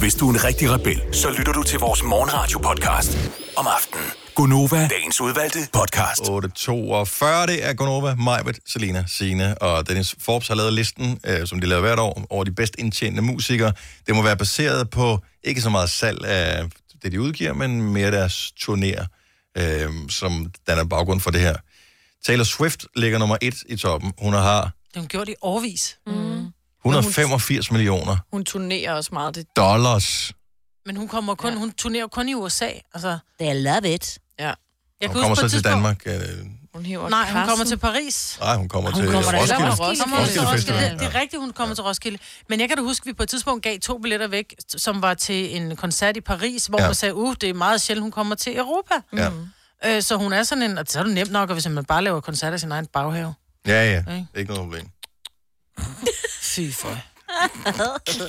Speaker 19: Hvis du er en rigtig rebel, så lytter du til vores morgenradio-podcast om aftenen. Gunova, dagens udvalgte podcast.
Speaker 1: 8.42, det er Gonova, Majbet, Selina, Sine og Dennis Forbes har lavet listen, øh, som de laver hvert år, over de bedst indtjenende musikere. Det må være baseret på ikke så meget salg af det, de udgiver, men mere deres turnéer, øh, som danner baggrund for det her. Taylor Swift ligger nummer et i toppen. Hun har
Speaker 3: Det har hun gjort i årvis. Mm.
Speaker 1: 185 millioner
Speaker 5: Hun turnerer også meget. Det,
Speaker 1: dollars.
Speaker 3: Men hun kommer kun, ja. hun turnerer kun i USA. Altså.
Speaker 2: They love it.
Speaker 5: Ja.
Speaker 3: Jeg
Speaker 1: Hun kommer så til Danmark. Øh,
Speaker 5: Hun hiver
Speaker 3: Nej, hun kommer
Speaker 5: karsen.
Speaker 3: til Paris.
Speaker 1: nej, hun kommer
Speaker 5: Hun
Speaker 1: til
Speaker 5: kommer da
Speaker 1: Roskilde.
Speaker 5: heller
Speaker 3: Roskilde. Kommer hun til
Speaker 1: Roskilde
Speaker 3: Roskilde.
Speaker 1: Festival.
Speaker 3: Det, det er rigtigt, hun kommer til Roskilde. Men jeg kan da huske, at vi på et tidspunkt gav to billetter væk, som var til en koncert i Paris, hvor
Speaker 1: Ja.
Speaker 3: ja. man sagde, uh, det er meget sjældent, hun kommer til Europa.
Speaker 1: Ja.
Speaker 3: Øh, så hun er sådan en, og så er det nemt nok, hvis man bare laver koncerter i sin egen baghave.
Speaker 1: øh, Ja, ja.
Speaker 3: Ikke?
Speaker 1: Ikke noget problem.
Speaker 3: Fy for.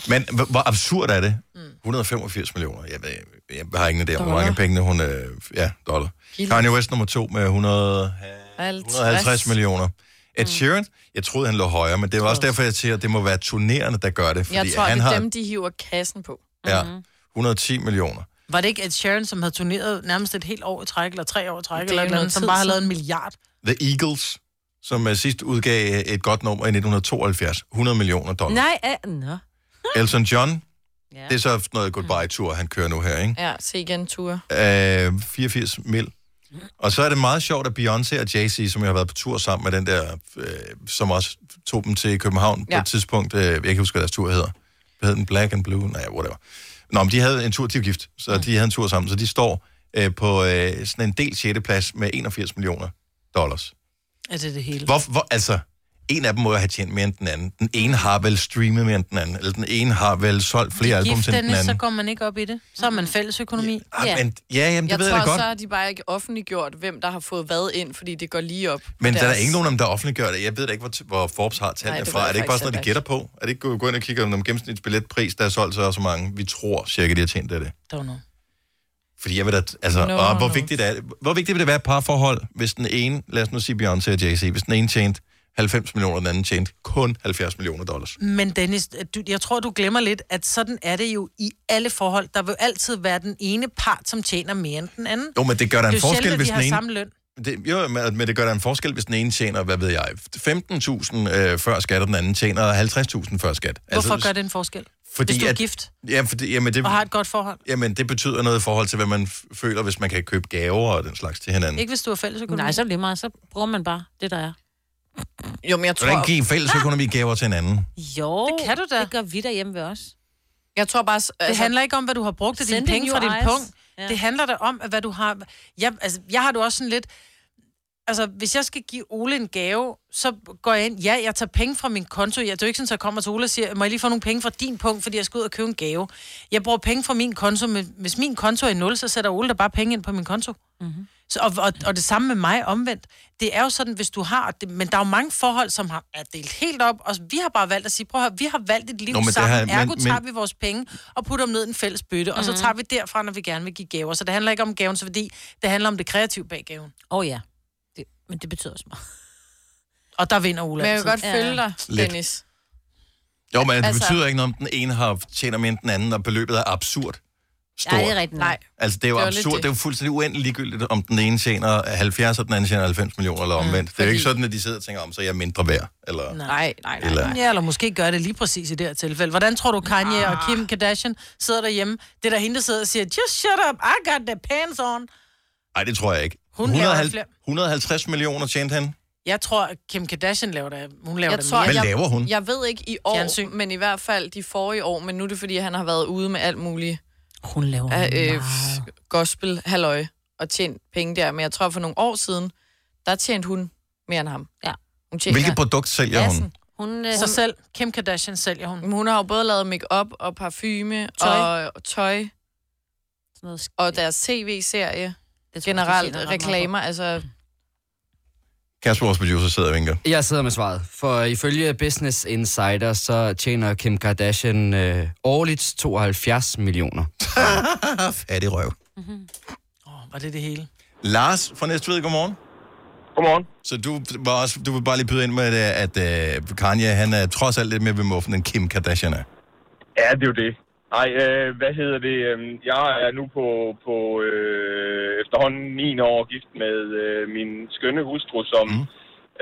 Speaker 1: Men h- hvor absurd er det?
Speaker 5: Mm.
Speaker 1: 185 millioner. Jeg, ved, jeg har ingen idé om, hvor mange penge hun... Øh, ja, dollar.
Speaker 5: Kilo.
Speaker 1: Kanye West nummer to med 100, 150 millioner. Ed
Speaker 5: Mm.
Speaker 1: Sheeran, jeg troede, han lå højere, men det er også derfor, jeg siger, at det må være turnerende, der gør det. Fordi
Speaker 5: Jeg tror,
Speaker 1: han
Speaker 5: det er
Speaker 1: har
Speaker 5: dem, Mm-hmm. de hiver kassen på.
Speaker 1: ja, 110 millioner.
Speaker 3: Var det ikke Ed Sheeran, som havde turneret nærmest et helt år i træk, eller tre år i træk,
Speaker 5: Det er
Speaker 3: eller
Speaker 5: jo
Speaker 3: noget,
Speaker 5: noget
Speaker 3: som
Speaker 5: tid
Speaker 3: bare har lavet en
Speaker 5: siden.
Speaker 3: milliard?
Speaker 1: The Eagles, som øh, sidst udgav et godt nummer i 1972. 100 millioner dollar.
Speaker 2: Nej, ja, nå.
Speaker 1: Elton John,
Speaker 2: Ja.
Speaker 1: det er så sådan noget goodbye-tour, han kører nu her, ikke?
Speaker 5: Ja, se igen ture.
Speaker 1: Øh, 84 mil. Og så er det meget sjovt, at Beyoncé og Jay-Z, som jeg har været på tur sammen med den der, øh, som også tog dem til København ja.
Speaker 5: Ja.
Speaker 1: på et tidspunkt, øh, jeg kan ikke huske, hvad deres tur hedder. Hvad hed den? Black and Blue? Nej, whatever. Nå, men de havde en tur til gift, så de havde en tur sammen, så de står øh, på øh, sådan en del 6. plads med 81 millioner dollars.
Speaker 3: Er det det hele?
Speaker 1: Hvor, hvor, altså, en af dem må jo have tjent mere end den anden. Den ene har vel streamet mere end den anden, eller den ene har vel solgt flere album
Speaker 3: Gift
Speaker 1: end den
Speaker 3: Dennis, så
Speaker 1: anden.
Speaker 3: går man ikke op i det. Så har man fælles økonomi.
Speaker 1: Ah, men, ja, jamen, det
Speaker 5: Mm-hmm. jeg
Speaker 1: ved
Speaker 5: tror,
Speaker 1: jeg da godt.
Speaker 5: så har de bare ikke offentliggjort, hvem der har fået hvad ind, fordi det går lige op.
Speaker 1: Men
Speaker 5: på
Speaker 1: der er
Speaker 5: deres-
Speaker 1: der ikke nogen af dem, der offentliggør det. Jeg ved da ikke, hvor, t- hvor Forbes har
Speaker 5: Nej,
Speaker 1: tallene
Speaker 5: det ved
Speaker 1: fra.
Speaker 5: jeg
Speaker 1: Er det ikke bare
Speaker 5: faktisk
Speaker 1: sådan noget, de
Speaker 5: heller
Speaker 1: gætter på? Er det ikke gå gå ind og kigge, om gennemsnitsbilletpris, der er solgt så og så mange? Vi tror cirka, de har tjent af det.
Speaker 3: Don't know.
Speaker 1: Fordi jeg ved da, altså,
Speaker 3: No,
Speaker 1: no, og
Speaker 3: no,
Speaker 1: hvor,
Speaker 3: no.
Speaker 1: vigtigt er det, hvor vigtigt vil det være et parforhold, hvis den ene, lad os nu sige Beyoncé og Jay-Z, hvis den ene tjente 90 millioner, og den anden tjente kun 70 millioner dollars.
Speaker 3: Men Dennis, du, jeg tror, du glemmer lidt, at sådan er det jo i alle forhold. Der vil jo altid være den ene part, som tjener mere end den anden.
Speaker 1: Jo, men det gør da en
Speaker 3: det er jo
Speaker 1: forskel,
Speaker 3: sjældent, at
Speaker 1: hvis
Speaker 3: de
Speaker 1: den
Speaker 3: har
Speaker 1: ene- Altså,
Speaker 3: samme løn.
Speaker 1: Det, jo, men men det gør da en forskel, hvis den ene tjener, hvad ved jeg, 15.000 øh, før skat, og den anden tjener 50.000 før skat.
Speaker 3: Hvorfor altså, gør det en forskel?
Speaker 1: Fordi
Speaker 3: hvis du er
Speaker 1: at-
Speaker 3: gift
Speaker 1: Ja, fordi, jamen, det,
Speaker 3: og har et godt forhold.
Speaker 1: Jamen, det betyder noget i forhold til, hvad man f- føler, hvis man kan købe gaver og den slags til hinanden.
Speaker 3: Ikke hvis du er fælles økonomi.
Speaker 2: Nej, så er det lige meget. Så bruger man bare det, der er. Ah,
Speaker 5: Jo, men jeg
Speaker 1: Hvordan give fælles
Speaker 3: Ah!
Speaker 1: økonomi gaver til hinanden?
Speaker 2: Jo, det
Speaker 3: kan du da.
Speaker 2: Det gør vi derhjemme ved os.
Speaker 5: Jeg tror bare... Altså,
Speaker 3: det handler ikke om, hvad du har brugt af dine
Speaker 2: Sending
Speaker 3: penge
Speaker 2: you
Speaker 3: fra din
Speaker 2: eyes.
Speaker 3: punkt.
Speaker 2: Ja.
Speaker 3: Ja. Det handler da om, at hvad du har... Jeg, altså, jeg har det også sådan lidt... Altså, hvis jeg skal give Ole en gave, så går jeg ind... Ja, jeg tager penge fra min konto. Jeg, det er jo ikke sådan, at jeg kommer til Ole og siger, må jeg lige få nogle penge fra din punkt, fordi jeg skal ud og købe en gave. Jeg bruger penge fra min konto, men hvis min konto er i nul, så sætter Ole der bare penge ind på min konto.
Speaker 2: Mm-hmm.
Speaker 3: Så, og, og, og det samme med mig omvendt. Det er jo sådan, hvis du har... Det, men der er jo mange forhold, som har, er delt helt op, og vi har bare valgt at sige, prøv at høre, vi har valgt et liv
Speaker 1: Nå,
Speaker 3: Nå,
Speaker 1: men det
Speaker 3: sammen,
Speaker 1: har-
Speaker 3: her,
Speaker 1: men-
Speaker 3: men, ergo
Speaker 1: men-
Speaker 3: tager vi vores penge og putter dem ned i en fælles bøtte, mm-hmm. og så
Speaker 2: Mhm.
Speaker 3: tager vi derfra, når vi gerne vil give gaver. Så det handler ikke om gavens værdi, det handler om det kreative bag gaven.
Speaker 2: Åh oh, ja, det, men det betyder også meget.
Speaker 3: Og der vinder Ola.
Speaker 5: Men jeg kan godt
Speaker 3: altid.
Speaker 5: følge dig,
Speaker 1: Lidt.
Speaker 5: Dennis.
Speaker 1: Jo, men det
Speaker 5: Altså-
Speaker 1: betyder ikke noget, om den ene har tjener mere end den anden, og beløbet er absurd stort.
Speaker 2: Nej, det er rigtigt. Nej.
Speaker 1: Altså, det er jo
Speaker 2: Det er jo
Speaker 1: det absurd.
Speaker 2: lidt det.
Speaker 1: Det. det er jo fuldstændig uendeligt ligegyldigt, om den ene tjener 70, og den anden tjener 90 millioner, eller omvendt. Mm, det er jo ikke sådan, at de sidder og tænker om, så er jeg mindre værd. Eller...
Speaker 3: Nej, nej, nej.
Speaker 1: Eller-
Speaker 3: Eller... Ja, eller måske gør det lige præcis i det her tilfælde. Hvordan tror du, Kanye
Speaker 5: Ah.
Speaker 3: og Kim Kardashian sidder derhjemme? Det er der hende, der sidder og siger, just shut up, I got the pants on.
Speaker 1: Nej, det tror jeg ikke.
Speaker 3: Hun laver
Speaker 1: 150
Speaker 3: flere.
Speaker 1: 150 millioner tjente han.
Speaker 3: Jeg tror, at Kim Kardashian laver det. Hun laver
Speaker 5: Jeg
Speaker 3: det
Speaker 5: tror,
Speaker 3: mere.
Speaker 1: Hvad laver hun?
Speaker 5: Jeg ved ikke i år, Fjernsyn. men i hvert fald de forrige år, men nu er det, fordi han har været ude med alt muligt
Speaker 2: Hun laver
Speaker 5: af, øh, gospel halløj og tjent penge der. Men jeg tror, for nogle år siden, der tjente hun mere end ham.
Speaker 2: Ja.
Speaker 5: Hun tjener
Speaker 1: Hvilket produkt sælger hun?
Speaker 2: Hun,
Speaker 5: øh,
Speaker 3: Sig
Speaker 5: hun-
Speaker 3: selv. Kim Kardashian sælger hun.
Speaker 5: Men Hun har jo både lavet makeup og parfume
Speaker 3: Tøj.
Speaker 5: Og, og tøj.
Speaker 2: Noget
Speaker 5: og deres tv-serie.
Speaker 2: Det
Speaker 5: Generelt
Speaker 10: tjener ret meget på.
Speaker 5: reklamer, altså...
Speaker 1: Kasper, vores producer, sidder og vinker.
Speaker 10: Jeg sidder med svaret, for ifølge Business Insider, så tjener Kim Kardashian øh, årligt 72 millioner.
Speaker 1: Fattig røv.
Speaker 3: Var det det hele?
Speaker 1: Lars fra Næstved, godmorgen.
Speaker 17: Godmorgen.
Speaker 1: Så du, var også, du vil bare lige byde ind med, øh, at uh, Kanye, han er trods alt lidt mere ved muffen, end Kim Kardashian er.
Speaker 17: Ja, det er jo det. Nej, øh, hvad hedder det? Øhm, Jeg er nu på, på øh, efterhånden 9 år gift med øh, min skønne hustru, som mm.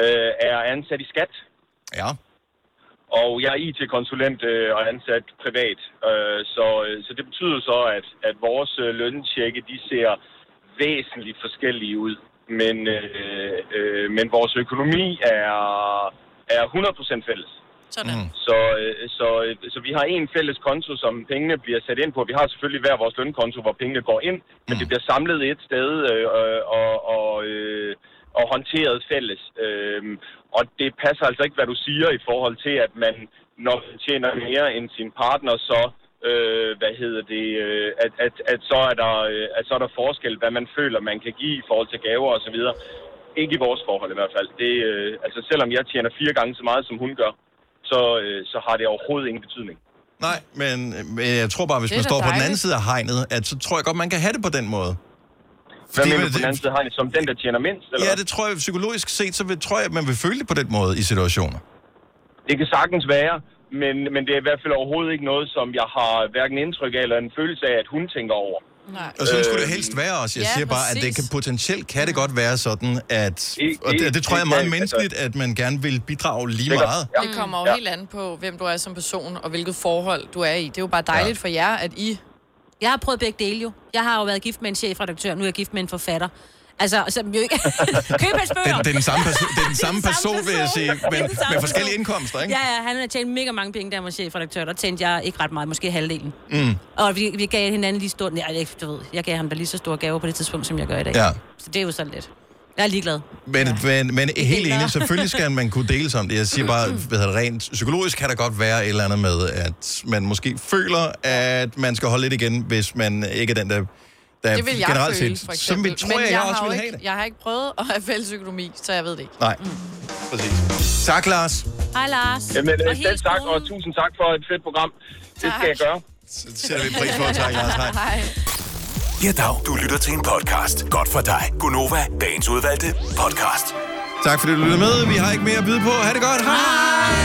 Speaker 17: øh, er ansat i skat.
Speaker 1: Ja.
Speaker 17: Og jeg er IT-konsulent øh, og ansat privat. Øh, så, øh, så det betyder så, at, at vores øh, løntjekke, de ser væsentligt forskellige ud. Men, øh, øh, men vores økonomi er, er 100% fælles.
Speaker 3: Sådan. Mm.
Speaker 17: Så, øh, så, øh, så vi har en fælles konto, som pengene bliver sat ind på. Vi har selvfølgelig hver vores lønkonto, hvor pengene går ind, men det bliver samlet et sted øh, øh, og, og, øh, og håndteret fælles. Øh, og det passer altså ikke, hvad du siger i forhold til, at man, når man tjener mere end sin partner, så øh, hvad hedder det, øh, at, at, at, så er der, øh, at så er der forskel, hvad man føler, man kan give i forhold til gaver osv. Ikke i vores forhold i hvert fald. Det, øh, altså selvom jeg tjener fire gange så meget, som hun gør, så, øh, så har det overhovedet ingen betydning.
Speaker 1: Nej, men, men jeg tror bare, hvis
Speaker 17: Det er
Speaker 1: man
Speaker 17: da
Speaker 1: står på den
Speaker 17: dejligt.
Speaker 1: anden side af hegnet, at så tror jeg godt, man kan have det på den måde.
Speaker 17: Hvad
Speaker 1: Fordi
Speaker 17: mener
Speaker 1: man-
Speaker 17: du på den anden side, Heine? Som den, der tjener mindst? Eller
Speaker 1: Ja,
Speaker 17: hvad?
Speaker 1: det tror jeg psykologisk set, så vil, tror jeg, at man vil føle det på den måde i situationer.
Speaker 17: det kan sagtens være, men, men det er i hvert fald overhovedet ikke noget, som jeg har hverken indtryk af eller en følelse af, at hun tænker over.
Speaker 5: Nej.
Speaker 1: Og sådan skulle det helst være også. Jeg ja, siger bare, at det kan, potentielt kan det godt være sådan, at... Og det, det tror jeg er meget menneskeligt, at man gerne vil bidrage lige
Speaker 17: Sikkert.
Speaker 1: meget.
Speaker 5: Det kommer jo helt an på, hvem du er som person, og hvilket forhold du er i. Det er jo bare dejligt ja. for jer, at I...
Speaker 2: Jeg har prøvet begge dele jo. Jeg har jo været gift med en chefredaktør, nu er jeg gift med en forfatter. Altså, som jo ikke... Køb hans bøger.
Speaker 1: Det, det, er den samme person, det er den samme person, vil jeg sige,
Speaker 2: Det
Speaker 1: men
Speaker 2: er den samme
Speaker 1: med forskellige
Speaker 2: person.
Speaker 1: indkomster, ikke?
Speaker 2: Ja, ja, han har tjent mega mange penge, der var chefredaktør. Der tjente jeg ikke ret meget, måske halvdelen.
Speaker 1: Mm.
Speaker 2: Og vi, vi gav hinanden lige stor... Nej, jeg, du ved, jeg gav ham da lige så store gaver på det tidspunkt, som jeg gør i dag.
Speaker 1: Ja.
Speaker 2: Så det er jo så lidt. Jeg er ligeglad.
Speaker 1: Men, ja. men, men helt
Speaker 2: deler.
Speaker 1: enig, selvfølgelig skal man kunne deles om det. Jeg siger bare, hvad hedder det, rent psykologisk kan der godt være et eller andet med, at man måske føler, at man skal holde lidt igen, hvis man ikke er den, der, der
Speaker 5: det vil jeg
Speaker 1: generelt
Speaker 5: føle,
Speaker 1: set.
Speaker 5: for
Speaker 1: Som
Speaker 5: eksempel.
Speaker 1: vi tror,
Speaker 5: Men
Speaker 1: jeg, jeg
Speaker 5: har
Speaker 1: også
Speaker 5: jo
Speaker 1: vil have
Speaker 5: ikke,
Speaker 1: det.
Speaker 5: Jeg har ikke prøvet at have fælles økonomi, så jeg ved det ikke.
Speaker 1: Nej, præcis. Tak, Lars.
Speaker 2: Hej, Lars.
Speaker 17: Jamen, øh, selv tak, og tusind tak for et fedt program. Det skal jeg gøre.
Speaker 1: Så sætter vi pris på. Tak, Lars. Hej.
Speaker 19: Ja, dag. Du lytter til en podcast. Godt for dig. Gunova, dagens udvalgte podcast.
Speaker 1: Tak fordi du lyttede med. Vi har ikke mere at byde på. Ha' det godt. Hej.